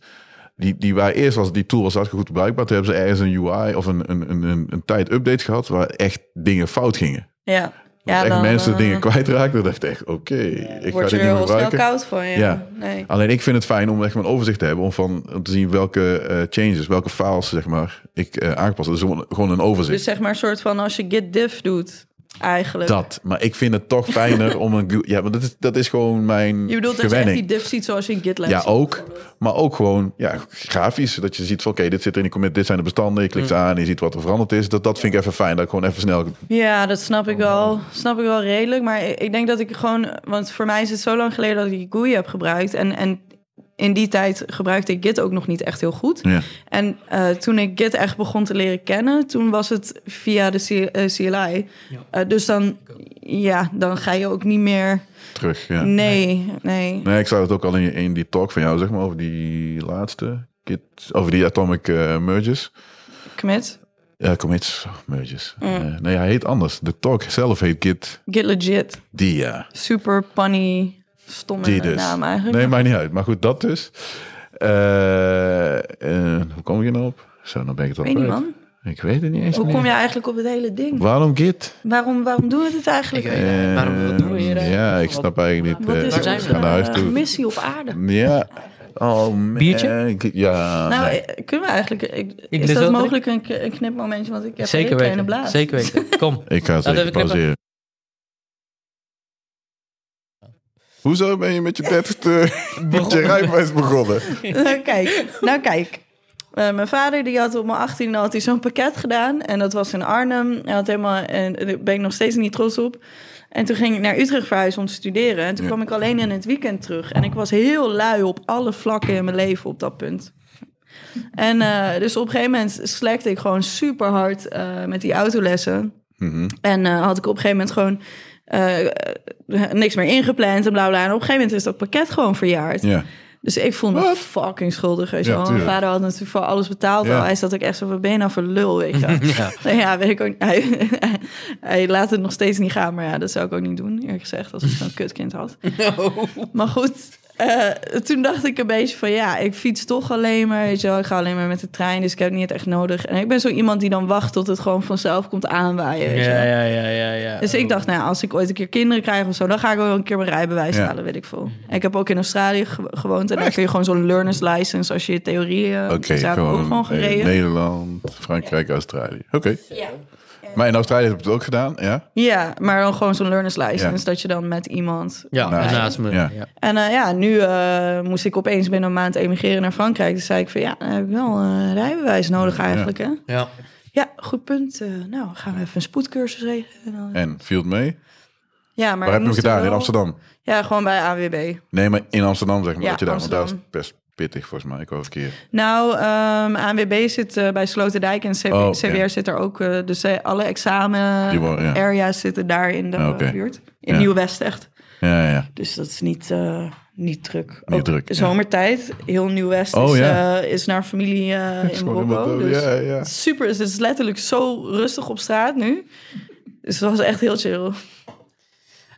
[SPEAKER 1] Die, die waar eerst was, die tool was hartstikke goed bruikbaar. Toen hebben ze ergens een UI of een, een, een, een, een tijd update gehad waar echt dingen fout gingen.
[SPEAKER 4] Ja.
[SPEAKER 1] Dat
[SPEAKER 4] ja,
[SPEAKER 1] echt
[SPEAKER 4] dan,
[SPEAKER 1] mensen
[SPEAKER 4] eh,
[SPEAKER 1] dingen kwijtraakten. Dan dacht ik echt, oké, ik ga dit
[SPEAKER 4] Word
[SPEAKER 1] niet
[SPEAKER 4] je er
[SPEAKER 1] meer
[SPEAKER 4] heel snel
[SPEAKER 1] gebruiken.
[SPEAKER 4] koud van, ja.
[SPEAKER 1] Ja.
[SPEAKER 4] Nee.
[SPEAKER 1] Alleen ik vind het fijn om echt mijn overzicht te hebben. Om, van, om te zien welke eh, changes, welke files zeg maar, ik eh, aangepast heb. Dus gewoon- gewoon een overzicht.
[SPEAKER 4] Dus zeg maar een soort van als je git diff doet, eigenlijk.
[SPEAKER 1] dat. Maar ik vind het toch fijner om een... GUI Ja, maar dat is, dat is gewoon mijn
[SPEAKER 4] Je bedoelt dat je echt
[SPEAKER 1] gewenning.
[SPEAKER 4] die diff ziet zoals je in GitLab
[SPEAKER 1] ja,
[SPEAKER 4] ziet.
[SPEAKER 1] ook. Maar ook gewoon ja, grafisch. Dat je ziet van oké, dit zit er in die commit. Dit zijn de bestanden. Je
[SPEAKER 4] Mm.
[SPEAKER 1] klikt ze aan en je ziet wat er veranderd is. Dat, dat vind ik even fijn. Dat ik gewoon even snel...
[SPEAKER 4] Ja, dat snap
[SPEAKER 1] Oh,
[SPEAKER 4] ik wel. Snap ik wel redelijk. Maar ik ik denk dat ik gewoon... Want voor mij is het zo lang geleden dat ik die GUI heb gebruikt. En, en in die tijd gebruikte ik Git ook nog niet echt heel goed.
[SPEAKER 1] Ja.
[SPEAKER 4] En eh, toen ik Git echt begon te leren kennen, toen was het via de C- eh, CLI. Eh, dus dan, ja, dan ga je ook niet meer...
[SPEAKER 1] Terug, ja.
[SPEAKER 4] Mm. Nee, nee.
[SPEAKER 1] Nee, ik zag het ook al in, in die talk van jou, zeg maar, over die laatste. Kit, over die atomic eh, merges.
[SPEAKER 4] Commit.
[SPEAKER 1] Ja, commits oh, merges.
[SPEAKER 4] Mm.
[SPEAKER 1] Eh, nee, hij heet anders. De talk zelf heet Git
[SPEAKER 4] Git legit.
[SPEAKER 1] Dia.
[SPEAKER 4] Super punny, stomme
[SPEAKER 1] Die dus.
[SPEAKER 4] naam eigenlijk.
[SPEAKER 1] Nee, maakt niet uit. Maar goed, dat dus. Eh, eh, hoe kom ik hier nou op? Zo, dan ben ik het al
[SPEAKER 4] Ik weet niet,
[SPEAKER 1] kwijt.
[SPEAKER 4] man.
[SPEAKER 1] Ik weet het niet eens
[SPEAKER 4] Hoe
[SPEAKER 1] meer.
[SPEAKER 4] kom je eigenlijk op het hele ding?
[SPEAKER 1] Waarom Git?
[SPEAKER 4] Waarom, waarom doen we dit eigenlijk?
[SPEAKER 2] Ik weet- Ja, waarom- wat doen we hier
[SPEAKER 1] Eh,
[SPEAKER 2] eigenlijk?
[SPEAKER 1] Ja, ik snap eigenlijk niet.
[SPEAKER 4] Wat
[SPEAKER 1] eh,
[SPEAKER 4] is
[SPEAKER 1] we
[SPEAKER 4] er
[SPEAKER 1] gaan naar huis toe.
[SPEAKER 4] missie op aarde?
[SPEAKER 1] Ja. Oh, man.
[SPEAKER 2] Biertje?
[SPEAKER 1] Ja.
[SPEAKER 4] Nou,
[SPEAKER 1] nee.
[SPEAKER 4] eh, kunnen we eigenlijk... Ik,
[SPEAKER 2] Ik
[SPEAKER 4] is
[SPEAKER 2] lust
[SPEAKER 4] dat
[SPEAKER 2] wel
[SPEAKER 4] mogelijk een, k- een knipmomentje? Want ik heb een
[SPEAKER 2] Zeker
[SPEAKER 4] hele kleine
[SPEAKER 2] weten.
[SPEAKER 4] blaas.
[SPEAKER 2] Zeker weten. Kom.
[SPEAKER 4] eh,
[SPEAKER 1] Ik ga het
[SPEAKER 2] Laten
[SPEAKER 1] even
[SPEAKER 2] we knippen.
[SPEAKER 1] pauzeren. Hoezo ben je met je dertigste met je
[SPEAKER 2] Begonnen.
[SPEAKER 1] rijbewijs begonnen?
[SPEAKER 4] Nou, kijk, nou kijk. Eh, mijn vader die had op mijn 18 had hij zo'n pakket gedaan. En dat was in Arnhem. Hij had helemaal, en daar ben ik nog steeds niet trots op. En toen ging ik naar Utrecht verhuizen om te studeren. En toen
[SPEAKER 1] Ja.
[SPEAKER 4] kwam ik alleen in het weekend terug. En ik was heel lui op alle vlakken in mijn leven op dat punt. En eh, dus op een gegeven moment slekte ik gewoon super hard met die autolessen.
[SPEAKER 1] Mhm.
[SPEAKER 4] En eh, had ik op een gegeven moment gewoon eh, eh, niks meer ingepland en bla bla. En op een gegeven moment is dat pakket gewoon verjaard.
[SPEAKER 1] Ja.
[SPEAKER 4] Dus ik voelde me
[SPEAKER 1] Wat?
[SPEAKER 4] fucking schuldig. Weet je
[SPEAKER 1] Ja,
[SPEAKER 4] wel. Mijn
[SPEAKER 1] tuurlijk.
[SPEAKER 4] vader had natuurlijk voor alles betaald.
[SPEAKER 1] Ja.
[SPEAKER 4] al. Hij zat ook echt zo van, ben je nou voor lul, weet je wel.
[SPEAKER 2] Ja.
[SPEAKER 4] Nou ja, weet ik ook niet. Hij, hij laat het nog steeds niet gaan. Maar ja, dat zou ik ook niet doen, eerlijk gezegd. Als ik zo'n kutkind had. Maar goed, eh, toen dacht ik een beetje van... ja, ik fiets toch alleen maar, weet je wel. Ik ga alleen maar met de trein, dus ik heb het niet echt nodig. En ik ben zo iemand die dan wacht tot het gewoon vanzelf komt aanwaaien, weet je
[SPEAKER 2] Ja,
[SPEAKER 4] wel.
[SPEAKER 2] ja, ja, ja, ja.
[SPEAKER 4] Dus
[SPEAKER 1] ehm,
[SPEAKER 4] ik dacht, nou, ja, als ik ooit een keer kinderen krijg of zo, dan ga ik wel een keer mijn rijbewijs
[SPEAKER 1] Ja.
[SPEAKER 4] halen, weet ik veel. En ik heb ook in Australië ge- gewoond en daar kun je gewoon zo'n learner's license als je je theorie. eh
[SPEAKER 1] Oké,
[SPEAKER 4] zou ik ook
[SPEAKER 1] gewoon,
[SPEAKER 4] gewoon
[SPEAKER 1] eh,
[SPEAKER 4] gereden.
[SPEAKER 1] Nederland, Frankrijk, Australië. Oké. Maar in Australië heb je het ook gedaan, ja?
[SPEAKER 4] Ja, maar dan gewoon zo'n learner's license
[SPEAKER 1] Ja.
[SPEAKER 4] dat je dan met iemand.
[SPEAKER 2] Ja,
[SPEAKER 1] Naast-
[SPEAKER 2] naast me.
[SPEAKER 1] Nou, Ja.
[SPEAKER 2] Ja.
[SPEAKER 4] En eh, ja, nu eh, moest ik opeens binnen een maand emigreren naar Frankrijk. Dus zei ik van ja, dan heb ik wel een eh, rijbewijs nodig eigenlijk. Hè?
[SPEAKER 2] Ja.
[SPEAKER 4] Ja, goed punt. Eh, nou, gaan we even een spoedcursus regelen. En dan-
[SPEAKER 1] En viel het mee?
[SPEAKER 4] Ja,
[SPEAKER 1] Waar heb
[SPEAKER 4] maar
[SPEAKER 1] je
[SPEAKER 4] we
[SPEAKER 1] hem
[SPEAKER 4] moesten
[SPEAKER 1] gedaan? In
[SPEAKER 4] wel-
[SPEAKER 1] Amsterdam?
[SPEAKER 4] Ja, gewoon bij AWB.
[SPEAKER 1] Nee, maar in Amsterdam zeg maar.
[SPEAKER 4] Ja,
[SPEAKER 1] dat je daar, want daar is het
[SPEAKER 4] Amsterdam.
[SPEAKER 1] best pittig volgens mij. Ik wou verkeer.
[SPEAKER 4] Nou, ehm ANWB zit eh, bij Sloterdijk en CW,
[SPEAKER 1] Oh, oké.
[SPEAKER 4] CWR zit er ook. eh, dus eh, alle
[SPEAKER 1] Die worden, ja.
[SPEAKER 4] examen-area's zitten daar in de
[SPEAKER 1] Ah, oké.
[SPEAKER 4] buurt. In
[SPEAKER 1] Ja.
[SPEAKER 4] Nieuw-West echt.
[SPEAKER 1] Ja, ja, ja.
[SPEAKER 4] Dus dat is niet, eh, niet druk.
[SPEAKER 1] Niet
[SPEAKER 4] Ook
[SPEAKER 1] druk, ja.
[SPEAKER 4] Zomertijd. Heel Nieuw-West
[SPEAKER 1] Oh,
[SPEAKER 4] is,
[SPEAKER 1] ja.
[SPEAKER 4] eh, is naar familie eh,
[SPEAKER 1] Is
[SPEAKER 4] in
[SPEAKER 1] gewoon
[SPEAKER 4] Marokko.
[SPEAKER 1] helemaal-
[SPEAKER 4] Dus
[SPEAKER 1] ja, ja.
[SPEAKER 4] het is super. Het is letterlijk zo rustig op straat nu. Dus dat was echt heel chill.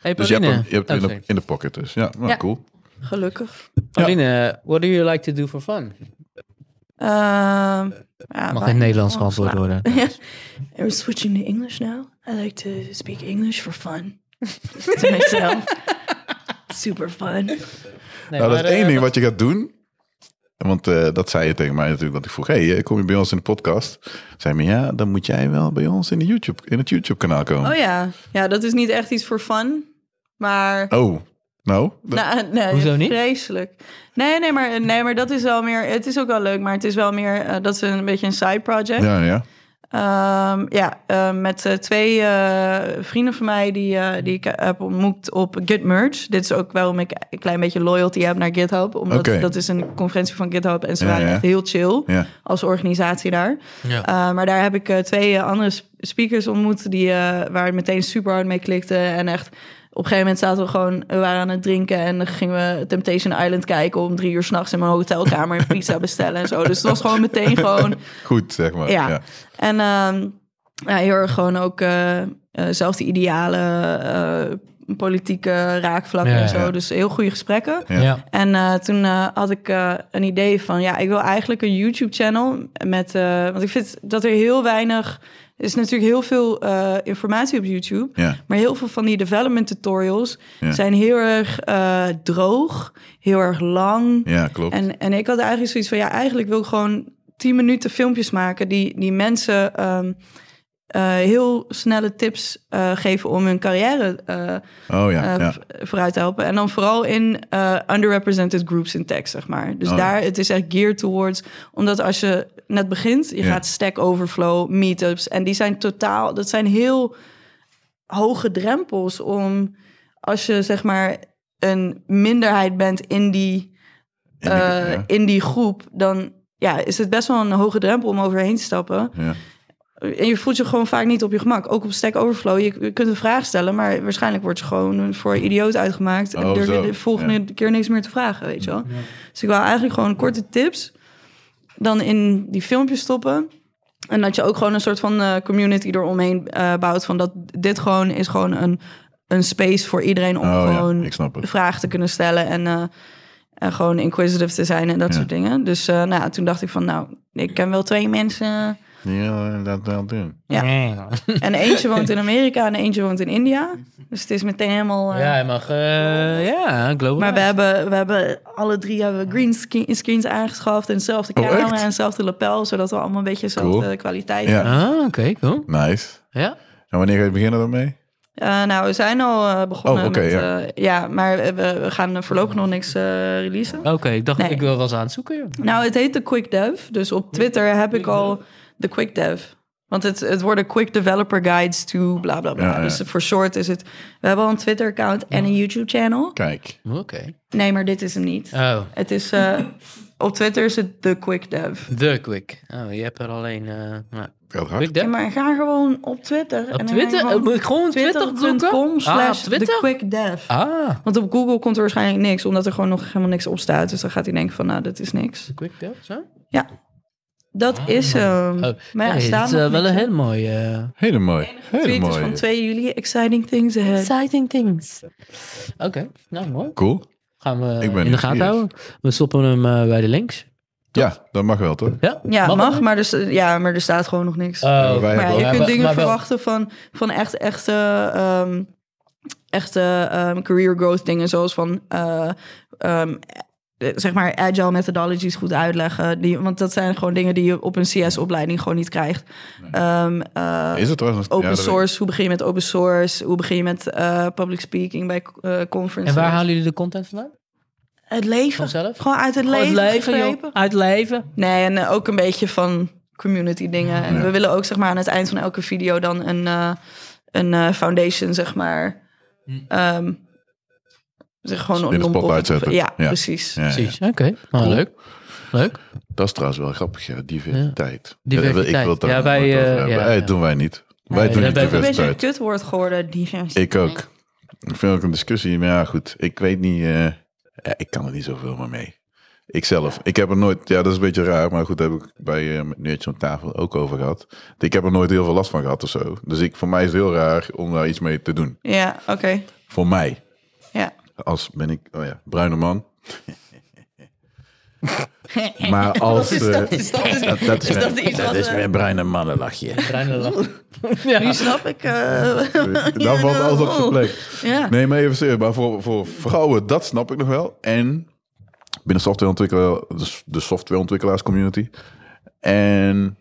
[SPEAKER 2] Hey,
[SPEAKER 1] Dus je hebt
[SPEAKER 2] Pauline.
[SPEAKER 1] hem, je hebt hem
[SPEAKER 2] Oh,
[SPEAKER 1] in, de,
[SPEAKER 2] sorry.
[SPEAKER 1] in de pocket dus. Ja, nou,
[SPEAKER 4] Ja.
[SPEAKER 1] cool.
[SPEAKER 4] Gelukkig.
[SPEAKER 2] Pauline, what do you like to do for fun?
[SPEAKER 4] Ehm, ja,
[SPEAKER 2] Mag
[SPEAKER 4] maar-
[SPEAKER 2] geen Nederlands
[SPEAKER 4] Oh,
[SPEAKER 2] geantwoord
[SPEAKER 4] sla-
[SPEAKER 2] worden.
[SPEAKER 4] We're switching to English now. I like to speak English for fun. to myself. Super fun.
[SPEAKER 2] Nee,
[SPEAKER 1] nou, dat
[SPEAKER 2] maar,
[SPEAKER 1] is één
[SPEAKER 2] eh,
[SPEAKER 1] ding wat je gaat doen. Want eh, dat zei je tegen mij natuurlijk, dat ik vroeg, hey, eh, kom je bij ons in de podcast? Zei me, ja, dan moet jij wel bij ons in, de YouTube, in het YouTube-kanaal komen.
[SPEAKER 4] Oh
[SPEAKER 1] Oh,
[SPEAKER 4] ja. Ja, dat is niet echt iets voor fun. Maar
[SPEAKER 1] nou, Oh, dat-
[SPEAKER 4] Nou, nee,
[SPEAKER 2] Hoezo niet?
[SPEAKER 4] Vreselijk. Nee, nee maar, nee, maar dat is wel meer. Het is ook wel leuk, maar het is wel meer. eh, dat is een beetje een side project.
[SPEAKER 1] ja, ja.
[SPEAKER 4] Ehm, ja, eh, met eh, twee eh, vrienden van mij die, eh, die ik heb ontmoet op GitMerge. Dit is ook waarom ik een klein beetje loyalty heb naar GitHub. Omdat
[SPEAKER 1] Oké.
[SPEAKER 4] dat is een conferentie van GitHub en ze
[SPEAKER 1] Ja,
[SPEAKER 4] waren
[SPEAKER 1] ja.
[SPEAKER 4] echt heel chill
[SPEAKER 1] ja.
[SPEAKER 4] als organisatie daar.
[SPEAKER 2] Ja.
[SPEAKER 4] Uh, maar daar heb ik eh, twee eh, andere sp- speakers ontmoet die, eh, waar het meteen super hard mee klikte. En echt, op een gegeven moment zaten we gewoon, we waren aan het drinken en dan gingen we Temptation Island kijken om drie uur s'nachts in mijn hotelkamer een pizza bestellen en zo. Dus het was gewoon meteen gewoon,
[SPEAKER 1] Goed, zeg maar.
[SPEAKER 4] ja.
[SPEAKER 1] Ja.
[SPEAKER 4] En ehm, ja, heel erg gewoon ook eh, eh, zelfde idealen, eh, politieke raakvlakken
[SPEAKER 2] Ja,
[SPEAKER 4] en zo.
[SPEAKER 1] ja.
[SPEAKER 4] Dus heel goede gesprekken.
[SPEAKER 1] Ja.
[SPEAKER 2] Ja.
[SPEAKER 4] En eh, toen eh, had ik eh, een idee van, ja, ik wil eigenlijk een YouTube-channel met, eh, want ik vind dat er heel weinig, er is natuurlijk heel veel eh, informatie op YouTube,
[SPEAKER 1] Ja.
[SPEAKER 4] maar heel veel van die development tutorials
[SPEAKER 1] Ja.
[SPEAKER 4] zijn heel erg eh, droog, heel erg lang.
[SPEAKER 1] Ja, klopt.
[SPEAKER 4] En, en ik had eigenlijk zoiets van, ja, eigenlijk wil ik gewoon 10 minuten filmpjes maken die, die mensen ehm, eh, heel snelle tips eh, geven om hun carrière eh
[SPEAKER 1] oh ja,
[SPEAKER 4] eh,
[SPEAKER 1] ja.
[SPEAKER 4] v- vooruit te helpen. En dan vooral in eh, underrepresented groups in tech, zeg maar. Dus
[SPEAKER 1] Oh, ja.
[SPEAKER 4] daar, het is echt geared towards. Omdat als je net begint, je
[SPEAKER 1] Ja.
[SPEAKER 4] gaat Stack Overflow, meetups. En die zijn totaal, dat zijn heel hoge drempels om... als je, zeg maar, een minderheid bent in die,
[SPEAKER 1] In
[SPEAKER 4] eh,
[SPEAKER 1] de- ja.
[SPEAKER 4] in die groep... dan ja, is het best wel een hoge drempel om overheen te stappen.
[SPEAKER 1] Ja.
[SPEAKER 4] En je voelt je gewoon vaak niet op je gemak. Ook op Stack Overflow. Je, je kunt een vraag stellen, maar waarschijnlijk wordt je gewoon voor een idioot uitgemaakt. en
[SPEAKER 1] Oh,
[SPEAKER 4] durf
[SPEAKER 1] zo.
[SPEAKER 4] je de volgende keer niks meer te vragen, weet je wel. Dus ik wil eigenlijk gewoon korte tips dan in die filmpjes stoppen. En dat je ook gewoon een soort van eh, community eromheen eh, bouwt. Van dat dit gewoon is gewoon een, een space voor iedereen om
[SPEAKER 1] Oh ja,
[SPEAKER 4] gewoon
[SPEAKER 1] ik snap het.
[SPEAKER 4] vragen te kunnen stellen. En, eh, en gewoon inquisitive te zijn en dat
[SPEAKER 1] Ja.
[SPEAKER 4] soort dingen. Dus eh, nou, ja, toen dacht ik van nou, ik ken wel twee mensen...
[SPEAKER 1] Ja, dat wel doen.
[SPEAKER 4] Ja. En eentje woont in Amerika en eentje woont in India. Dus het is meteen helemaal. eh,
[SPEAKER 2] Ja, hij mag. eh, ja, global.
[SPEAKER 4] Maar we hebben, we hebben alle drie hebben we green sc- screens aangeschaft. En dezelfde
[SPEAKER 1] Oh,
[SPEAKER 4] camera
[SPEAKER 1] echt?
[SPEAKER 4] en dezelfde lapel. Zodat we allemaal een beetje dezelfde
[SPEAKER 1] Cool.
[SPEAKER 4] kwaliteit
[SPEAKER 1] Ja.
[SPEAKER 4] hebben.
[SPEAKER 2] Ah, oké, cool.
[SPEAKER 1] Nice.
[SPEAKER 2] Ja.
[SPEAKER 1] En wanneer ga je beginnen daarmee?
[SPEAKER 4] Eh, nou, we zijn al eh, begonnen.
[SPEAKER 1] Oh, oké,
[SPEAKER 4] met,
[SPEAKER 1] ja.
[SPEAKER 4] eh, ja, maar we, we gaan voorlopig nog niks eh, releasen.
[SPEAKER 2] Oké, ik dacht,
[SPEAKER 4] Nee.
[SPEAKER 2] ik wil wel eens aan het zoeken. joh.
[SPEAKER 4] Nou, het heet de Quick Dev. Dus op Twitter heb ik al de Quick Dev. Want het, het worden Quick Developer Guides to bla bla bla.
[SPEAKER 1] Ja, ja.
[SPEAKER 4] Dus voor short is het. We hebben al een Twitter-account en een YouTube-channel.
[SPEAKER 1] Kijk.
[SPEAKER 2] Oké.
[SPEAKER 4] Nee, maar dit is hem niet.
[SPEAKER 2] Oh,
[SPEAKER 4] Het is eh, op Twitter is het de Quick Dev.
[SPEAKER 2] The Quick. Oh, je hebt er alleen. eh, nou,
[SPEAKER 1] Gaat hard.
[SPEAKER 2] Quick Dev.
[SPEAKER 4] Ja, maar ga gewoon op Twitter. en
[SPEAKER 2] Op
[SPEAKER 4] dan
[SPEAKER 2] Twitter?
[SPEAKER 4] ga je gewoon
[SPEAKER 2] Moet ik gewoon Twitter opzoeken?
[SPEAKER 4] Twitter.com slash
[SPEAKER 2] Ah, Twitter?
[SPEAKER 4] de Quick Dev.
[SPEAKER 2] Ah,
[SPEAKER 4] Want op Google komt er waarschijnlijk niks, omdat er gewoon nog helemaal niks op staat. Dus dan gaat hij denken van, nou, dat is niks.
[SPEAKER 2] The Quick Dev, zo?
[SPEAKER 4] Dat is hem.
[SPEAKER 2] Oh,
[SPEAKER 4] Maar ja,
[SPEAKER 2] nee,
[SPEAKER 4] staan
[SPEAKER 2] dat is
[SPEAKER 4] nog
[SPEAKER 2] eh, wel
[SPEAKER 4] niks
[SPEAKER 2] een
[SPEAKER 4] op.
[SPEAKER 2] heel mooi... eh,
[SPEAKER 1] Hele mooi. Hele
[SPEAKER 4] Tweet is
[SPEAKER 1] mooi.
[SPEAKER 4] van 2 juli. Exciting things ahead.
[SPEAKER 2] Exciting things. Oké, nou mooi.
[SPEAKER 1] Cool.
[SPEAKER 2] Gaan we eh,
[SPEAKER 1] Ik ben
[SPEAKER 2] in de gaten
[SPEAKER 1] nieuwsgierig.
[SPEAKER 2] houden. We stoppen hem eh, bij de links.
[SPEAKER 1] Ja, dat mag wel, toch?
[SPEAKER 2] Ja,
[SPEAKER 4] Ja, mag,
[SPEAKER 2] dat?
[SPEAKER 4] maar, dus, ja, maar er staat gewoon nog niks.
[SPEAKER 2] Oh,
[SPEAKER 1] Wij
[SPEAKER 4] Maar ja,
[SPEAKER 1] hebben
[SPEAKER 4] je
[SPEAKER 1] ook-
[SPEAKER 4] kunt dingen
[SPEAKER 2] maar wel-
[SPEAKER 4] verwachten van, van echt echte, ehm, echte ehm, career growth dingen. Zoals van, eh, ehm, eh, zeg maar, agile methodologies goed uitleggen. Die, want dat zijn gewoon dingen die je op een CS-opleiding gewoon niet krijgt. Ehm, eh,
[SPEAKER 1] Is het trouwens?
[SPEAKER 4] open
[SPEAKER 1] ja, dat-
[SPEAKER 4] source, hoe begin je met open source? Hoe begin je met eh, public speaking bij eh,
[SPEAKER 2] en
[SPEAKER 4] conferences?
[SPEAKER 2] waar halen jullie de content vandaan?
[SPEAKER 4] Het leven.
[SPEAKER 2] Vanzelf?
[SPEAKER 4] Gewoon uit het
[SPEAKER 2] Gewoon
[SPEAKER 4] leven,
[SPEAKER 2] Oh, het leven, joh.
[SPEAKER 4] gegrepen.
[SPEAKER 2] Uit leven.
[SPEAKER 4] Nee, en eh, ook een beetje van community dingen. En
[SPEAKER 1] Ja.
[SPEAKER 4] we willen ook zeg maar aan het eind van elke video dan een, eh, een eh, foundation, zeg maar.
[SPEAKER 1] Hm.
[SPEAKER 4] ehm, zeg gewoon
[SPEAKER 1] In de
[SPEAKER 4] non-profit-
[SPEAKER 1] spotlight zetten.
[SPEAKER 4] Ja,
[SPEAKER 1] Ja.
[SPEAKER 4] precies.
[SPEAKER 1] Ja, ja.
[SPEAKER 2] Precies, oké. Nou,
[SPEAKER 1] Cool.
[SPEAKER 2] leuk. Leuk.
[SPEAKER 1] Dat is trouwens wel grappig, ja. Diversiteit.
[SPEAKER 2] Diversiteit.
[SPEAKER 1] Ik wil het daar
[SPEAKER 2] Ja,
[SPEAKER 1] nog
[SPEAKER 2] wij,
[SPEAKER 1] nooit over
[SPEAKER 2] eh,
[SPEAKER 1] hebben.
[SPEAKER 2] ja,
[SPEAKER 1] Eh,
[SPEAKER 2] ja.
[SPEAKER 1] Dat doen wij niet. Wij
[SPEAKER 2] Nee,
[SPEAKER 1] doen
[SPEAKER 2] wij-
[SPEAKER 1] niet
[SPEAKER 2] wij-
[SPEAKER 4] Het is een beetje een
[SPEAKER 1] diversiteit.
[SPEAKER 4] kutwoord geworden, diversiteit.
[SPEAKER 1] Ik ook. Ik vind ook een discussie, maar ja, goed. Ik weet niet, eh, eh, ik kan er niet zoveel meer mee. Ikzelf. Ik heb er nooit, ja, dat is een beetje raar, maar goed, daar heb ik bij eh met Neertje aan tafel ook over gehad. Ik heb er nooit heel veel last van gehad of zo. Dus ik, voor mij is het heel raar om daar iets mee te doen.
[SPEAKER 4] Ja, oké.
[SPEAKER 1] Voor mij.
[SPEAKER 4] Ja.
[SPEAKER 1] Als ben ik, oh ja, bruine man. maar als... eh, dat is dat? Dat, is,
[SPEAKER 4] dat
[SPEAKER 1] mijn-
[SPEAKER 4] iets wat,
[SPEAKER 1] dat is
[SPEAKER 4] eh,
[SPEAKER 1] mijn bruine mannenlachje.
[SPEAKER 2] Bruine lach. ja.
[SPEAKER 4] Nu snap ik. eh,
[SPEAKER 1] Dan valt alles op zijn plek.
[SPEAKER 4] ja.
[SPEAKER 1] Nee, maar even serieus. Maar voor, voor vrouwen, dat snap ik nog wel. En binnen softwareontwikkelaar, de, de softwareontwikkelaarscommunity. En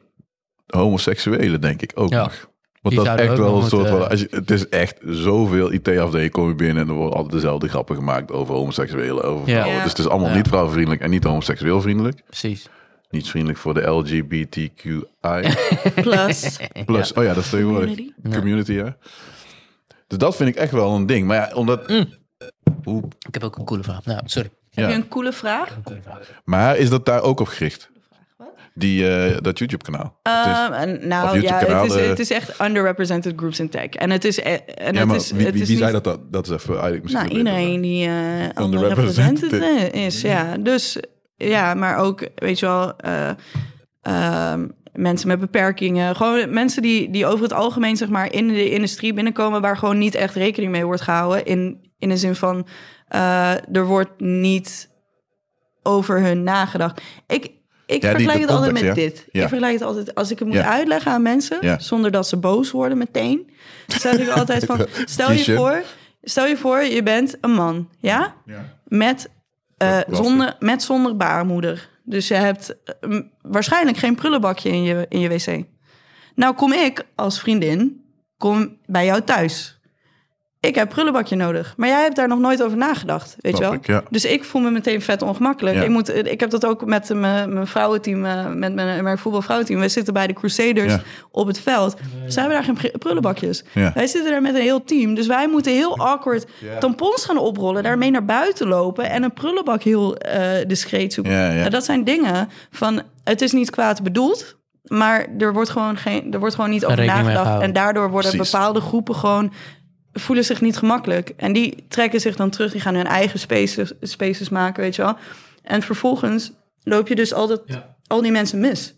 [SPEAKER 1] homoseksuelen, denk ik ook
[SPEAKER 2] Ja.
[SPEAKER 1] nog. Want
[SPEAKER 2] Die
[SPEAKER 1] dat is
[SPEAKER 2] zouden
[SPEAKER 1] echt
[SPEAKER 2] ook
[SPEAKER 1] wel
[SPEAKER 2] nog
[SPEAKER 1] een soort
[SPEAKER 2] moeten-
[SPEAKER 1] van.
[SPEAKER 2] eh,
[SPEAKER 1] Als je, het is echt zoveel IT-afdelingen kom je binnen en er worden altijd dezelfde grappen gemaakt over homoseksuelen, over
[SPEAKER 2] Ja.
[SPEAKER 1] vrouwen.
[SPEAKER 4] Ja.
[SPEAKER 1] Dus het is allemaal
[SPEAKER 2] Ja.
[SPEAKER 1] niet vrouwvriendelijk en niet homoseksueel vriendelijk.
[SPEAKER 2] Precies.
[SPEAKER 1] Niet vriendelijk voor de LGBTQI.
[SPEAKER 4] Plus.
[SPEAKER 1] Plus, oh ja, dat is tegenwoordig.
[SPEAKER 4] Community.
[SPEAKER 1] Community, ja. Dus dat vind ik echt wel een ding. Maar ja, omdat... Hoe,
[SPEAKER 2] Ik heb ook een coole vraag. Nou, sorry.
[SPEAKER 4] Heb je
[SPEAKER 1] ja.
[SPEAKER 4] een coole vraag?
[SPEAKER 1] Maar is dat daar ook op gericht? Die, eh, dat YouTube-kanaal. Het is-
[SPEAKER 4] Ehm, en
[SPEAKER 1] of
[SPEAKER 4] nou ja,
[SPEAKER 1] YouTube-kanaal,
[SPEAKER 4] het is,
[SPEAKER 1] eh.
[SPEAKER 4] het is echt underrepresented groups in tech. En het is. eh, En
[SPEAKER 1] ja,
[SPEAKER 4] het
[SPEAKER 1] maar
[SPEAKER 4] is,
[SPEAKER 1] wie,
[SPEAKER 4] het
[SPEAKER 1] wie,
[SPEAKER 4] is
[SPEAKER 1] wie zei
[SPEAKER 4] niet-
[SPEAKER 1] dat dat? Dat is even eigenlijk misschien...
[SPEAKER 4] Nou,
[SPEAKER 1] een betere
[SPEAKER 4] iedereen die eh
[SPEAKER 1] Underrepresented.
[SPEAKER 4] underrepresented is. Ja, dus ja, maar ook, weet je wel, eh, ehm, mensen met beperkingen. Gewoon mensen die, die over het algemeen, zeg maar, in de industrie binnenkomen waar gewoon niet echt rekening mee wordt gehouden. In, in de zin van, eh, er wordt niet over hun nagedacht. Ik, ik
[SPEAKER 1] die-
[SPEAKER 4] vergelijk
[SPEAKER 1] de
[SPEAKER 4] het altijd met
[SPEAKER 1] context, ja.
[SPEAKER 4] dit.
[SPEAKER 1] Ja.
[SPEAKER 4] Ik vergelijk het altijd, als ik het moet
[SPEAKER 1] Ja.
[SPEAKER 4] uitleggen aan mensen,
[SPEAKER 1] Ja.
[SPEAKER 4] zonder dat ze boos worden meteen, zeg ik altijd van, stel je
[SPEAKER 1] Kiesje.
[SPEAKER 4] voor, stel je voor, je bent een man, ja?
[SPEAKER 1] vraag. Ja.
[SPEAKER 4] Met, eh,
[SPEAKER 1] Lastig.
[SPEAKER 4] zonder, met zonder baarmoeder. Dus je hebt eh, m- waarschijnlijk geen prullenbakje in je, in je wc. Nou kom ik als vriendin, kom bij jou thuis. Ik heb prullenbakje nodig. Maar jij hebt daar nog nooit over nagedacht, weet
[SPEAKER 1] Snap
[SPEAKER 4] je wel?
[SPEAKER 1] ik, ja.
[SPEAKER 4] Dus ik voel me meteen vet ongemakkelijk.
[SPEAKER 1] Ja.
[SPEAKER 4] Ik, moet, ik heb dat ook met mijn, mijn vrouwenteam, eh, met mijn, mijn voetbalvrouwenteam. Wij zitten bij de Crusaders
[SPEAKER 1] Ja.
[SPEAKER 4] op het veld. Ze hebben daar geen pri- prullenbakjes.
[SPEAKER 1] Ja.
[SPEAKER 4] Wij zitten daar met een heel team. Dus wij moeten heel awkward
[SPEAKER 1] Ja.
[SPEAKER 4] tampons gaan oprollen, daarmee naar buiten lopen en een prullenbak heel eh, discreet zoeken.
[SPEAKER 1] Ja, ja.
[SPEAKER 4] Nou, dat zijn dingen van het is niet kwaad bedoeld. Maar er wordt gewoon, geen, er wordt gewoon niet over
[SPEAKER 2] rekening mee
[SPEAKER 4] nagedacht.
[SPEAKER 2] gehouden.
[SPEAKER 4] En daardoor worden
[SPEAKER 1] Precies.
[SPEAKER 4] bepaalde groepen gewoon voelen zich niet gemakkelijk. En die trekken zich dan terug. Die gaan hun eigen spaces, spaces maken, weet je wel. En vervolgens loop je dus altijd al die mensen mis.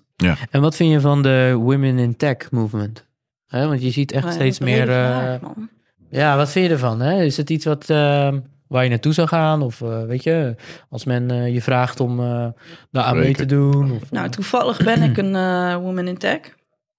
[SPEAKER 2] En wat vind je van de Women in Tech movement? Hè, want je ziet echt
[SPEAKER 4] Maar
[SPEAKER 2] steeds
[SPEAKER 4] Oh dat is een
[SPEAKER 2] meer.
[SPEAKER 4] brede
[SPEAKER 2] eh,
[SPEAKER 4] vraag, man.
[SPEAKER 2] ja, wat vind je ervan? Hè? Is het iets wat, eh, waar je naartoe zou gaan? Of eh, weet je, als men eh, je vraagt om eh daar aan mee te
[SPEAKER 1] Spreken.
[SPEAKER 2] doen? Of,
[SPEAKER 4] nou, toevallig ben ik een eh, woman in tech.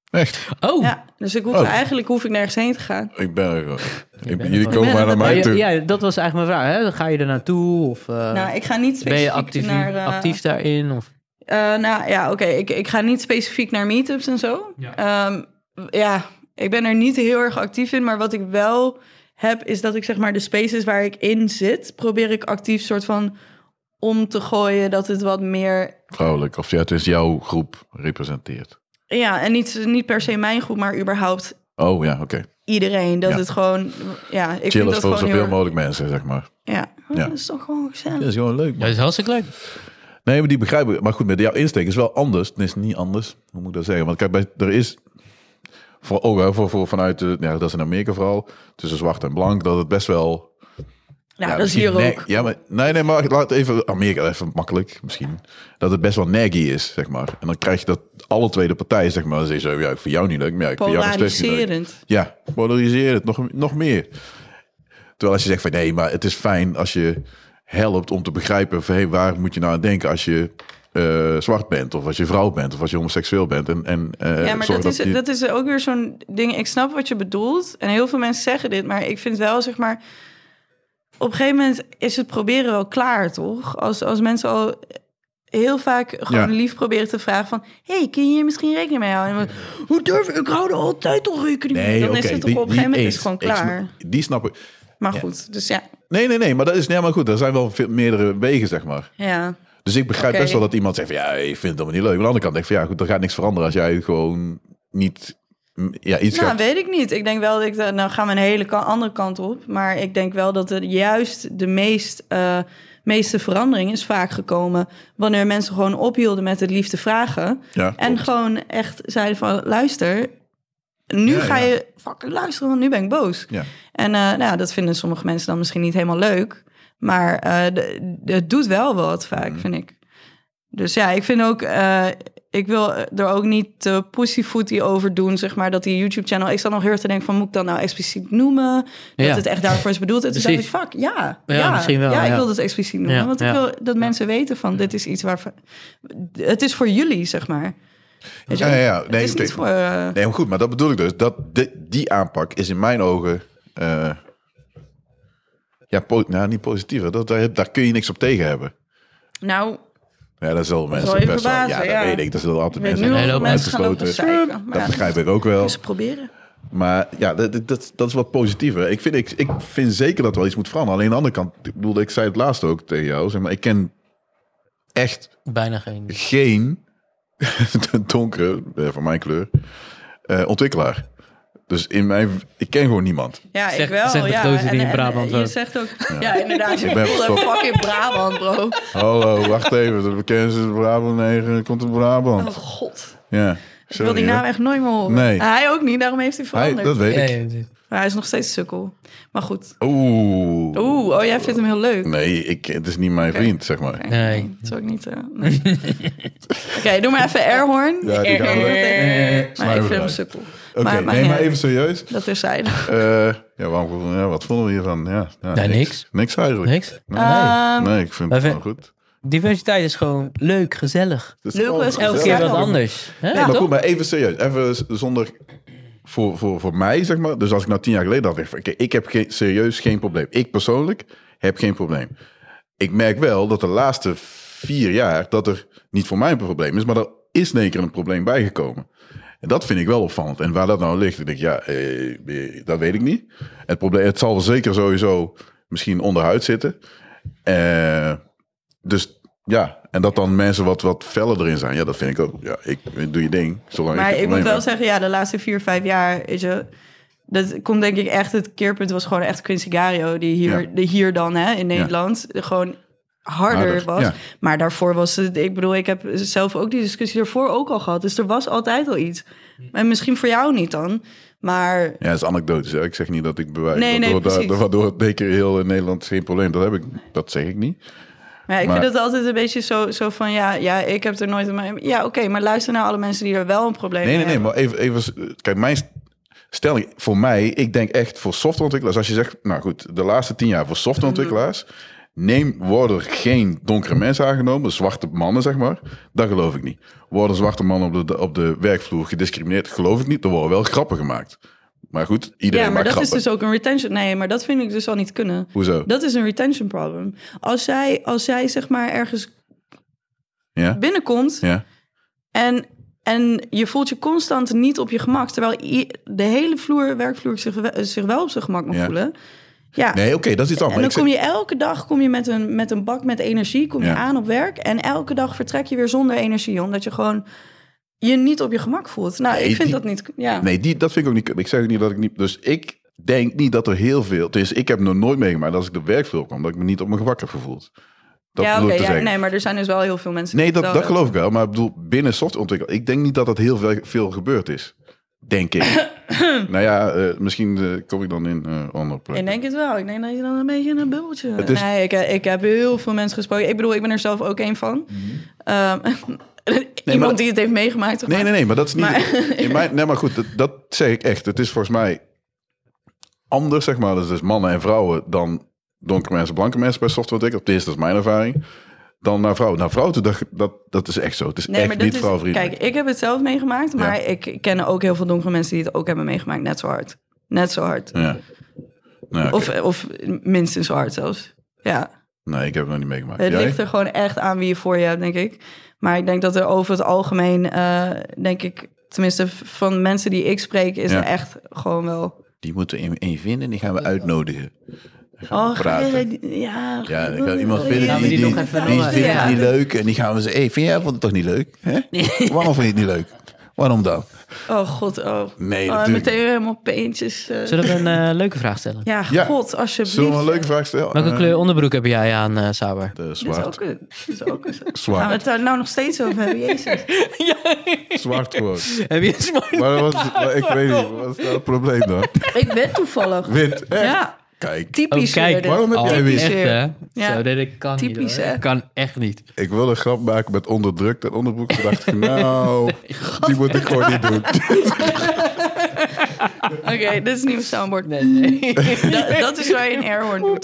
[SPEAKER 1] Echt?
[SPEAKER 2] oh,
[SPEAKER 4] Ja, dus ik hoef,
[SPEAKER 1] Oh.
[SPEAKER 4] eigenlijk hoef ik nergens heen te gaan.
[SPEAKER 1] Ik ben... er gewoon. Ik-
[SPEAKER 2] ben er
[SPEAKER 1] jullie
[SPEAKER 2] gewoon.
[SPEAKER 1] komen maar naar
[SPEAKER 2] Maar
[SPEAKER 1] mij
[SPEAKER 2] je-
[SPEAKER 1] toe.
[SPEAKER 2] ja, dat was eigenlijk mijn vraag. Hè? Dan Ga je er naartoe? Of eh,
[SPEAKER 4] nou, ik ga niet
[SPEAKER 2] ben
[SPEAKER 4] specifiek
[SPEAKER 2] je actief,
[SPEAKER 4] naar... eh,
[SPEAKER 2] actief daarin? Of,
[SPEAKER 4] eh, nou ja, oké. ik, ik ga niet specifiek naar meetups en zo.
[SPEAKER 2] Ja.
[SPEAKER 4] Ehm, ja, ik ben er niet heel erg actief in. Maar wat ik wel heb, is dat ik zeg maar de spaces waar ik in zit... probeer ik actief soort van om te gooien dat het wat meer...
[SPEAKER 1] Vrouwelijk. Of ja, het is jouw groep representeert.
[SPEAKER 4] Ja, en niet, niet per se mijn groep, maar überhaupt
[SPEAKER 1] Oh ja, oké.
[SPEAKER 4] iedereen. Dat
[SPEAKER 1] Ja.
[SPEAKER 4] het gewoon... Ja, ik vind
[SPEAKER 1] Chillen voor
[SPEAKER 4] dat gewoon heel...
[SPEAKER 1] zoveel
[SPEAKER 4] erg-
[SPEAKER 1] mogelijk mensen, zeg maar.
[SPEAKER 4] Ja. Oh,
[SPEAKER 1] Ja.
[SPEAKER 4] dat is toch gewoon gezellig.
[SPEAKER 1] Dat is gewoon leuk, man.
[SPEAKER 2] is hartstikke leuk.
[SPEAKER 1] Nee, maar die begrijp ik. Maar goed, met jouw insteek is wel anders. Het is niet anders. Hoe moet ik dat zeggen? Want kijk, bij, er is. Voor, ook hè, voor, voor, vanuit. De, ja, dat is in Amerika vooral. Tussen zwart en blank. Dat het best wel.
[SPEAKER 4] Nou, dat is
[SPEAKER 1] misschien
[SPEAKER 4] hier ook.
[SPEAKER 1] nag- Ja, maar. Nee, nee, maar laat even. Amerika even makkelijk misschien. Dat het best wel naggy is, zeg maar. En dan krijg je dat alle tweede partijen, zeg maar. Dan zeggen ze, ja, ik vind jou niet leuk. Maar ja, ik vind jou nog steeds niet leuk.
[SPEAKER 4] Polariserend.
[SPEAKER 1] Ja, polariseer het nog, nog meer. Terwijl als je zegt van nee, maar het is fijn als je helpt om te begrijpen van hey, waar moet je nou aan denken als je eh, zwart bent of als je vrouw bent of als je homoseksueel bent. En, en, eh,
[SPEAKER 4] Ja, maar
[SPEAKER 1] zorg
[SPEAKER 4] dat is,
[SPEAKER 1] je-
[SPEAKER 4] dat is ook weer zo'n ding. Ik snap wat je bedoelt. En heel veel mensen zeggen dit, maar ik vind wel, zeg maar... Op een gegeven moment is het proberen wel klaar, toch? Als, als mensen al heel vaak gewoon
[SPEAKER 1] Ja.
[SPEAKER 4] lief proberen te vragen van... hey, kun je hier misschien rekening mee houden? En dan, Hoe durf ik? Ik hou er altijd al rekening mee.
[SPEAKER 1] Nee,
[SPEAKER 4] dan
[SPEAKER 1] oké.
[SPEAKER 4] is het toch
[SPEAKER 1] die-
[SPEAKER 4] op een
[SPEAKER 1] die
[SPEAKER 4] gegeven moment is
[SPEAKER 1] eens.
[SPEAKER 4] het gewoon
[SPEAKER 1] Ik sna-
[SPEAKER 4] klaar.
[SPEAKER 1] die snap ik.
[SPEAKER 4] Maar
[SPEAKER 1] Ja.
[SPEAKER 4] goed, dus ja.
[SPEAKER 1] Nee, nee, nee, maar dat is nee, maar goed. Er zijn wel veel, meerdere wegen, zeg maar.
[SPEAKER 4] ja.
[SPEAKER 1] Dus ik begrijp
[SPEAKER 4] Oké.
[SPEAKER 1] best wel dat iemand zegt van ja, ik vind het allemaal niet leuk. Maar aan de andere kant denk ik van ja, goed, er gaat niks veranderen als jij gewoon niet mm, ja, iets
[SPEAKER 4] Nou,
[SPEAKER 1] gaat.
[SPEAKER 4] weet ik niet. Ik denk wel dat ik... daar- Nou gaan we een hele ka- andere kant op. Maar ik denk wel dat er juist de meest, eh, meeste verandering is vaak gekomen... wanneer mensen gewoon ophielden met het liefde vragen.
[SPEAKER 1] Ja,
[SPEAKER 4] En
[SPEAKER 1] klopt.
[SPEAKER 4] gewoon echt zeiden van... luister, nu
[SPEAKER 1] Ja,
[SPEAKER 4] ga
[SPEAKER 1] ja.
[SPEAKER 4] je fucking luisteren, want nu ben ik boos.
[SPEAKER 1] Ja.
[SPEAKER 4] En eh, nou, ja, dat vinden sommige mensen dan misschien niet helemaal leuk. Maar eh, de- de- het doet wel wat
[SPEAKER 2] Mm.
[SPEAKER 4] vaak, vind ik. Dus ja, ik vind ook... eh, ik wil er ook niet te pussyfooty over doen, zeg maar, dat die YouTube-channel... Ik zat nog heel erg te denken van, moet ik dat nou expliciet noemen? Dat
[SPEAKER 2] Ja.
[SPEAKER 4] het echt daarvoor is bedoeld. En toen dacht ik,
[SPEAKER 2] Precies.
[SPEAKER 4] fuck, ja.
[SPEAKER 2] Ja, misschien wel,
[SPEAKER 4] Ja, ik
[SPEAKER 2] ja.
[SPEAKER 4] wil dat expliciet noemen.
[SPEAKER 2] Ja,
[SPEAKER 4] want
[SPEAKER 2] ja.
[SPEAKER 4] ik wil dat mensen weten van, dit is iets waarvan... Het is voor jullie, zeg maar. Weet je
[SPEAKER 1] Ja,
[SPEAKER 4] wel?
[SPEAKER 1] ja, ja.
[SPEAKER 4] Het
[SPEAKER 1] Nee,
[SPEAKER 4] is niet
[SPEAKER 1] oké.
[SPEAKER 4] voor... eh,
[SPEAKER 1] Nee, maar goed, maar dat bedoel ik dus. Dat, di- die aanpak is in mijn ogen. eh, ja, po- nou, niet positiever. Dat, daar, daar kun je niks op tegen hebben.
[SPEAKER 4] Nou,
[SPEAKER 1] Ja, dat zullen mensen
[SPEAKER 4] zal je
[SPEAKER 1] best wel. Ja, dat
[SPEAKER 4] verbazen, ja.
[SPEAKER 1] weet ik. Dat zullen altijd
[SPEAKER 4] ik weet
[SPEAKER 1] mensen
[SPEAKER 4] nu
[SPEAKER 2] zijn
[SPEAKER 4] al
[SPEAKER 2] helemaal
[SPEAKER 4] mensen gaan lopen
[SPEAKER 1] uitgesloten.
[SPEAKER 4] zeiken. Maar
[SPEAKER 1] Dat
[SPEAKER 4] ja,
[SPEAKER 1] begrijp ik ook wel.
[SPEAKER 4] moeten ze proberen.
[SPEAKER 1] Maar ja, dat, dat- dat, dat is wat positiever. Ik vind, ik, ik vind zeker dat er wel iets moet veranderen. Alleen aan de andere kant, ik bedoel, ik zei het laatst ook tegen jou. Zeg maar, ik ken echt
[SPEAKER 2] Bijna geen.
[SPEAKER 1] geen donkere, eh, van mijn kleur, eh, ontwikkelaar. Dus in mijn, ik ken gewoon niemand.
[SPEAKER 4] Ja,
[SPEAKER 2] Zeg-
[SPEAKER 4] ik wel.
[SPEAKER 2] zeg de
[SPEAKER 4] ja.
[SPEAKER 2] gozer die in
[SPEAKER 4] en-
[SPEAKER 2] Brabant
[SPEAKER 4] en, Je
[SPEAKER 2] woont.
[SPEAKER 4] zegt ook, ja, inderdaad.
[SPEAKER 1] Ik
[SPEAKER 4] Ik
[SPEAKER 1] ben
[SPEAKER 4] ben
[SPEAKER 1] gestopt.
[SPEAKER 4] fucking Brabant, bro.
[SPEAKER 1] Hallo, wacht even. De bekendste is Brabant 9, komt uit Brabant.
[SPEAKER 4] Oh god.
[SPEAKER 1] Ja,
[SPEAKER 4] Ik wil die
[SPEAKER 1] sorry,
[SPEAKER 4] naam
[SPEAKER 1] hè.
[SPEAKER 4] echt nooit meer horen.
[SPEAKER 1] Nee.
[SPEAKER 4] Hij ook niet, daarom heeft hij
[SPEAKER 1] Hij,
[SPEAKER 4] veranderd.
[SPEAKER 1] dat weet ik.
[SPEAKER 2] Nee, dit-
[SPEAKER 4] Maar hij is nog steeds sukkel. Maar goed.
[SPEAKER 1] Oeh.
[SPEAKER 4] Oeh, oh, jij vindt hem heel leuk.
[SPEAKER 1] Nee, ik, het is niet mijn vriend, zeg maar.
[SPEAKER 4] Oké,
[SPEAKER 2] Nee.
[SPEAKER 4] Dat is ook niet... eh, nee. Oké, doe maar even airhorn.
[SPEAKER 1] Ja, die gaan we-
[SPEAKER 4] Maar ik
[SPEAKER 1] Snijden we
[SPEAKER 4] vind hem
[SPEAKER 1] eruit.
[SPEAKER 4] sukkel.
[SPEAKER 1] Oké,
[SPEAKER 4] maar
[SPEAKER 1] nee,
[SPEAKER 4] ja,
[SPEAKER 1] maar even serieus.
[SPEAKER 4] Dat is zij.
[SPEAKER 1] Eh, ja, waarom, ja, wat vonden we hiervan? Ja, ja,
[SPEAKER 2] Ja,
[SPEAKER 1] niks.
[SPEAKER 2] niks.
[SPEAKER 1] Niks eigenlijk.
[SPEAKER 2] Niks?
[SPEAKER 1] Nee,
[SPEAKER 4] Eh,
[SPEAKER 1] nee ik vind het
[SPEAKER 2] Wij
[SPEAKER 1] gewoon
[SPEAKER 2] vind-
[SPEAKER 1] goed.
[SPEAKER 2] Diversiteit is gewoon leuk, gezellig.
[SPEAKER 1] Het
[SPEAKER 4] Leuk
[SPEAKER 1] gewoon
[SPEAKER 4] is elke
[SPEAKER 2] Elke
[SPEAKER 1] gezellig.
[SPEAKER 2] keer
[SPEAKER 4] Ja,
[SPEAKER 2] wat
[SPEAKER 4] toch?
[SPEAKER 2] anders. Hè?
[SPEAKER 1] Nee, maar
[SPEAKER 4] toch?
[SPEAKER 1] goed, maar even serieus. Even z- zonder... Voor, voor, voor mij, zeg maar. Dus als ik nou tien jaar geleden had... dacht ik, Oké, ik heb geen, serieus geen probleem. Ik persoonlijk heb geen probleem. Ik merk wel dat de laatste vier jaar... dat er niet voor mij een probleem is... maar er is in één keer een probleem bijgekomen. En dat vind ik wel opvallend. En waar dat nou ligt, ik denk ja, eh, eh, dat weet ik niet. Het, probleem, het zal zeker sowieso misschien onderhuid zitten. Eh, dus ja, en dat dan mensen wat, wat feller erin zijn. Ja, dat vind ik ook. Ja, ik doe je ding. Zolang
[SPEAKER 4] Maar
[SPEAKER 1] ik
[SPEAKER 4] ik moet wel zeggen, ja, de laatste vier, vijf jaar is er... Dat komt denk ik echt, het keerpunt was gewoon echt Quincy Gario, die hier,
[SPEAKER 1] Ja.
[SPEAKER 4] die hier dan hè, in Nederland gewoon harder
[SPEAKER 1] Harder,
[SPEAKER 4] was.
[SPEAKER 1] ja.
[SPEAKER 4] Maar daarvoor was het, ik bedoel, ik heb zelf ook die discussie daarvoor ook al gehad. Dus er was altijd al iets. En misschien voor jou niet dan, maar
[SPEAKER 1] Ja, het is anekdotisch. hè. Ik zeg niet dat ik bewijs
[SPEAKER 4] Nee,
[SPEAKER 1] dat
[SPEAKER 4] nee,
[SPEAKER 1] door-
[SPEAKER 4] precies.
[SPEAKER 1] dat- waardoor het beker heel in Nederland geen probleem. Dat heb ik, dat zeg ik niet.
[SPEAKER 4] Maar ja, ik
[SPEAKER 1] Maar-
[SPEAKER 4] vind het altijd een beetje zo, zo van, ja, ja, ik heb er nooit een... maar- Ja, oké, maar luister naar alle mensen die er wel een probleem
[SPEAKER 1] Nee,
[SPEAKER 4] mee
[SPEAKER 1] nee, nee.
[SPEAKER 4] hebben.
[SPEAKER 1] Maar even, even kijk, mijn st- stelling voor mij, ik denk echt voor softwareontwikkelaars. Als je zegt, nou goed, de laatste tien jaar voor softwareontwikkelaars.
[SPEAKER 4] Mhm.
[SPEAKER 1] Neem, worden er geen donkere mensen aangenomen, zwarte mannen zeg maar. Dat geloof ik niet. Worden zwarte mannen op de, op de werkvloer gediscrimineerd? Geloof ik niet. Er worden wel grappen gemaakt. Maar goed, iedereen
[SPEAKER 4] Ja, maar
[SPEAKER 1] maakt
[SPEAKER 4] dat is
[SPEAKER 1] grappen.
[SPEAKER 4] dus ook een retention... Nee, maar dat vind ik dus al niet kunnen.
[SPEAKER 1] Hoezo?
[SPEAKER 4] Dat is een retention problem. Als zij, als zij zeg maar ergens
[SPEAKER 1] Ja?
[SPEAKER 4] binnenkomt
[SPEAKER 1] Ja?
[SPEAKER 4] en, en je voelt je constant niet op je gemak... terwijl i- de hele vloer, werkvloer zich, we- zich wel op zijn gemak mag
[SPEAKER 1] Ja.
[SPEAKER 4] voelen... Ja,
[SPEAKER 1] Nee, oké, dat is iets
[SPEAKER 4] en
[SPEAKER 1] anders.
[SPEAKER 4] dan
[SPEAKER 1] Ik zeg-
[SPEAKER 4] kom je elke dag kom je met, een, met een bak met energie kom je
[SPEAKER 1] Ja.
[SPEAKER 4] aan op werk. En elke dag vertrek je weer zonder energie. Omdat je gewoon je niet op je gemak voelt. Nou,
[SPEAKER 1] Nee,
[SPEAKER 4] ik vind
[SPEAKER 1] die-
[SPEAKER 4] dat niet... Ja.
[SPEAKER 1] Nee, die, dat vind ik ook niet. Ik zeg ook niet dat ik niet. Dus ik denk niet dat er heel veel. Dus ik heb nog nooit meegemaakt dat als ik de werkvloer kwam, dat ik me niet op mijn gemak heb gevoeld. Dat
[SPEAKER 4] ja,
[SPEAKER 1] bedoel
[SPEAKER 4] oké.
[SPEAKER 1] ik te
[SPEAKER 4] ja,
[SPEAKER 1] zeggen.
[SPEAKER 4] nee, maar er zijn dus wel heel veel mensen...
[SPEAKER 1] Nee,
[SPEAKER 4] die
[SPEAKER 1] dat,
[SPEAKER 4] het
[SPEAKER 1] dat
[SPEAKER 4] wel
[SPEAKER 1] geloof ik wel. Maar ik bedoel, binnen softwareontwikkeling, ik denk niet dat dat heel veel, veel gebeurd is. Denk ik. nou ja, eh, misschien eh, kom ik dan in eh andere
[SPEAKER 4] hebben. Ik
[SPEAKER 1] plekken.
[SPEAKER 4] denk het wel. Ik denk dat je dan een beetje in een bubbeltje...
[SPEAKER 1] Het is-
[SPEAKER 4] Nee, ik, ik heb heel veel mensen gesproken. Ik bedoel, ik ben er zelf ook één van. Ehm, iemand
[SPEAKER 1] Mhm. maar-
[SPEAKER 4] die het heeft meegemaakt. zeg
[SPEAKER 1] Nee,
[SPEAKER 4] maar.
[SPEAKER 1] nee, nee, maar dat is niet.
[SPEAKER 4] Maar-
[SPEAKER 1] in mijn, nee, maar goed, dat, dat zeg ik echt. Het is volgens mij anders, zeg maar. Dus, dus mannen en vrouwen dan donkere mensen, blanke mensen bij softwareontwikkeling. Tenminste, dat is mijn ervaring. Dan naar vrouwen. Naar vrouwen toe, dat, dat, dat is echt zo. Het is
[SPEAKER 4] Nee,
[SPEAKER 1] echt niet
[SPEAKER 4] is,
[SPEAKER 1] vrouwvriendelijk.
[SPEAKER 4] Kijk, ik heb het zelf meegemaakt, maar ik ken ook heel veel donkere mensen die het ook hebben meegemaakt. Net zo hard. Net zo hard.
[SPEAKER 1] Ja. Nou, oké.
[SPEAKER 4] Of, of minstens zo hard zelfs. Ja,
[SPEAKER 1] nee, ik heb het nog niet meegemaakt.
[SPEAKER 4] het
[SPEAKER 1] Jij?
[SPEAKER 4] ligt er gewoon echt aan wie je voor je hebt, denk ik. Maar ik denk dat er over het algemeen, eh, denk ik, tenminste v- van mensen die ik spreek, is
[SPEAKER 1] Ja.
[SPEAKER 4] er echt gewoon wel.
[SPEAKER 1] Die moeten we in- in vinden, die gaan we uitnodigen. Dan gaan we
[SPEAKER 4] Oh, ga
[SPEAKER 1] praten.
[SPEAKER 4] je- ja.
[SPEAKER 1] Ja, ik wil iemand vinden
[SPEAKER 2] Gaan
[SPEAKER 1] die,
[SPEAKER 2] we
[SPEAKER 1] die,
[SPEAKER 2] die
[SPEAKER 1] die,
[SPEAKER 2] nog even noemen?
[SPEAKER 1] vindt het
[SPEAKER 4] Ja.
[SPEAKER 1] niet leuk. En die gaan we zeggen, hey, vind jij vond het toch niet leuk? Hè? Waarom vind je het niet leuk? Waarom dan?
[SPEAKER 4] Oh, god, oh.
[SPEAKER 1] Nee,
[SPEAKER 4] Oh,
[SPEAKER 1] natuurlijk
[SPEAKER 4] meteen weer helemaal peentjes. eh.
[SPEAKER 2] Zullen we een eh, leuke vraag stellen?
[SPEAKER 4] Ja,
[SPEAKER 1] Ja.
[SPEAKER 4] god, alsjeblieft.
[SPEAKER 1] Zullen we een leuke vraag stellen?
[SPEAKER 2] Welke
[SPEAKER 1] Eh,
[SPEAKER 2] kleur onderbroek heb jij aan, eh Saber?
[SPEAKER 1] De
[SPEAKER 4] Dit is
[SPEAKER 1] zwart.
[SPEAKER 4] ook een... Dit is ook een Gaan we
[SPEAKER 1] Zwart.
[SPEAKER 4] het daar nou nog steeds over hebben, jezus.
[SPEAKER 1] Zwart gewoon.
[SPEAKER 2] Heb je een smart?
[SPEAKER 1] Maar wat is- maar ik weet niet, wat is nou het probleem dan?
[SPEAKER 4] Ik ben toevallig.
[SPEAKER 1] Wit. Echt?
[SPEAKER 4] Ja,
[SPEAKER 1] Kijk,
[SPEAKER 4] typisch
[SPEAKER 2] Oh, kijk,
[SPEAKER 4] weer dit.
[SPEAKER 1] waarom heb jij
[SPEAKER 2] echt,
[SPEAKER 1] weer...
[SPEAKER 4] weer.
[SPEAKER 2] hè?
[SPEAKER 4] Ja.
[SPEAKER 2] Zo, nee, dat kan
[SPEAKER 4] Typisch,
[SPEAKER 2] niet, hoor.
[SPEAKER 4] hè?
[SPEAKER 2] Dat kan echt niet.
[SPEAKER 1] Ik wil een grap maken met onderdrukt en onderbroek. Toen dacht ik, nou, die moet ik gewoon niet doen.
[SPEAKER 4] Oké, dit is niet mijn soundboard.
[SPEAKER 2] Nee, nee.
[SPEAKER 4] Dat, dat is waar je een airhorn doet.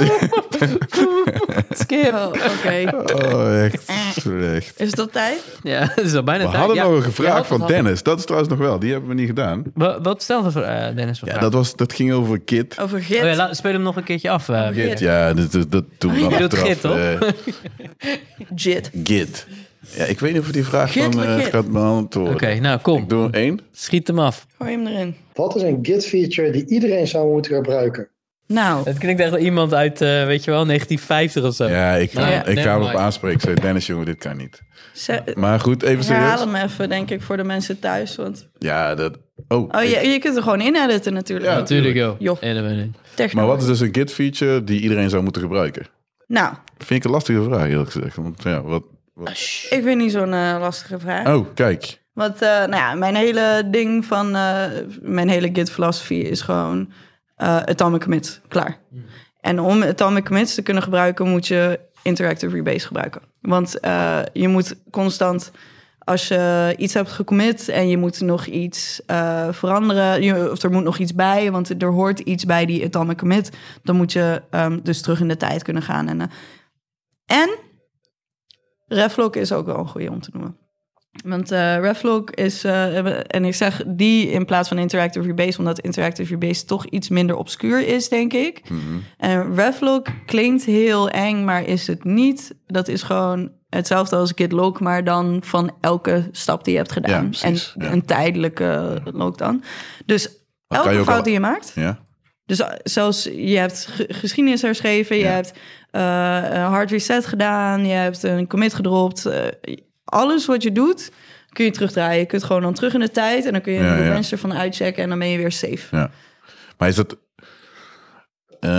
[SPEAKER 2] Skip.
[SPEAKER 4] Oh, Oké.
[SPEAKER 1] Oh, echt slecht.
[SPEAKER 4] Is het al tijd?
[SPEAKER 2] Ja, dat is al bijna
[SPEAKER 1] We
[SPEAKER 2] tijd.
[SPEAKER 1] hadden
[SPEAKER 2] Ja,
[SPEAKER 1] nog een
[SPEAKER 2] je
[SPEAKER 1] gevraag
[SPEAKER 2] had
[SPEAKER 1] van
[SPEAKER 2] nog wat.
[SPEAKER 1] Dennis. Dat is trouwens nog wel. Die hebben we niet gedaan.
[SPEAKER 2] Wa- Wat stelde voor, eh, Dennis voor
[SPEAKER 1] Ja,
[SPEAKER 2] vraag?
[SPEAKER 1] dat, was, dat ging over Kit.
[SPEAKER 4] Over Git?
[SPEAKER 2] Oh ja, laat- speel hem nog een keertje af. eh.
[SPEAKER 4] Git.
[SPEAKER 1] Git, ja, dat, dat, dat doen we dan
[SPEAKER 2] Je doet
[SPEAKER 1] achteraf,
[SPEAKER 2] Git, toch?
[SPEAKER 1] eh,
[SPEAKER 4] Git.
[SPEAKER 1] Git. Ja, ik weet niet of we die vraag
[SPEAKER 4] Git,
[SPEAKER 1] dan eh,
[SPEAKER 4] Git.
[SPEAKER 1] gaat beantwoorden.
[SPEAKER 2] Oké, nou kom.
[SPEAKER 1] Ik doe er één.
[SPEAKER 2] Schiet hem af.
[SPEAKER 4] Gooi hem erin.
[SPEAKER 5] Wat is een Git-feature die iedereen zou moeten gebruiken?
[SPEAKER 4] Nou,
[SPEAKER 2] Het klinkt echt wel iemand uit, eh, weet je wel, 1950 of zo.
[SPEAKER 1] Ja, ik ga,
[SPEAKER 2] Nou ja,
[SPEAKER 1] ik
[SPEAKER 2] never
[SPEAKER 1] ga hem op
[SPEAKER 2] mind.
[SPEAKER 1] aanspreken. Ik Zeg, Dennis, jongen, dit kan niet.
[SPEAKER 4] ze-
[SPEAKER 1] Maar goed, even
[SPEAKER 4] herhaal
[SPEAKER 1] serieus.
[SPEAKER 4] hem even, denk ik, voor de mensen thuis. Want...
[SPEAKER 1] Ja, dat... Oh,
[SPEAKER 4] Oh,
[SPEAKER 1] ik-
[SPEAKER 4] je, je kunt er gewoon in editen natuurlijk.
[SPEAKER 1] Ja.
[SPEAKER 2] Natuurlijk, joh.
[SPEAKER 4] Joh.
[SPEAKER 2] En dan ben ik-
[SPEAKER 4] Techno.
[SPEAKER 1] maar wat is dus een Git-feature die iedereen zou moeten gebruiken?
[SPEAKER 4] Nou,
[SPEAKER 1] Vind ik een lastige vraag, eerlijk gezegd. Want ja, wat... wat...
[SPEAKER 4] ik vind niet zo'n eh, lastige vraag.
[SPEAKER 1] Oh, kijk.
[SPEAKER 4] Want eh, nou ja, mijn hele ding van eh, mijn hele git philosophy is gewoon eh atomic commits, klaar. En om atomic commits te kunnen gebruiken, moet je interactive rebase gebruiken. Want eh, je moet constant, als je iets hebt gecommit en je moet nog iets eh, veranderen, je, of er moet nog iets bij, want er hoort iets bij die atomic commit, dan moet je ehm, dus terug in de tijd kunnen gaan. En, eh, en Reflock is ook wel een goede om te noemen. Want eh Revlog is, eh, en ik zeg die in plaats van Interactive Rebase, omdat Interactive Rebase toch iets minder obscuur is, denk ik.
[SPEAKER 1] Mhm.
[SPEAKER 4] En Revlog klinkt heel eng, maar is het niet. Dat is gewoon hetzelfde als Gitlog, maar dan van elke stap die je hebt gedaan.
[SPEAKER 1] Ja, precies,
[SPEAKER 4] en
[SPEAKER 1] ja.
[SPEAKER 4] een tijdelijke log dan. Dus
[SPEAKER 1] kan je
[SPEAKER 4] elke
[SPEAKER 1] ook
[SPEAKER 4] fout
[SPEAKER 1] al-
[SPEAKER 4] die je maakt,
[SPEAKER 1] Ja?
[SPEAKER 4] dus eh, zelfs je hebt ge- geschiedenis herschreven, je
[SPEAKER 1] Ja.
[SPEAKER 4] hebt eh, een hard reset gedaan, je hebt een commit gedropt. eh, alles wat je doet, kun je terugdraaien. Je kunt gewoon dan terug in de tijd en dan kun je
[SPEAKER 1] Ja,
[SPEAKER 4] de
[SPEAKER 1] ja.
[SPEAKER 4] mensen ervan uitchecken en dan ben je weer safe.
[SPEAKER 1] Ja. Maar is dat... eh,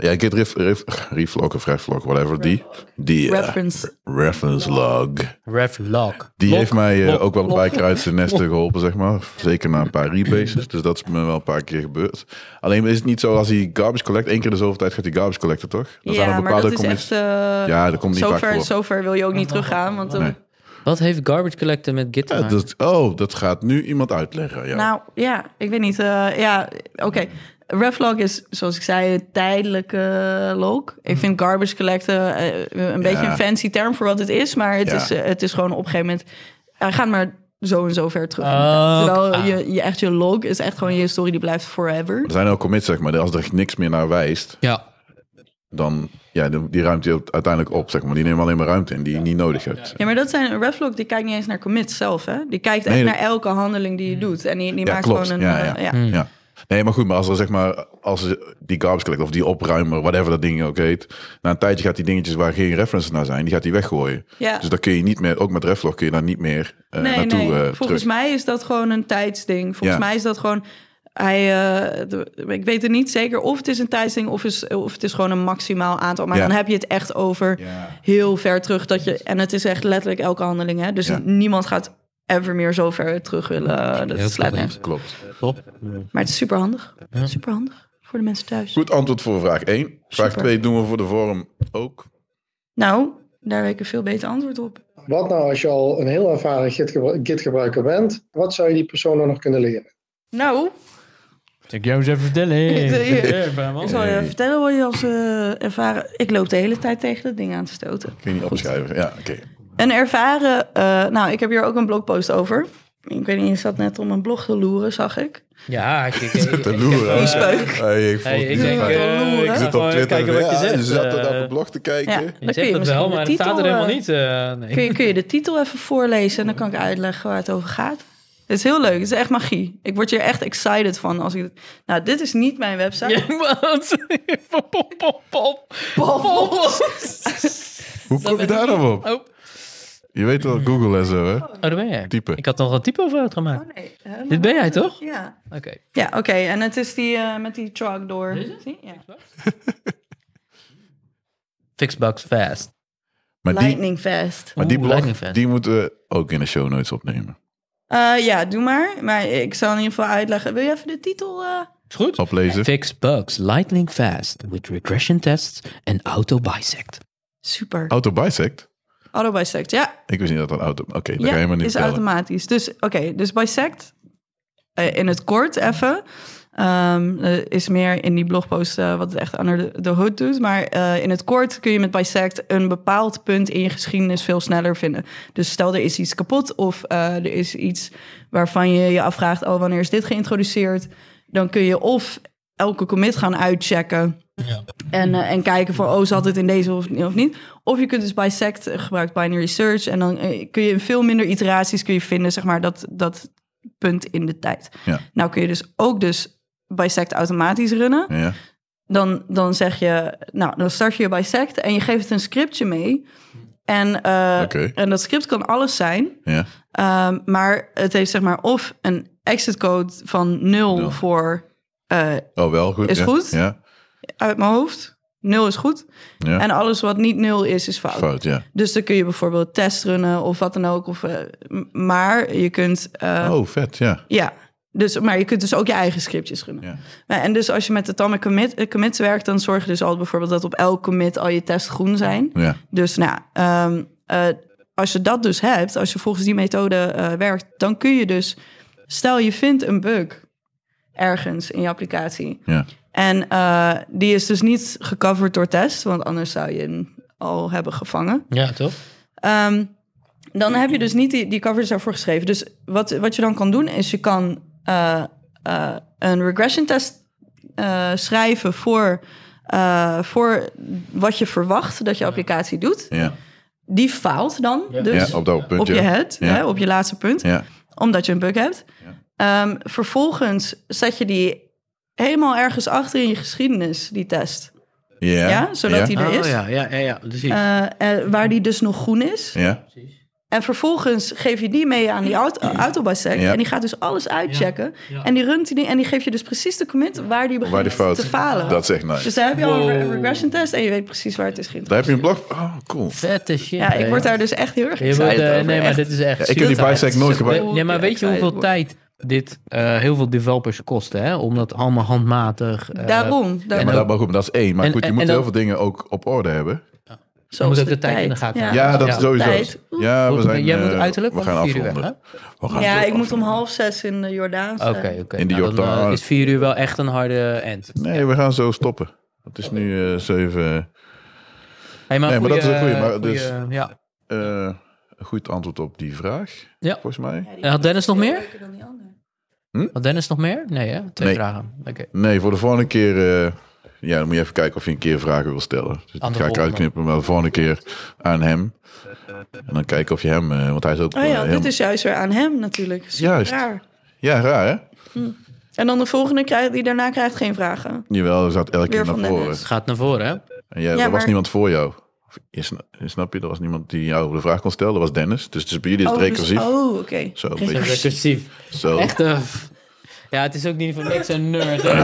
[SPEAKER 1] ja, Git ref, ref, reflog of reflog, whatever. Die, die eh,
[SPEAKER 4] Reference.
[SPEAKER 1] reference log.
[SPEAKER 2] Revlog.
[SPEAKER 1] Die
[SPEAKER 2] Log.
[SPEAKER 1] heeft mij eh,
[SPEAKER 2] Log.
[SPEAKER 1] ook wel een
[SPEAKER 2] Log.
[SPEAKER 1] paar keer uit zijn nesten geholpen, zeg maar. Zeker na een paar rebases. Dus dat is me wel een paar keer gebeurd. Alleen is het niet zo als hij garbage collect. Eén keer in de zoveel tijd gaat hij garbage collecten, toch? Dan zijn
[SPEAKER 4] Ja,
[SPEAKER 1] er
[SPEAKER 4] maar dat is
[SPEAKER 1] commits-
[SPEAKER 4] echt... eh,
[SPEAKER 1] Ja, dat komt niet
[SPEAKER 4] zo
[SPEAKER 1] vaak
[SPEAKER 4] ver,
[SPEAKER 1] voor.
[SPEAKER 4] zo ver wil je ook niet teruggaan, want dan...
[SPEAKER 1] Nee.
[SPEAKER 2] Wat heeft Garbage Collector met Git te
[SPEAKER 1] Ja,
[SPEAKER 2] maken?
[SPEAKER 1] dat, oh, dat gaat nu iemand uitleggen. Ja.
[SPEAKER 4] Nou ja, ik weet niet. eh, ja, oké. Revlog is, zoals ik zei, een tijdelijke log. Ik
[SPEAKER 1] Mhm.
[SPEAKER 4] vind garbage collecten eh, een beetje een fancy term voor wat het is. Maar het,
[SPEAKER 1] Ja.
[SPEAKER 4] is, eh, het is gewoon op een gegeven moment... eh, gaat maar zo en zo ver terug. in de
[SPEAKER 2] Oh,
[SPEAKER 4] tijd. Terwijl
[SPEAKER 2] ah.
[SPEAKER 4] je, je echt je log is echt gewoon je historie die blijft forever.
[SPEAKER 1] Er zijn ook commits, zeg maar. Als er niks meer naar wijst,
[SPEAKER 2] Ja.
[SPEAKER 1] dan ja, die die ruimt hij uiteindelijk op, zeg maar. Die nemen alleen maar ruimte in die je niet nodig hebt.
[SPEAKER 4] Ja, maar dat zijn een revlog die kijkt niet eens naar commits zelf, hè? Die kijkt echt
[SPEAKER 1] Nee, dat- Mm.
[SPEAKER 4] naar elke handeling die je doet. En die, die
[SPEAKER 1] Ja,
[SPEAKER 4] maakt
[SPEAKER 1] klopt.
[SPEAKER 4] gewoon een...
[SPEAKER 1] Ja,
[SPEAKER 4] eh,
[SPEAKER 1] ja.
[SPEAKER 4] ja.
[SPEAKER 1] Ja. Nee, maar goed, maar als er zeg maar, als er die garbage collect of die opruimer, whatever dat ding ook heet, na een tijdje gaat die dingetjes waar geen references naar zijn, die gaat hij weggooien.
[SPEAKER 4] Ja.
[SPEAKER 1] Dus dan kun je niet meer, ook met reflog kun je daar niet meer eh,
[SPEAKER 4] Nee,
[SPEAKER 1] naartoe
[SPEAKER 4] nee.
[SPEAKER 1] eh,
[SPEAKER 4] Volgens
[SPEAKER 1] terug.
[SPEAKER 4] mij is dat gewoon een tijdsding. Volgens
[SPEAKER 1] Ja.
[SPEAKER 4] mij is dat gewoon. Hij, eh, de- ik weet het niet zeker of het is een tijdsding of, is, of het is gewoon een maximaal aantal. Maar
[SPEAKER 1] Ja.
[SPEAKER 4] dan heb je het echt over
[SPEAKER 1] Ja.
[SPEAKER 4] heel ver terug. Dat je, en het is echt letterlijk elke handeling. Hè? Dus
[SPEAKER 1] Ja.
[SPEAKER 4] niemand gaat ever meer zo ver terug willen. Dat
[SPEAKER 2] Heel
[SPEAKER 4] slaat
[SPEAKER 2] goed.
[SPEAKER 4] nergens. op.
[SPEAKER 1] Klopt.
[SPEAKER 2] Top.
[SPEAKER 4] Maar het is super handig. Super handig voor de mensen thuis.
[SPEAKER 1] Goed antwoord voor vraag 1. Vraag
[SPEAKER 4] Super.
[SPEAKER 1] 2 doen we voor de vorm ook.
[SPEAKER 4] Nou, daar weet ik een veel beter antwoord op.
[SPEAKER 5] Wat nou als je al een heel ervaren Git- Git-gebruiker bent? Wat zou je die persoon dan nog kunnen leren?
[SPEAKER 4] Nou,
[SPEAKER 2] Ik jou eens even vertellen.
[SPEAKER 4] Ik doe hier. ik zal je
[SPEAKER 1] Nee.
[SPEAKER 4] vertellen wat je als eh, ervaren. Ik loop de hele tijd tegen dat ding aan te stoten.
[SPEAKER 1] Kun je niet opschrijven. Ja, oké.
[SPEAKER 4] Een ervaren, eh, nou, ik heb hier ook een blogpost over. Ik weet niet, je zat net om een blog te loeren, zag ik.
[SPEAKER 2] Ja, ik... ik, ik,
[SPEAKER 1] De loer, hè?
[SPEAKER 4] Die speuk.
[SPEAKER 1] Hey, ik, vond
[SPEAKER 2] Hey,
[SPEAKER 1] het
[SPEAKER 2] ik
[SPEAKER 1] niet
[SPEAKER 2] denk,
[SPEAKER 1] fijn.
[SPEAKER 4] eh,
[SPEAKER 2] uh,
[SPEAKER 4] Ik
[SPEAKER 1] je zit op Twitter.
[SPEAKER 2] kijken wat je
[SPEAKER 1] ja,
[SPEAKER 2] zegt.
[SPEAKER 1] je zat
[SPEAKER 2] eh.
[SPEAKER 1] op mijn blog te kijken.
[SPEAKER 4] Ja.
[SPEAKER 2] Je
[SPEAKER 4] Dan kun
[SPEAKER 2] zegt
[SPEAKER 4] je
[SPEAKER 2] het
[SPEAKER 4] misschien
[SPEAKER 2] wel,
[SPEAKER 4] de
[SPEAKER 2] maar het staat er
[SPEAKER 4] titel,
[SPEAKER 2] helemaal
[SPEAKER 4] eh,
[SPEAKER 2] niet. eh, nee.
[SPEAKER 4] Kun je, kun je de titel even voorlezen en dan kan ik uitleggen waar het over gaat. Het is heel leuk, het is echt magie. Ik word hier echt excited van. Als ik... Nou, dit is niet mijn website.
[SPEAKER 2] Ja, wat? Pop, pop, pop, pop.
[SPEAKER 4] Pop, pop.
[SPEAKER 1] Hoe kom je daar dan op?
[SPEAKER 2] Oh,
[SPEAKER 1] Je weet wel, Google en zo, hè?
[SPEAKER 2] oh, daar ben jij.
[SPEAKER 1] Typen.
[SPEAKER 2] Ik had nog een typo fout gemaakt.
[SPEAKER 4] Oh, nee. hè,
[SPEAKER 2] Dit ben jij toch?
[SPEAKER 4] Ja,
[SPEAKER 2] Oké.
[SPEAKER 4] ja oké. En het is die eh, met die truck door. Zie? Ja.
[SPEAKER 2] Fix bugs fast.
[SPEAKER 1] Maar die,
[SPEAKER 4] Lightning Fast.
[SPEAKER 1] maar die
[SPEAKER 2] Oeh,
[SPEAKER 1] blog,
[SPEAKER 2] lightning fast.
[SPEAKER 1] die moeten we ook in de show notes opnemen.
[SPEAKER 4] Eh, ja, doe maar. Maar ik zal in ieder geval uitleggen. Wil je even de titel... eh,
[SPEAKER 2] Is goed?
[SPEAKER 1] Oplezen.
[SPEAKER 2] Fix bugs lightning fast with regression tests en auto bisect.
[SPEAKER 4] Super.
[SPEAKER 1] Autobisect?
[SPEAKER 4] Auto bisect, ja.
[SPEAKER 1] Ik wist niet dat dat auto... Oké, dat ga
[SPEAKER 4] Ja,
[SPEAKER 1] je maar niet
[SPEAKER 4] is
[SPEAKER 1] vertellen.
[SPEAKER 4] automatisch. Dus oké, dus bisect eh, in het kort even. Ehm, eh, is meer in die blogpost eh, wat het echt under the- the hood doet. Maar eh, in het kort kun je met Bisect een bepaald punt in je geschiedenis veel sneller vinden. Dus stel er is iets kapot of eh, er is iets waarvan je je afvraagt... oh, wanneer is dit geïntroduceerd? Dan kun je of elke commit gaan uitchecken... En, eh, en kijken van, oh, zat het in deze of, of niet? Of je kunt dus bisect, eh, gebruikt binary search. En dan eh, kun je in veel minder iteraties kun je vinden, zeg maar, dat, dat punt in de tijd.
[SPEAKER 1] Ja.
[SPEAKER 4] Nou kun je dus ook dus bisect automatisch runnen.
[SPEAKER 1] Ja.
[SPEAKER 4] Dan, dan zeg je, nou, dan start je je bisect en je geeft het een scriptje mee. En, eh,
[SPEAKER 1] Oké.
[SPEAKER 4] en dat script kan alles zijn.
[SPEAKER 1] Ja.
[SPEAKER 4] Ehm, maar het heeft zeg maar of een exit code van 0
[SPEAKER 1] Nul.
[SPEAKER 4] voor eh,
[SPEAKER 1] Oh, wel goed.
[SPEAKER 4] Is
[SPEAKER 1] ja.
[SPEAKER 4] goed?
[SPEAKER 1] Ja.
[SPEAKER 4] uit mijn hoofd. 0 is goed.
[SPEAKER 1] Ja.
[SPEAKER 4] En alles wat niet 0 is, is fout.
[SPEAKER 1] Fout, ja.
[SPEAKER 4] Dus dan kun je bijvoorbeeld testrunnen of wat dan ook. Of, eh, m- maar je kunt. eh,
[SPEAKER 1] Oh, vet, ja.
[SPEAKER 4] Ja. Dus, maar je kunt dus ook je eigen scriptjes runnen.
[SPEAKER 1] Ja.
[SPEAKER 4] Nou, en dus als je met de Atomic commit, eh, commits werkt, dan zorg je dus al bijvoorbeeld dat op elk commit al je tests groen zijn.
[SPEAKER 1] Ja.
[SPEAKER 4] Dus nou, ja, ehm, eh, als je dat dus hebt, als je volgens die methode eh, werkt, dan kun je dus, stel je vindt een bug ergens in je applicatie.
[SPEAKER 1] Ja.
[SPEAKER 4] En eh, die is dus niet gecoverd door test, want anders zou je hem al hebben gevangen.
[SPEAKER 2] Ja, toch?
[SPEAKER 4] Ehm, dan heb je dus niet die, die coverage daarvoor geschreven. Dus wat, wat je dan kan doen, is je kan eh, eh, een regression test eh, schrijven voor, eh, voor wat je verwacht dat je applicatie doet.
[SPEAKER 1] Ja.
[SPEAKER 4] Die faalt dan dus
[SPEAKER 1] ja, op dat punt,
[SPEAKER 4] op je
[SPEAKER 1] ja.
[SPEAKER 4] head,
[SPEAKER 1] Ja.
[SPEAKER 4] hè, op je laatste punt,
[SPEAKER 1] Ja.
[SPEAKER 4] omdat je een bug hebt. Ehm, vervolgens zet je die helemaal ergens achter in je geschiedenis, die test.
[SPEAKER 1] Ja.
[SPEAKER 4] Ja, zodat die er
[SPEAKER 2] Oh,
[SPEAKER 4] is.
[SPEAKER 2] ja, ja, ja, ja, precies.
[SPEAKER 4] Eh, eh, waar die dus nog groen is.
[SPEAKER 1] Ja.
[SPEAKER 4] En vervolgens geef je die mee aan die auto, autobisect.
[SPEAKER 1] Ja.
[SPEAKER 4] En die gaat dus alles uitchecken.
[SPEAKER 2] Ja.
[SPEAKER 4] En die runt die en die geeft je dus precies de commit waar die begint
[SPEAKER 1] Waar die fout.
[SPEAKER 4] te falen.
[SPEAKER 1] Dat is echt nice.
[SPEAKER 4] Dus daar heb je al een
[SPEAKER 2] Wow.
[SPEAKER 4] re- een regression test en je weet precies waar het is geïnteresseerd.
[SPEAKER 1] Daar heb je een blog. Oh, cool.
[SPEAKER 2] Vette shit.
[SPEAKER 4] Ja, ik
[SPEAKER 2] hè.
[SPEAKER 4] word daar dus echt heel erg
[SPEAKER 2] Je
[SPEAKER 4] excited
[SPEAKER 2] wordt, eh,
[SPEAKER 4] over.
[SPEAKER 2] nee, maar
[SPEAKER 4] Echt.
[SPEAKER 2] dit is echt.
[SPEAKER 1] ik heb die
[SPEAKER 2] ziek.
[SPEAKER 1] bisect nooit gebruikt.
[SPEAKER 2] Nee, maar
[SPEAKER 4] Ja,
[SPEAKER 2] weet je hoeveel
[SPEAKER 4] excited.
[SPEAKER 2] tijd dit eh, heel veel developers kosten, hè? Om dat allemaal handmatig. eh,
[SPEAKER 4] Daarom.
[SPEAKER 1] Ja,
[SPEAKER 4] daarom.
[SPEAKER 1] maar, dat, maar goed, maar dat is één. Maar
[SPEAKER 2] En-
[SPEAKER 1] goed, je
[SPEAKER 2] en-
[SPEAKER 1] moet
[SPEAKER 2] en
[SPEAKER 1] heel
[SPEAKER 2] dan-
[SPEAKER 1] veel dingen ook op orde hebben.
[SPEAKER 4] Zoals
[SPEAKER 2] ook de tijd in de gaten
[SPEAKER 4] Ja,
[SPEAKER 2] houden.
[SPEAKER 1] Ja, dat
[SPEAKER 2] ja.
[SPEAKER 1] is sowieso.
[SPEAKER 4] Tijd.
[SPEAKER 1] Ja, we
[SPEAKER 2] Goed,
[SPEAKER 1] zijn,
[SPEAKER 2] jij moet
[SPEAKER 1] eh,
[SPEAKER 2] uiterlijk
[SPEAKER 1] we
[SPEAKER 2] om
[SPEAKER 1] gaan
[SPEAKER 2] vier uur weg,
[SPEAKER 1] afronden. We gaan
[SPEAKER 4] ja
[SPEAKER 1] zo
[SPEAKER 4] ik moet om
[SPEAKER 1] afronden.
[SPEAKER 4] half zes in de Jordaan
[SPEAKER 2] Oké,
[SPEAKER 4] zijn.
[SPEAKER 2] oké.
[SPEAKER 1] In de
[SPEAKER 2] Nou, dan eh,
[SPEAKER 1] Jordaan.
[SPEAKER 2] is vier uur wel echt een harde end.
[SPEAKER 1] Nee, we gaan zo stoppen. Het is nu eh, zeven.
[SPEAKER 2] Hey,
[SPEAKER 1] Nee, maar dat is een goeie,
[SPEAKER 2] eh,
[SPEAKER 1] maar dus-
[SPEAKER 2] goeie, eh, ja.
[SPEAKER 1] eh, een goed antwoord op die vraag.
[SPEAKER 2] Ja.
[SPEAKER 1] Volgens mij.
[SPEAKER 2] En had Dennis nog meer?
[SPEAKER 4] Leuker dan die andere.
[SPEAKER 2] Had Dennis nog meer? Nee, hè? Twee
[SPEAKER 1] Nee.
[SPEAKER 2] vragen. Oké.
[SPEAKER 1] Nee, voor de volgende keer. eh, ja, dan moet je even kijken of je een keer vragen wil stellen. Dus dat
[SPEAKER 2] Andere
[SPEAKER 1] ga ik
[SPEAKER 2] volgende.
[SPEAKER 1] uitknippen, maar de volgende keer aan hem. En dan kijken of je hem. eh, want hij is ook.
[SPEAKER 4] Oh
[SPEAKER 1] eh,
[SPEAKER 4] ja,
[SPEAKER 1] heel-
[SPEAKER 4] dit is juist weer aan hem natuurlijk. Super
[SPEAKER 1] Juist.
[SPEAKER 4] raar.
[SPEAKER 1] ja, raar hè?
[SPEAKER 4] En dan de volgende krijgt, die daarna krijgt geen vragen.
[SPEAKER 1] Jawel, er zat elke
[SPEAKER 4] Weer
[SPEAKER 1] keer naar
[SPEAKER 4] van
[SPEAKER 1] voren.
[SPEAKER 4] Dennis.
[SPEAKER 2] Gaat naar voren, hè?
[SPEAKER 1] En jij,
[SPEAKER 4] Ja,
[SPEAKER 1] er was
[SPEAKER 4] maar-
[SPEAKER 1] niemand voor jou. Of, je sna- snap je? Er was niemand die jou de vraag kon stellen. Dat was Dennis. Dus, dus bij jullie is het
[SPEAKER 4] Oh, dus-
[SPEAKER 1] recursief.
[SPEAKER 4] oh, oké.
[SPEAKER 1] Zo, een
[SPEAKER 2] Zo
[SPEAKER 1] beetje.
[SPEAKER 2] recursief.
[SPEAKER 1] Zo.
[SPEAKER 2] Echt eh, f- Ja, het is ook niet voor niks een nerd. hè.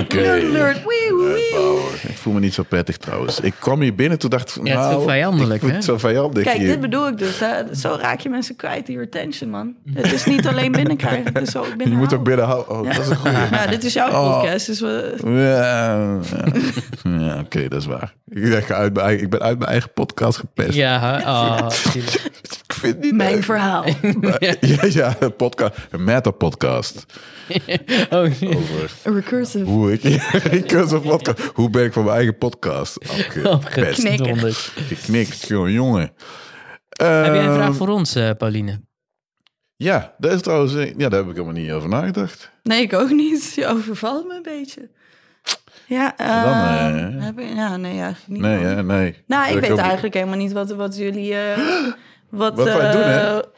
[SPEAKER 1] Oké.
[SPEAKER 4] Nerd, wee, wee, wee.
[SPEAKER 1] Bouwen. Ik voel me niet zo prettig trouwens. Ik kwam hier binnen, toen dacht ik...
[SPEAKER 2] Ja, het is
[SPEAKER 1] nou,
[SPEAKER 2] zo vijandelijk,
[SPEAKER 1] ik voel het
[SPEAKER 2] hè?
[SPEAKER 1] zo vijandig
[SPEAKER 4] Kijk,
[SPEAKER 1] hier.
[SPEAKER 4] dit bedoel ik dus. Hè. Zo raak je mensen kwijt, die retention, man. Het is niet alleen binnenkrijgen, het is ook binnen.
[SPEAKER 1] Je moet ook binnenhouden. Oh, dat is een goeie.
[SPEAKER 4] Ja, dit is jouw
[SPEAKER 1] Oh.
[SPEAKER 4] podcast, dus we...
[SPEAKER 1] Ja, ja, oké, dat is waar. Ik ben, uit mijn, eigen- ik ben uit mijn eigen podcast gepest.
[SPEAKER 2] Ja, oh, zielig.
[SPEAKER 1] Ik vind het niet
[SPEAKER 4] Mijn
[SPEAKER 1] leuk.
[SPEAKER 4] verhaal.
[SPEAKER 1] Ja, ja, een podcast. Een meta-podcast.
[SPEAKER 2] oh, shit.
[SPEAKER 4] Recursive.
[SPEAKER 1] Hoe ik... ik kan zo'n podcast... Hoe ben ik van mijn eigen podcast afgepest?
[SPEAKER 4] Knikker.
[SPEAKER 2] Donderd.
[SPEAKER 1] Geknikt, jongen. jongen.
[SPEAKER 2] Heb jij een vraag
[SPEAKER 1] Ehm,
[SPEAKER 2] voor ons, eh, Pauline?
[SPEAKER 1] Ja, dat is trouwens... eh, Ja, daar heb ik helemaal niet over nagedacht.
[SPEAKER 4] Nee, ik ook niet. Je overvalt me een beetje. Ja, eh,
[SPEAKER 1] dan, eh,
[SPEAKER 4] heb ik, ja nee, eigenlijk niet.
[SPEAKER 1] Nee, hè, nee.
[SPEAKER 4] Nou, ik
[SPEAKER 1] Dat
[SPEAKER 4] weet
[SPEAKER 1] kan-
[SPEAKER 4] eigenlijk helemaal niet wat, wat jullie... eh, wat
[SPEAKER 1] Wat wij doen, hè?
[SPEAKER 4] eh,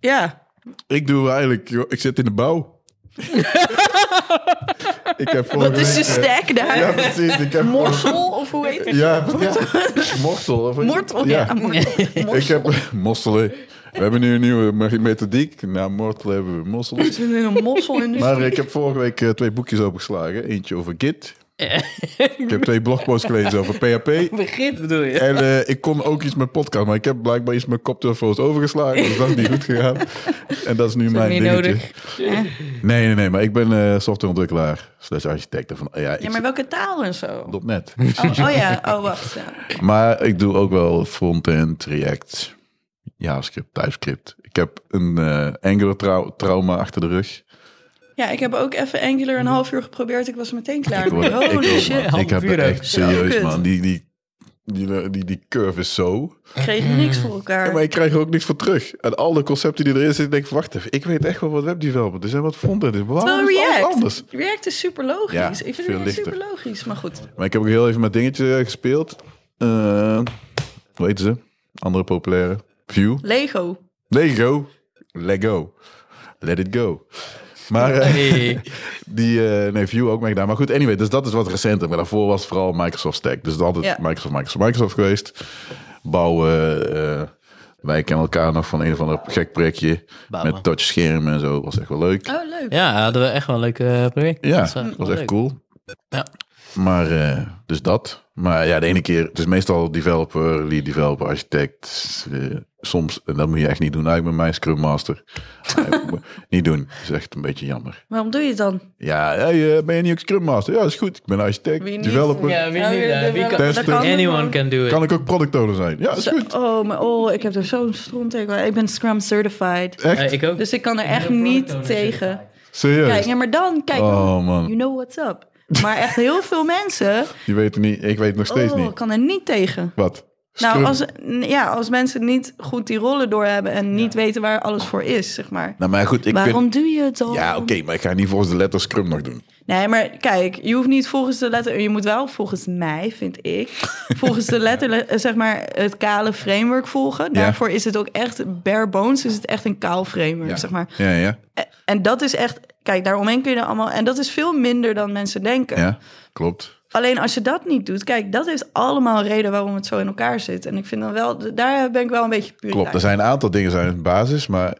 [SPEAKER 4] Ja.
[SPEAKER 1] Ik doe eigenlijk, joh, ik zit in de bouw. ik heb vorige
[SPEAKER 4] Wat is dus je
[SPEAKER 1] week, eh,
[SPEAKER 4] stack daar?
[SPEAKER 1] Ja, precies. Ik heb
[SPEAKER 4] Morsel, of hoe heet het?
[SPEAKER 1] vorige- Ja, ja. Morsel. Of,
[SPEAKER 4] Mortel, ja. mortel.
[SPEAKER 1] Ik heb mosselen. We hebben nu een nieuwe me- methodiek. Na mortel hebben we mosselen.
[SPEAKER 4] We zitten in een mossel in dus
[SPEAKER 1] Maar ik heb vorige week eh, twee boekjes opengeslagen. Eentje over Git. ik heb twee blogposts gelezen over PHP.
[SPEAKER 2] Begrip bedoel je?
[SPEAKER 1] En eh, ik kon ook iets met podcast, maar ik heb blijkbaar iets met koptelefoons overgeslagen. Dus dat is niet goed gegaan. En dat is nu mijn
[SPEAKER 4] niet
[SPEAKER 1] dingetje.
[SPEAKER 4] nodig.
[SPEAKER 1] Nee, nee, nee, maar ik ben eh, softwareontwikkelaar slash architect. Van, ja, ik
[SPEAKER 4] Ja, maar welke taal en zo?
[SPEAKER 1] zit op net.
[SPEAKER 4] Oh, oh ja, oh wacht. Ja.
[SPEAKER 1] maar ik doe ook wel frontend, React, JavaScript, TypeScript. Ik heb een eh Angular trau- trauma achter de rug.
[SPEAKER 4] Ja, ik heb ook even Angular een half uur geprobeerd. Ik was meteen klaar.
[SPEAKER 1] Ik, word- ik,
[SPEAKER 4] Holy
[SPEAKER 1] ook,
[SPEAKER 4] Oh, shit.
[SPEAKER 1] man. ik heb het echt
[SPEAKER 4] Zo
[SPEAKER 1] serieus,
[SPEAKER 4] kut.
[SPEAKER 1] man. Die, die, die, die, die curve is zo.
[SPEAKER 4] Ik kreeg niks voor
[SPEAKER 1] Ja,
[SPEAKER 4] elkaar.
[SPEAKER 1] maar ik krijg er ook niks voor terug. En al de concepten die erin zitten, denk ik, wacht even. Ik weet echt wel wat webdevelopment is en wat frontend is. Waarom
[SPEAKER 4] Terwijl
[SPEAKER 1] is alles
[SPEAKER 4] React.
[SPEAKER 1] anders?
[SPEAKER 4] React is super logisch.
[SPEAKER 1] Ja,
[SPEAKER 4] ik
[SPEAKER 1] veel
[SPEAKER 4] vind het
[SPEAKER 1] lichter.
[SPEAKER 4] super logisch. Maar goed.
[SPEAKER 1] Maar ik heb ook heel even met dingetje eh, gespeeld. Eh hoe heet ze? Andere populaire. View.
[SPEAKER 4] Lego.
[SPEAKER 1] Lego. Lego. Let it go. Maar eh,
[SPEAKER 2] Hey.
[SPEAKER 1] die eh, nee, View ook mee gedaan. Maar goed, anyway, dus dat is wat recenter. Maar daarvoor was het vooral Microsoft Stack. Dus het is altijd
[SPEAKER 4] Ja.
[SPEAKER 1] Microsoft, Microsoft, Microsoft geweest. Bouwen. eh, wij kennen elkaar nog van een of ander gek projectje.
[SPEAKER 2] Bouwen.
[SPEAKER 1] Met touchschermen en zo. Was echt wel leuk.
[SPEAKER 4] Oh, leuk.
[SPEAKER 2] Ja, hadden we echt wel een leuk eh, project.
[SPEAKER 1] Ja,
[SPEAKER 2] Dat
[SPEAKER 1] dat was
[SPEAKER 2] wel
[SPEAKER 1] echt
[SPEAKER 2] leuk.
[SPEAKER 1] cool.
[SPEAKER 2] Ja.
[SPEAKER 1] Maar, eh, dus dat. Maar ja, de ene keer, het is meestal developer, lead developer, architect. eh, soms, en dat moet je echt niet doen eigenlijk met mij, Scrum Master. Maar, niet doen, is echt een beetje jammer.
[SPEAKER 4] Waarom doe je het dan?
[SPEAKER 1] Ja, hey, eh, ben je niet ook Scrum Master? Ja, is goed, ik ben architect,
[SPEAKER 4] Wie niet?
[SPEAKER 1] developer.
[SPEAKER 2] Ja, wie
[SPEAKER 4] Oh,
[SPEAKER 2] niet,
[SPEAKER 4] ja,
[SPEAKER 2] eh, wie
[SPEAKER 4] dat-
[SPEAKER 2] kan-
[SPEAKER 4] dat
[SPEAKER 1] Testen.
[SPEAKER 4] kan
[SPEAKER 2] Anyone
[SPEAKER 4] gewoon.
[SPEAKER 2] can do it.
[SPEAKER 1] Kan ik ook product owner zijn? Ja, is
[SPEAKER 4] Zo-
[SPEAKER 1] goed.
[SPEAKER 4] Oh, maar oh, ik heb er zo'n stronttekel. aan. Ik ben Scrum certified.
[SPEAKER 1] Echt?
[SPEAKER 2] Eh, ik ook.
[SPEAKER 4] Dus ik kan er
[SPEAKER 2] Heel
[SPEAKER 4] echt
[SPEAKER 2] product
[SPEAKER 4] niet
[SPEAKER 2] owner
[SPEAKER 4] tegen.
[SPEAKER 2] certified.
[SPEAKER 4] Kijk,
[SPEAKER 1] Serieus?
[SPEAKER 4] ja, maar dan, kijk,
[SPEAKER 1] Oh
[SPEAKER 4] you
[SPEAKER 1] man,
[SPEAKER 4] know what's up. Maar echt heel veel mensen,
[SPEAKER 1] je weet het niet, ik weet het nog steeds
[SPEAKER 4] oh,
[SPEAKER 1] niet.
[SPEAKER 4] kan er niet tegen.
[SPEAKER 1] Wat?
[SPEAKER 4] Nou,
[SPEAKER 1] Scrum?
[SPEAKER 4] als, ja, als mensen niet goed die rollen doorhebben en niet weten waar alles voor is, zeg maar.
[SPEAKER 1] Nou, maar goed, ik
[SPEAKER 4] Waarom
[SPEAKER 1] vind...
[SPEAKER 4] doe je het dan?
[SPEAKER 1] Ja, oké, maar ik ga niet volgens de letter Scrum nog doen.
[SPEAKER 4] Nee, maar kijk, je hoeft niet volgens de letter... Je moet wel volgens mij, vind ik, volgens de letter, eh, zeg maar, het kale framework volgen.
[SPEAKER 1] Ja.
[SPEAKER 4] Daarvoor is het ook echt bare bones, is het echt een kaal framework,
[SPEAKER 1] Ja.
[SPEAKER 4] zeg maar.
[SPEAKER 1] Ja, ja,
[SPEAKER 4] En, en dat is echt... Kijk, daaromheen kun je er allemaal... En dat is veel minder dan mensen denken.
[SPEAKER 1] ja, klopt.
[SPEAKER 4] Alleen als je dat niet doet, kijk, dat is allemaal een reden waarom het zo in elkaar zit. En ik vind dan wel, daar ben ik wel een beetje puur.
[SPEAKER 1] Klopt, er zijn een aantal dingen zijn basis, maar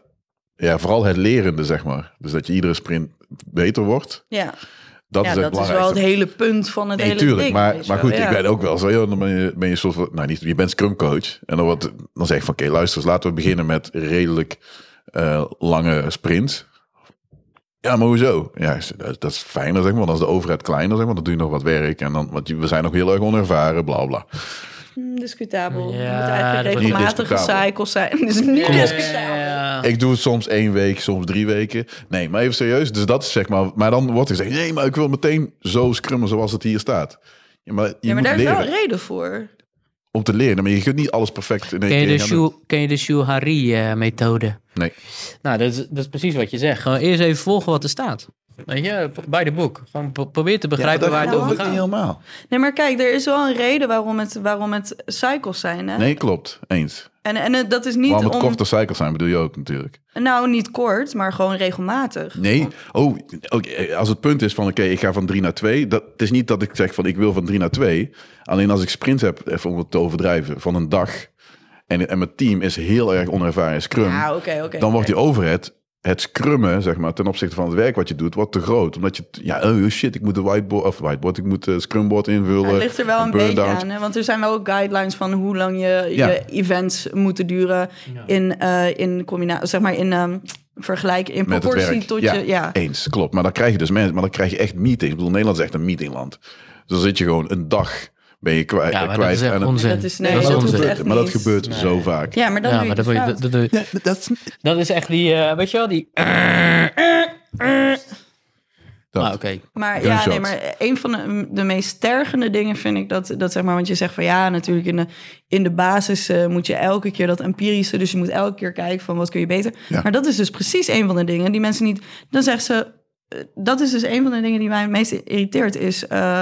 [SPEAKER 1] ja, vooral het lerende, zeg maar. Dus dat je iedere sprint beter wordt.
[SPEAKER 4] Ja,
[SPEAKER 1] Dat
[SPEAKER 4] ja
[SPEAKER 1] is het
[SPEAKER 4] dat is wel
[SPEAKER 1] belangrijkste.
[SPEAKER 4] het hele punt van het
[SPEAKER 1] Nee,
[SPEAKER 4] hele
[SPEAKER 1] tuurlijk,
[SPEAKER 4] ding.
[SPEAKER 1] maar,
[SPEAKER 4] weet je
[SPEAKER 1] maar
[SPEAKER 4] wel.
[SPEAKER 1] goed,
[SPEAKER 4] Ja.
[SPEAKER 1] ik ben ook wel zo, joh, dan ben je, ben je soort van, nou niet, je bent scrum coach. En dan, wordt, dan zeg ik van, oké, luister, eens, laten we beginnen met redelijk eh, lange sprints. Ja, maar hoezo? Ja, is- dat, dat is fijner, zeg maar, want als de overheid kleiner, zeg maar, dan doe je nog wat werk. En dan, want je- we zijn nog heel erg onervaren, bla bla.
[SPEAKER 4] Hmm, discutabel.
[SPEAKER 2] Ja,
[SPEAKER 4] Het moet
[SPEAKER 2] dat
[SPEAKER 4] eigenlijk
[SPEAKER 2] wordt-
[SPEAKER 4] regelmatige
[SPEAKER 1] Niet discutabel.
[SPEAKER 4] cycles zijn. Dus niet
[SPEAKER 2] Ja,
[SPEAKER 4] discutabel.
[SPEAKER 2] ja, ja.
[SPEAKER 1] Ik doe het soms één week, soms drie weken. Nee, maar even serieus. Dus dat is zeg maar. Maar dan wordt er gezegd: nee, maar ik wil meteen zo scrummen zoals het hier staat. Ja, maar je
[SPEAKER 4] Ja, maar
[SPEAKER 1] moet
[SPEAKER 4] daar is
[SPEAKER 1] leren
[SPEAKER 4] wel een reden voor.
[SPEAKER 1] om te leren. Maar je kunt niet alles perfect in één
[SPEAKER 2] Ken je
[SPEAKER 1] keer
[SPEAKER 2] de
[SPEAKER 1] gaan doen.
[SPEAKER 2] Shu- Ken je de eh, Shuhari-methode?
[SPEAKER 1] Nee.
[SPEAKER 2] Nou, dat is, dat is precies wat je zegt. Gewoon eerst even volgen wat er staat. Weet je, bij de boek. Gewoon pro- probeer te begrijpen
[SPEAKER 1] dat
[SPEAKER 2] waar het
[SPEAKER 1] geloof
[SPEAKER 2] over
[SPEAKER 1] ik niet
[SPEAKER 2] gaat.
[SPEAKER 1] helemaal.
[SPEAKER 4] Nee, maar kijk, er is wel een reden waarom het, waarom het cycles zijn. Hè?
[SPEAKER 1] Nee, klopt. Eens.
[SPEAKER 4] En, en eh, dat is niet
[SPEAKER 1] Waarom het
[SPEAKER 4] om...
[SPEAKER 1] korte cycles zijn, bedoel je ook natuurlijk.
[SPEAKER 4] Nou, niet kort, maar gewoon regelmatig.
[SPEAKER 1] Nee. Oh, oké, als het punt is van oké, ik ga van 3 naar 2. Dat het is niet dat ik zeg van ik wil van 3 naar 2. Alleen als ik sprints heb, even om het te overdrijven, van een dag. En, en mijn team is heel erg onervaren in scrum.
[SPEAKER 4] Ah, oké, oké.
[SPEAKER 1] dan wordt die overhead, het scrummen, zeg maar, ten opzichte van het werk wat je doet, wordt te groot. Omdat je, t- ja, oh shit, ik moet de whiteboard, of whiteboard, ik moet de scrumboard invullen.
[SPEAKER 4] Het ligt er wel een beetje
[SPEAKER 1] burn-out.
[SPEAKER 4] aan, hè? want er zijn wel ook guidelines van hoe lang je,
[SPEAKER 1] Ja.
[SPEAKER 4] je events moeten duren in, eh in combinatie, zeg maar in ehm vergelijk, in
[SPEAKER 1] Met het
[SPEAKER 4] proportie
[SPEAKER 1] werk,
[SPEAKER 4] tot
[SPEAKER 1] ja.
[SPEAKER 4] je, ja.
[SPEAKER 1] Eens, klopt. Maar dan krijg je dus mensen, maar dan krijg je echt meetings. Ik bedoel, Nederland is echt een meetingland. Dus dan zit je gewoon een dag, ben je kwijt.
[SPEAKER 2] Ja, maar dat
[SPEAKER 1] kwijt
[SPEAKER 2] is echt
[SPEAKER 1] aan-
[SPEAKER 2] onzin.
[SPEAKER 4] Dat is- nee,
[SPEAKER 2] dat is
[SPEAKER 4] dat
[SPEAKER 1] gebeurt-
[SPEAKER 4] hoeft
[SPEAKER 2] onzin.
[SPEAKER 4] echt
[SPEAKER 1] maar dat
[SPEAKER 4] niet.
[SPEAKER 1] gebeurt zo vaak.
[SPEAKER 4] Ja, maar dan
[SPEAKER 2] Ja,
[SPEAKER 4] doe je
[SPEAKER 2] maar dat,
[SPEAKER 4] het
[SPEAKER 2] moet je- dat,
[SPEAKER 4] fout.
[SPEAKER 2] dat, dat-
[SPEAKER 1] dat is...
[SPEAKER 2] dat is echt die, eh, weet je wel, die...
[SPEAKER 1] Dat.
[SPEAKER 2] Ah, oké.
[SPEAKER 4] Maar ja,
[SPEAKER 1] Gunshot.
[SPEAKER 4] nee, maar een van de, de meest tergende dingen vind ik dat, dat zeg maar, want je zegt van ja, natuurlijk in de, in de basis eh, moet je elke keer dat empirische, dus je moet elke keer kijken van wat kun je beter.
[SPEAKER 1] Ja.
[SPEAKER 4] Maar dat is dus precies een van de dingen die mensen niet, dan zegt ze, eh, dat is dus een van de dingen die mij het meest irriteert is, eh,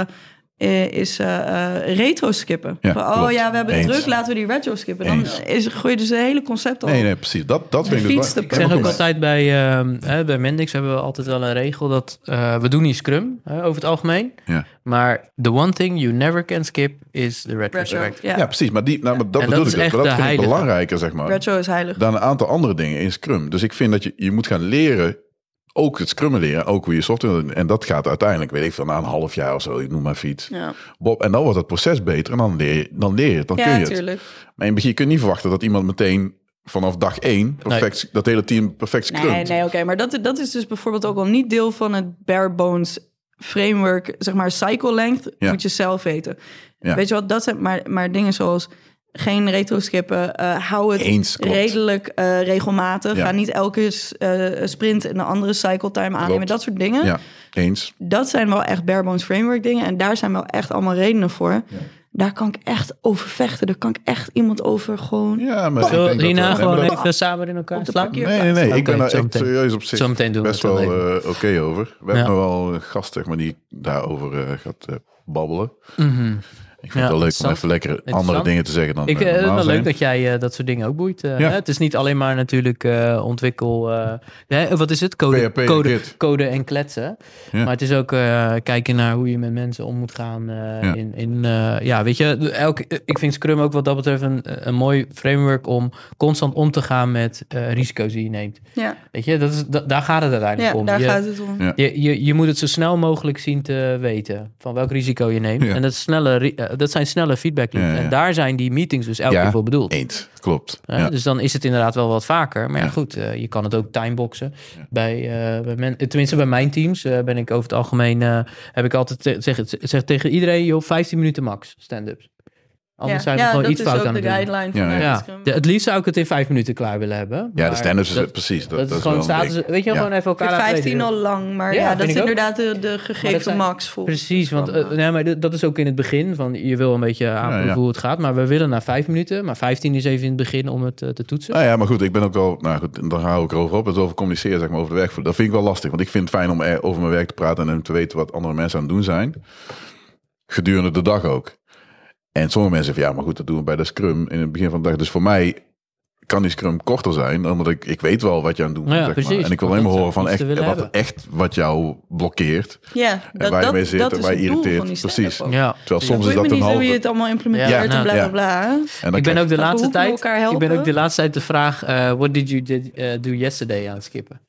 [SPEAKER 4] eh, is eh, eh, retro skippen.
[SPEAKER 1] Ja,
[SPEAKER 4] Van, oh
[SPEAKER 1] klopt.
[SPEAKER 4] ja, we hebben het
[SPEAKER 1] Eens.
[SPEAKER 4] druk, laten we die retro skippen. Dan
[SPEAKER 1] Eens.
[SPEAKER 4] is, gooi je dus het hele concept al.
[SPEAKER 1] Nee, nee, precies. Dat, dat vind ik dus...
[SPEAKER 4] fiets
[SPEAKER 1] wel-
[SPEAKER 4] de-
[SPEAKER 2] Ik zeg
[SPEAKER 1] helemaal
[SPEAKER 2] ook
[SPEAKER 1] goed.
[SPEAKER 2] altijd bij, ehm, hè, bij Mendix hebben we altijd wel een regel dat eh, we doen niet Scrum hè, over het algemeen.
[SPEAKER 1] Ja.
[SPEAKER 2] Maar the one thing you never can skip is the retrospect.
[SPEAKER 4] Retro, ja.
[SPEAKER 1] Ja, precies. Maar, die, nou, maar dat
[SPEAKER 2] En dat
[SPEAKER 1] bedoel
[SPEAKER 2] is
[SPEAKER 1] ik dus.
[SPEAKER 2] echt
[SPEAKER 1] Maar dat
[SPEAKER 2] de
[SPEAKER 1] vind ik
[SPEAKER 2] heilige.
[SPEAKER 1] belangrijker, zeg maar.
[SPEAKER 4] retro is heilig.
[SPEAKER 1] dan een aantal andere dingen in Scrum. Dus ik vind dat je, je moet gaan leren, ook het Scrummen leren, ook hoe je software... En dat gaat uiteindelijk, weet ik veel, na een half jaar of zo, ik noem maar fiets.
[SPEAKER 4] Ja,
[SPEAKER 1] Bob, en dan wordt het proces beter en dan leer je, dan leer je het, dan kun
[SPEAKER 4] ja
[SPEAKER 1] je
[SPEAKER 4] natuurlijk.
[SPEAKER 1] het. Maar in het begin kun je niet verwachten dat iemand meteen vanaf dag één perfect, dat hele team perfect scrumt.
[SPEAKER 4] Nee, nee, oké. Maar dat, dat is dus bijvoorbeeld ook al niet deel van het bare bones framework. Zeg maar cycle length
[SPEAKER 1] Ja.
[SPEAKER 4] moet je zelf weten.
[SPEAKER 1] Ja.
[SPEAKER 4] Weet je wat, dat zijn maar, maar dingen zoals... geen retro skippen. Eh, hou het
[SPEAKER 1] Eens, klopt.
[SPEAKER 4] redelijk eh, regelmatig.
[SPEAKER 1] Ja.
[SPEAKER 4] Ga niet elke s- eh, sprint een andere cycle time aannemen.
[SPEAKER 1] Klopt.
[SPEAKER 4] Dat soort dingen.
[SPEAKER 1] Ja, eens.
[SPEAKER 4] Dat zijn wel echt bare bones framework dingen. En daar zijn wel echt allemaal redenen voor. Daar kan ik echt over vechten. Daar kan ik echt iemand over gewoon...
[SPEAKER 1] Ja, maar ik denk
[SPEAKER 2] Zullen
[SPEAKER 1] dat
[SPEAKER 2] we
[SPEAKER 1] we-
[SPEAKER 2] hierna
[SPEAKER 1] nee,
[SPEAKER 2] gewoon
[SPEAKER 1] maar dat-
[SPEAKER 2] even samen in elkaar
[SPEAKER 4] Op de
[SPEAKER 2] slaan?
[SPEAKER 4] parkeer-
[SPEAKER 1] Nee, nee, nee. Ik ben
[SPEAKER 2] Oké,
[SPEAKER 1] daar echt
[SPEAKER 2] zometeen.
[SPEAKER 1] serieus op zich
[SPEAKER 2] Zometeen doen we
[SPEAKER 1] best
[SPEAKER 2] het
[SPEAKER 1] wel
[SPEAKER 2] wel
[SPEAKER 1] eh, oké over. We hebben
[SPEAKER 2] Ja.
[SPEAKER 1] wel een gast, zeg maar, die daarover eh, gaat eh, babbelen.
[SPEAKER 2] Mhm.
[SPEAKER 1] Ik vind
[SPEAKER 2] Ja,
[SPEAKER 1] het wel leuk om
[SPEAKER 2] interessant.
[SPEAKER 1] even lekker andere
[SPEAKER 2] Interessant.
[SPEAKER 1] dingen te zeggen dan
[SPEAKER 2] Ik
[SPEAKER 1] eh,
[SPEAKER 2] vind het
[SPEAKER 1] normaal
[SPEAKER 2] wel
[SPEAKER 1] zijn.
[SPEAKER 2] leuk dat jij eh, dat soort dingen ook boeit. eh,
[SPEAKER 1] Ja.
[SPEAKER 2] hè? Het is niet alleen maar natuurlijk eh, ontwikkel... eh, hè, wat is het? Code,
[SPEAKER 1] PHP,
[SPEAKER 2] code,
[SPEAKER 1] Git.
[SPEAKER 2] code en kletsen.
[SPEAKER 1] Ja.
[SPEAKER 2] Maar het is ook eh, kijken naar hoe je met mensen om moet gaan. eh,
[SPEAKER 1] Ja.
[SPEAKER 2] In, in, eh, ja, weet je, elke, ik vind Scrum ook wat dat betreft een, een mooi framework... om constant om te gaan met eh, risico's die je neemt.
[SPEAKER 4] Ja,
[SPEAKER 2] Weet je, dat is, da- daar gaat het uiteindelijk
[SPEAKER 4] ja
[SPEAKER 2] om.
[SPEAKER 4] daar
[SPEAKER 2] Je-
[SPEAKER 4] gaat het om.
[SPEAKER 1] Ja.
[SPEAKER 2] Je, je, je moet het zo snel mogelijk zien te weten van welk risico je neemt.
[SPEAKER 1] Ja.
[SPEAKER 2] En dat, snelle, ri- eh, dat zijn snelle feedback loops.
[SPEAKER 1] Ja, ja.
[SPEAKER 2] En daar zijn die meetings dus elke
[SPEAKER 1] Ja.
[SPEAKER 2] keer voor bedoeld.
[SPEAKER 1] Eens, klopt.
[SPEAKER 2] Eh,
[SPEAKER 1] Ja.
[SPEAKER 2] Dus dan is het inderdaad wel wat vaker. Maar ja,
[SPEAKER 1] Ja.
[SPEAKER 2] goed, eh, je kan het ook timeboxen. Bij, eh, bij men, eh, tenminste, bij mijn teams eh, ben ik over het algemeen... eh, heb ik altijd te- zeg, zeg tegen iedereen, joh, 15 minuten max stand-ups. Anders zijn we gewoon iets fout aan het
[SPEAKER 4] de
[SPEAKER 2] doen.
[SPEAKER 4] guideline
[SPEAKER 1] Ja, ja.
[SPEAKER 4] van
[SPEAKER 2] Ja,
[SPEAKER 4] Scrum.
[SPEAKER 2] de- het liefst zou ik het in vijf minuten klaar willen hebben.
[SPEAKER 1] Ja, de
[SPEAKER 2] maar
[SPEAKER 1] stand-ups is
[SPEAKER 2] dat-
[SPEAKER 1] het precies.
[SPEAKER 2] Dat,
[SPEAKER 1] Dat,
[SPEAKER 2] is gewoon
[SPEAKER 1] wel een
[SPEAKER 2] status.
[SPEAKER 1] ding.
[SPEAKER 2] Weet je, wel,
[SPEAKER 1] Ja.
[SPEAKER 2] gewoon even
[SPEAKER 4] Ik
[SPEAKER 2] elkaar
[SPEAKER 4] vind
[SPEAKER 2] laten weten.
[SPEAKER 4] 15 al lang, maar
[SPEAKER 2] Ja,
[SPEAKER 4] ja, dat
[SPEAKER 2] vind
[SPEAKER 4] is
[SPEAKER 2] ik ook.
[SPEAKER 4] inderdaad de, de gegeven
[SPEAKER 2] zijn-
[SPEAKER 4] max volgens
[SPEAKER 2] Precies,
[SPEAKER 4] het
[SPEAKER 2] want eh,
[SPEAKER 4] programma.
[SPEAKER 2] nee, maar dit- dat is ook in het begin. Van, je wil een beetje aanvoelen
[SPEAKER 1] ja.
[SPEAKER 2] hoe het gaat. Maar we willen naar vijf minuten. Maar 15 is even in het begin om het eh, te toetsen.
[SPEAKER 1] Nou ja, maar goed, ik ben ook wel... Nou goed, dan hou ik erover op. Het is over communiceren, zeg maar, over de werkvloer. Dat vind ik wel lastig. Want ik vind het fijn om er over mijn werk te praten... en te weten wat andere mensen aan het doen zijn. Gedurende de dag ook. En sommige mensen zeggen... Ja, maar goed, dat doen we bij de scrum in het begin van de dag. Dus voor mij kan die scrum korter zijn... omdat ik, ik weet wel wat je aan het doen bent,
[SPEAKER 2] Ja,
[SPEAKER 1] zeg
[SPEAKER 2] precies.
[SPEAKER 1] maar. En ik wil
[SPEAKER 2] Want
[SPEAKER 1] alleen maar horen
[SPEAKER 2] dat-
[SPEAKER 1] van
[SPEAKER 2] dat ze
[SPEAKER 1] echt
[SPEAKER 2] willen
[SPEAKER 1] wat,
[SPEAKER 2] hebben.
[SPEAKER 1] echt wat jou blokkeert.
[SPEAKER 4] Ja, dat,
[SPEAKER 1] waar je
[SPEAKER 4] dat,
[SPEAKER 1] mee zit
[SPEAKER 4] dat
[SPEAKER 1] en
[SPEAKER 4] is
[SPEAKER 1] waar je
[SPEAKER 4] het doel
[SPEAKER 1] irriteert.
[SPEAKER 4] van die stand-up
[SPEAKER 1] Precies.
[SPEAKER 4] ook.
[SPEAKER 2] Ja,
[SPEAKER 1] Eh, Terwijl soms is
[SPEAKER 4] Boeit
[SPEAKER 1] dat
[SPEAKER 4] me
[SPEAKER 1] een
[SPEAKER 4] niet hoe
[SPEAKER 1] halve...
[SPEAKER 4] je het allemaal implementeert
[SPEAKER 2] Ja,
[SPEAKER 4] en bla
[SPEAKER 1] ja.
[SPEAKER 4] bla
[SPEAKER 1] en
[SPEAKER 4] bla.
[SPEAKER 1] dan
[SPEAKER 2] ik ben
[SPEAKER 1] krijg-
[SPEAKER 2] ook de
[SPEAKER 4] we
[SPEAKER 2] laatste
[SPEAKER 4] hoeven
[SPEAKER 2] tijd.
[SPEAKER 4] elkaar
[SPEAKER 2] Ik ben ook
[SPEAKER 4] helpen.
[SPEAKER 2] de laatste tijd de vraag: eh, What did you did, eh, do yesterday aan het skippen?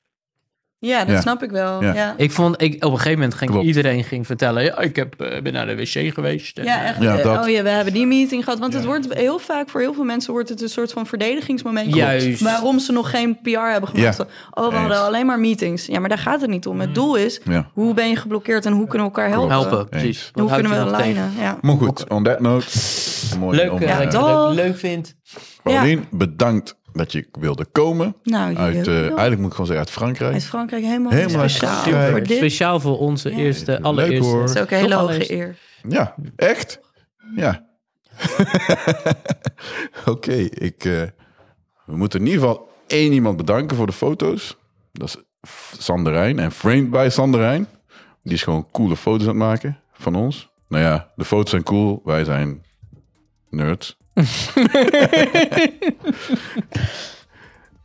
[SPEAKER 4] Ja, dat
[SPEAKER 1] Ja.
[SPEAKER 4] snap ik wel.
[SPEAKER 1] Ja.
[SPEAKER 4] Ja, ja.
[SPEAKER 2] Ik vond, ik, op een gegeven moment ging
[SPEAKER 1] Klopt.
[SPEAKER 2] iedereen ging vertellen: ja, Ik heb, eh, ben naar de wc geweest. en, eh,
[SPEAKER 4] echt.
[SPEAKER 1] Ja,
[SPEAKER 4] eh,
[SPEAKER 1] dat.
[SPEAKER 4] Oh ja, we hebben die meeting gehad. Want het wordt heel vaak voor heel veel mensen wordt het een soort van verdedigingsmoment.
[SPEAKER 2] Juist.
[SPEAKER 4] Waarom ze nog geen PR hebben gemaakt.
[SPEAKER 1] Ja.
[SPEAKER 4] Oh, we
[SPEAKER 1] Eens.
[SPEAKER 4] hadden alleen maar meetings. Ja, maar daar gaat het niet om. Het doel is,
[SPEAKER 1] Ja.
[SPEAKER 4] hoe ben je geblokkeerd en hoe kunnen we elkaar helpen?
[SPEAKER 2] Mm. helpen.
[SPEAKER 1] Eens.
[SPEAKER 2] Precies.
[SPEAKER 4] Hoe
[SPEAKER 2] Wat houd
[SPEAKER 4] kunnen
[SPEAKER 2] je
[SPEAKER 4] we
[SPEAKER 2] nog tegen?
[SPEAKER 4] lijnen? Ja.
[SPEAKER 1] Maar goed, on that note. Mooi
[SPEAKER 2] Leuk
[SPEAKER 1] om,
[SPEAKER 2] eh,
[SPEAKER 1] eh,
[SPEAKER 2] dat ik het
[SPEAKER 4] dag.
[SPEAKER 2] leuk- leuk vind.
[SPEAKER 1] Paulien, bedankt dat je wilde komen.
[SPEAKER 4] Nou,
[SPEAKER 1] Uit, eh,
[SPEAKER 4] jullie ook.
[SPEAKER 1] eigenlijk moet ik gewoon zeggen uit Frankrijk.
[SPEAKER 4] Uit Frankrijk helemaal,
[SPEAKER 1] Helemaal uit
[SPEAKER 4] speciaal
[SPEAKER 1] Frankrijk.
[SPEAKER 4] voor dit. Dat
[SPEAKER 2] Speciaal voor onze eerste, allereerste.
[SPEAKER 1] hoor.
[SPEAKER 4] is ook een hele
[SPEAKER 2] Toch
[SPEAKER 4] hoge
[SPEAKER 2] allereerst.
[SPEAKER 4] eer.
[SPEAKER 1] Ja, echt? Ja. Oké, ik, eh, we moeten in ieder geval één iemand bedanken voor de foto's. Dat is F- Sanderijn en Framed by Sanderijn. Die is gewoon coole foto's aan het maken van ons. Nou ja, de foto's zijn cool, wij zijn nerds.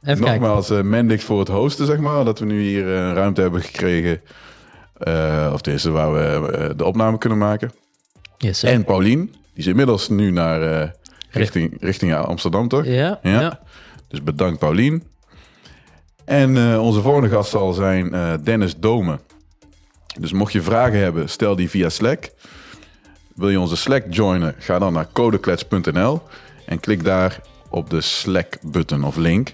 [SPEAKER 2] Even kijken.
[SPEAKER 1] Nogmaals, eh, Mendix voor het hosten, zeg maar. Dat we nu hier eh, een ruimte hebben gekregen. eh, of deze waar we eh, de opname kunnen maken.
[SPEAKER 2] Yes,
[SPEAKER 1] En Paulien, die is inmiddels nu naar eh, richting, richting Amsterdam, toch?
[SPEAKER 2] ja,
[SPEAKER 1] Ja.
[SPEAKER 2] ja.
[SPEAKER 1] Dus bedankt Paulien. En eh, onze volgende gast zal zijn eh, Dennis Domen. Dus mocht je vragen hebben, stel die via Slack. Wil je onze Slack joinen? Ga dan naar codeklets.nl en klik daar op de Slack-button of link.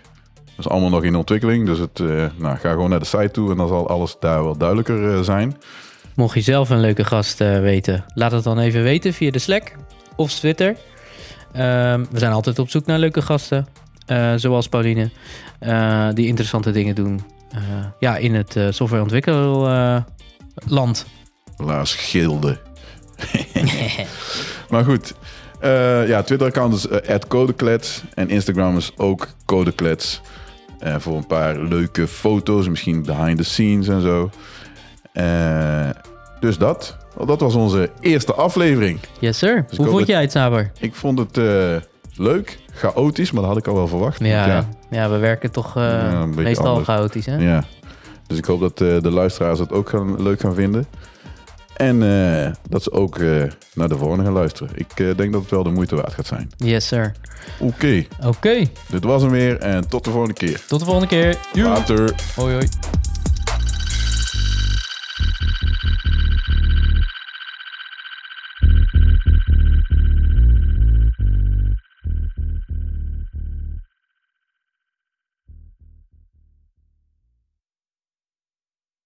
[SPEAKER 1] Dat is allemaal nog in ontwikkeling, dus het, eh, nou, ga gewoon naar de site toe en dan zal alles daar wel duidelijker eh, zijn.
[SPEAKER 2] Mocht je zelf een leuke gast eh, weten, laat het dan even weten via de Slack of Twitter. Ehm, we zijn altijd op zoek naar leuke gasten, eh, zoals Pauline, eh, die interessante dingen doen eh, ja, in het eh softwareontwikkelland. land.
[SPEAKER 1] Laars Gilde. maar goed. Eh, ja, Twitter-account is eh, @codeklets. En Instagram is ook codeklets. Eh, voor een paar leuke foto's. Misschien behind the scenes en zo. Eh, dus dat. Dat was onze eerste aflevering.
[SPEAKER 2] yes sir.
[SPEAKER 1] ik
[SPEAKER 2] Hoe
[SPEAKER 1] hoop
[SPEAKER 2] vond
[SPEAKER 1] dat-
[SPEAKER 2] jij het, Saber?
[SPEAKER 1] Ik vond het eh, leuk. Chaotisch, maar dat had ik al wel verwacht.
[SPEAKER 2] Ja, ja.
[SPEAKER 1] ja.
[SPEAKER 2] we werken toch eh,
[SPEAKER 1] Ja, een beetje
[SPEAKER 2] meestal
[SPEAKER 1] anders.
[SPEAKER 2] chaotisch, hè?
[SPEAKER 1] Ja. Dus ik hoop dat eh, de luisteraars het ook gaan, leuk gaan vinden. En eh, dat ze ook eh, naar de volgende gaan luisteren. Ik eh, denk dat het wel de moeite waard gaat zijn.
[SPEAKER 2] Yes sir.
[SPEAKER 1] Oké,
[SPEAKER 2] Oké,
[SPEAKER 1] dit was hem weer en tot de volgende keer.
[SPEAKER 2] tot de volgende keer.
[SPEAKER 1] Later.
[SPEAKER 2] Hoi hoi.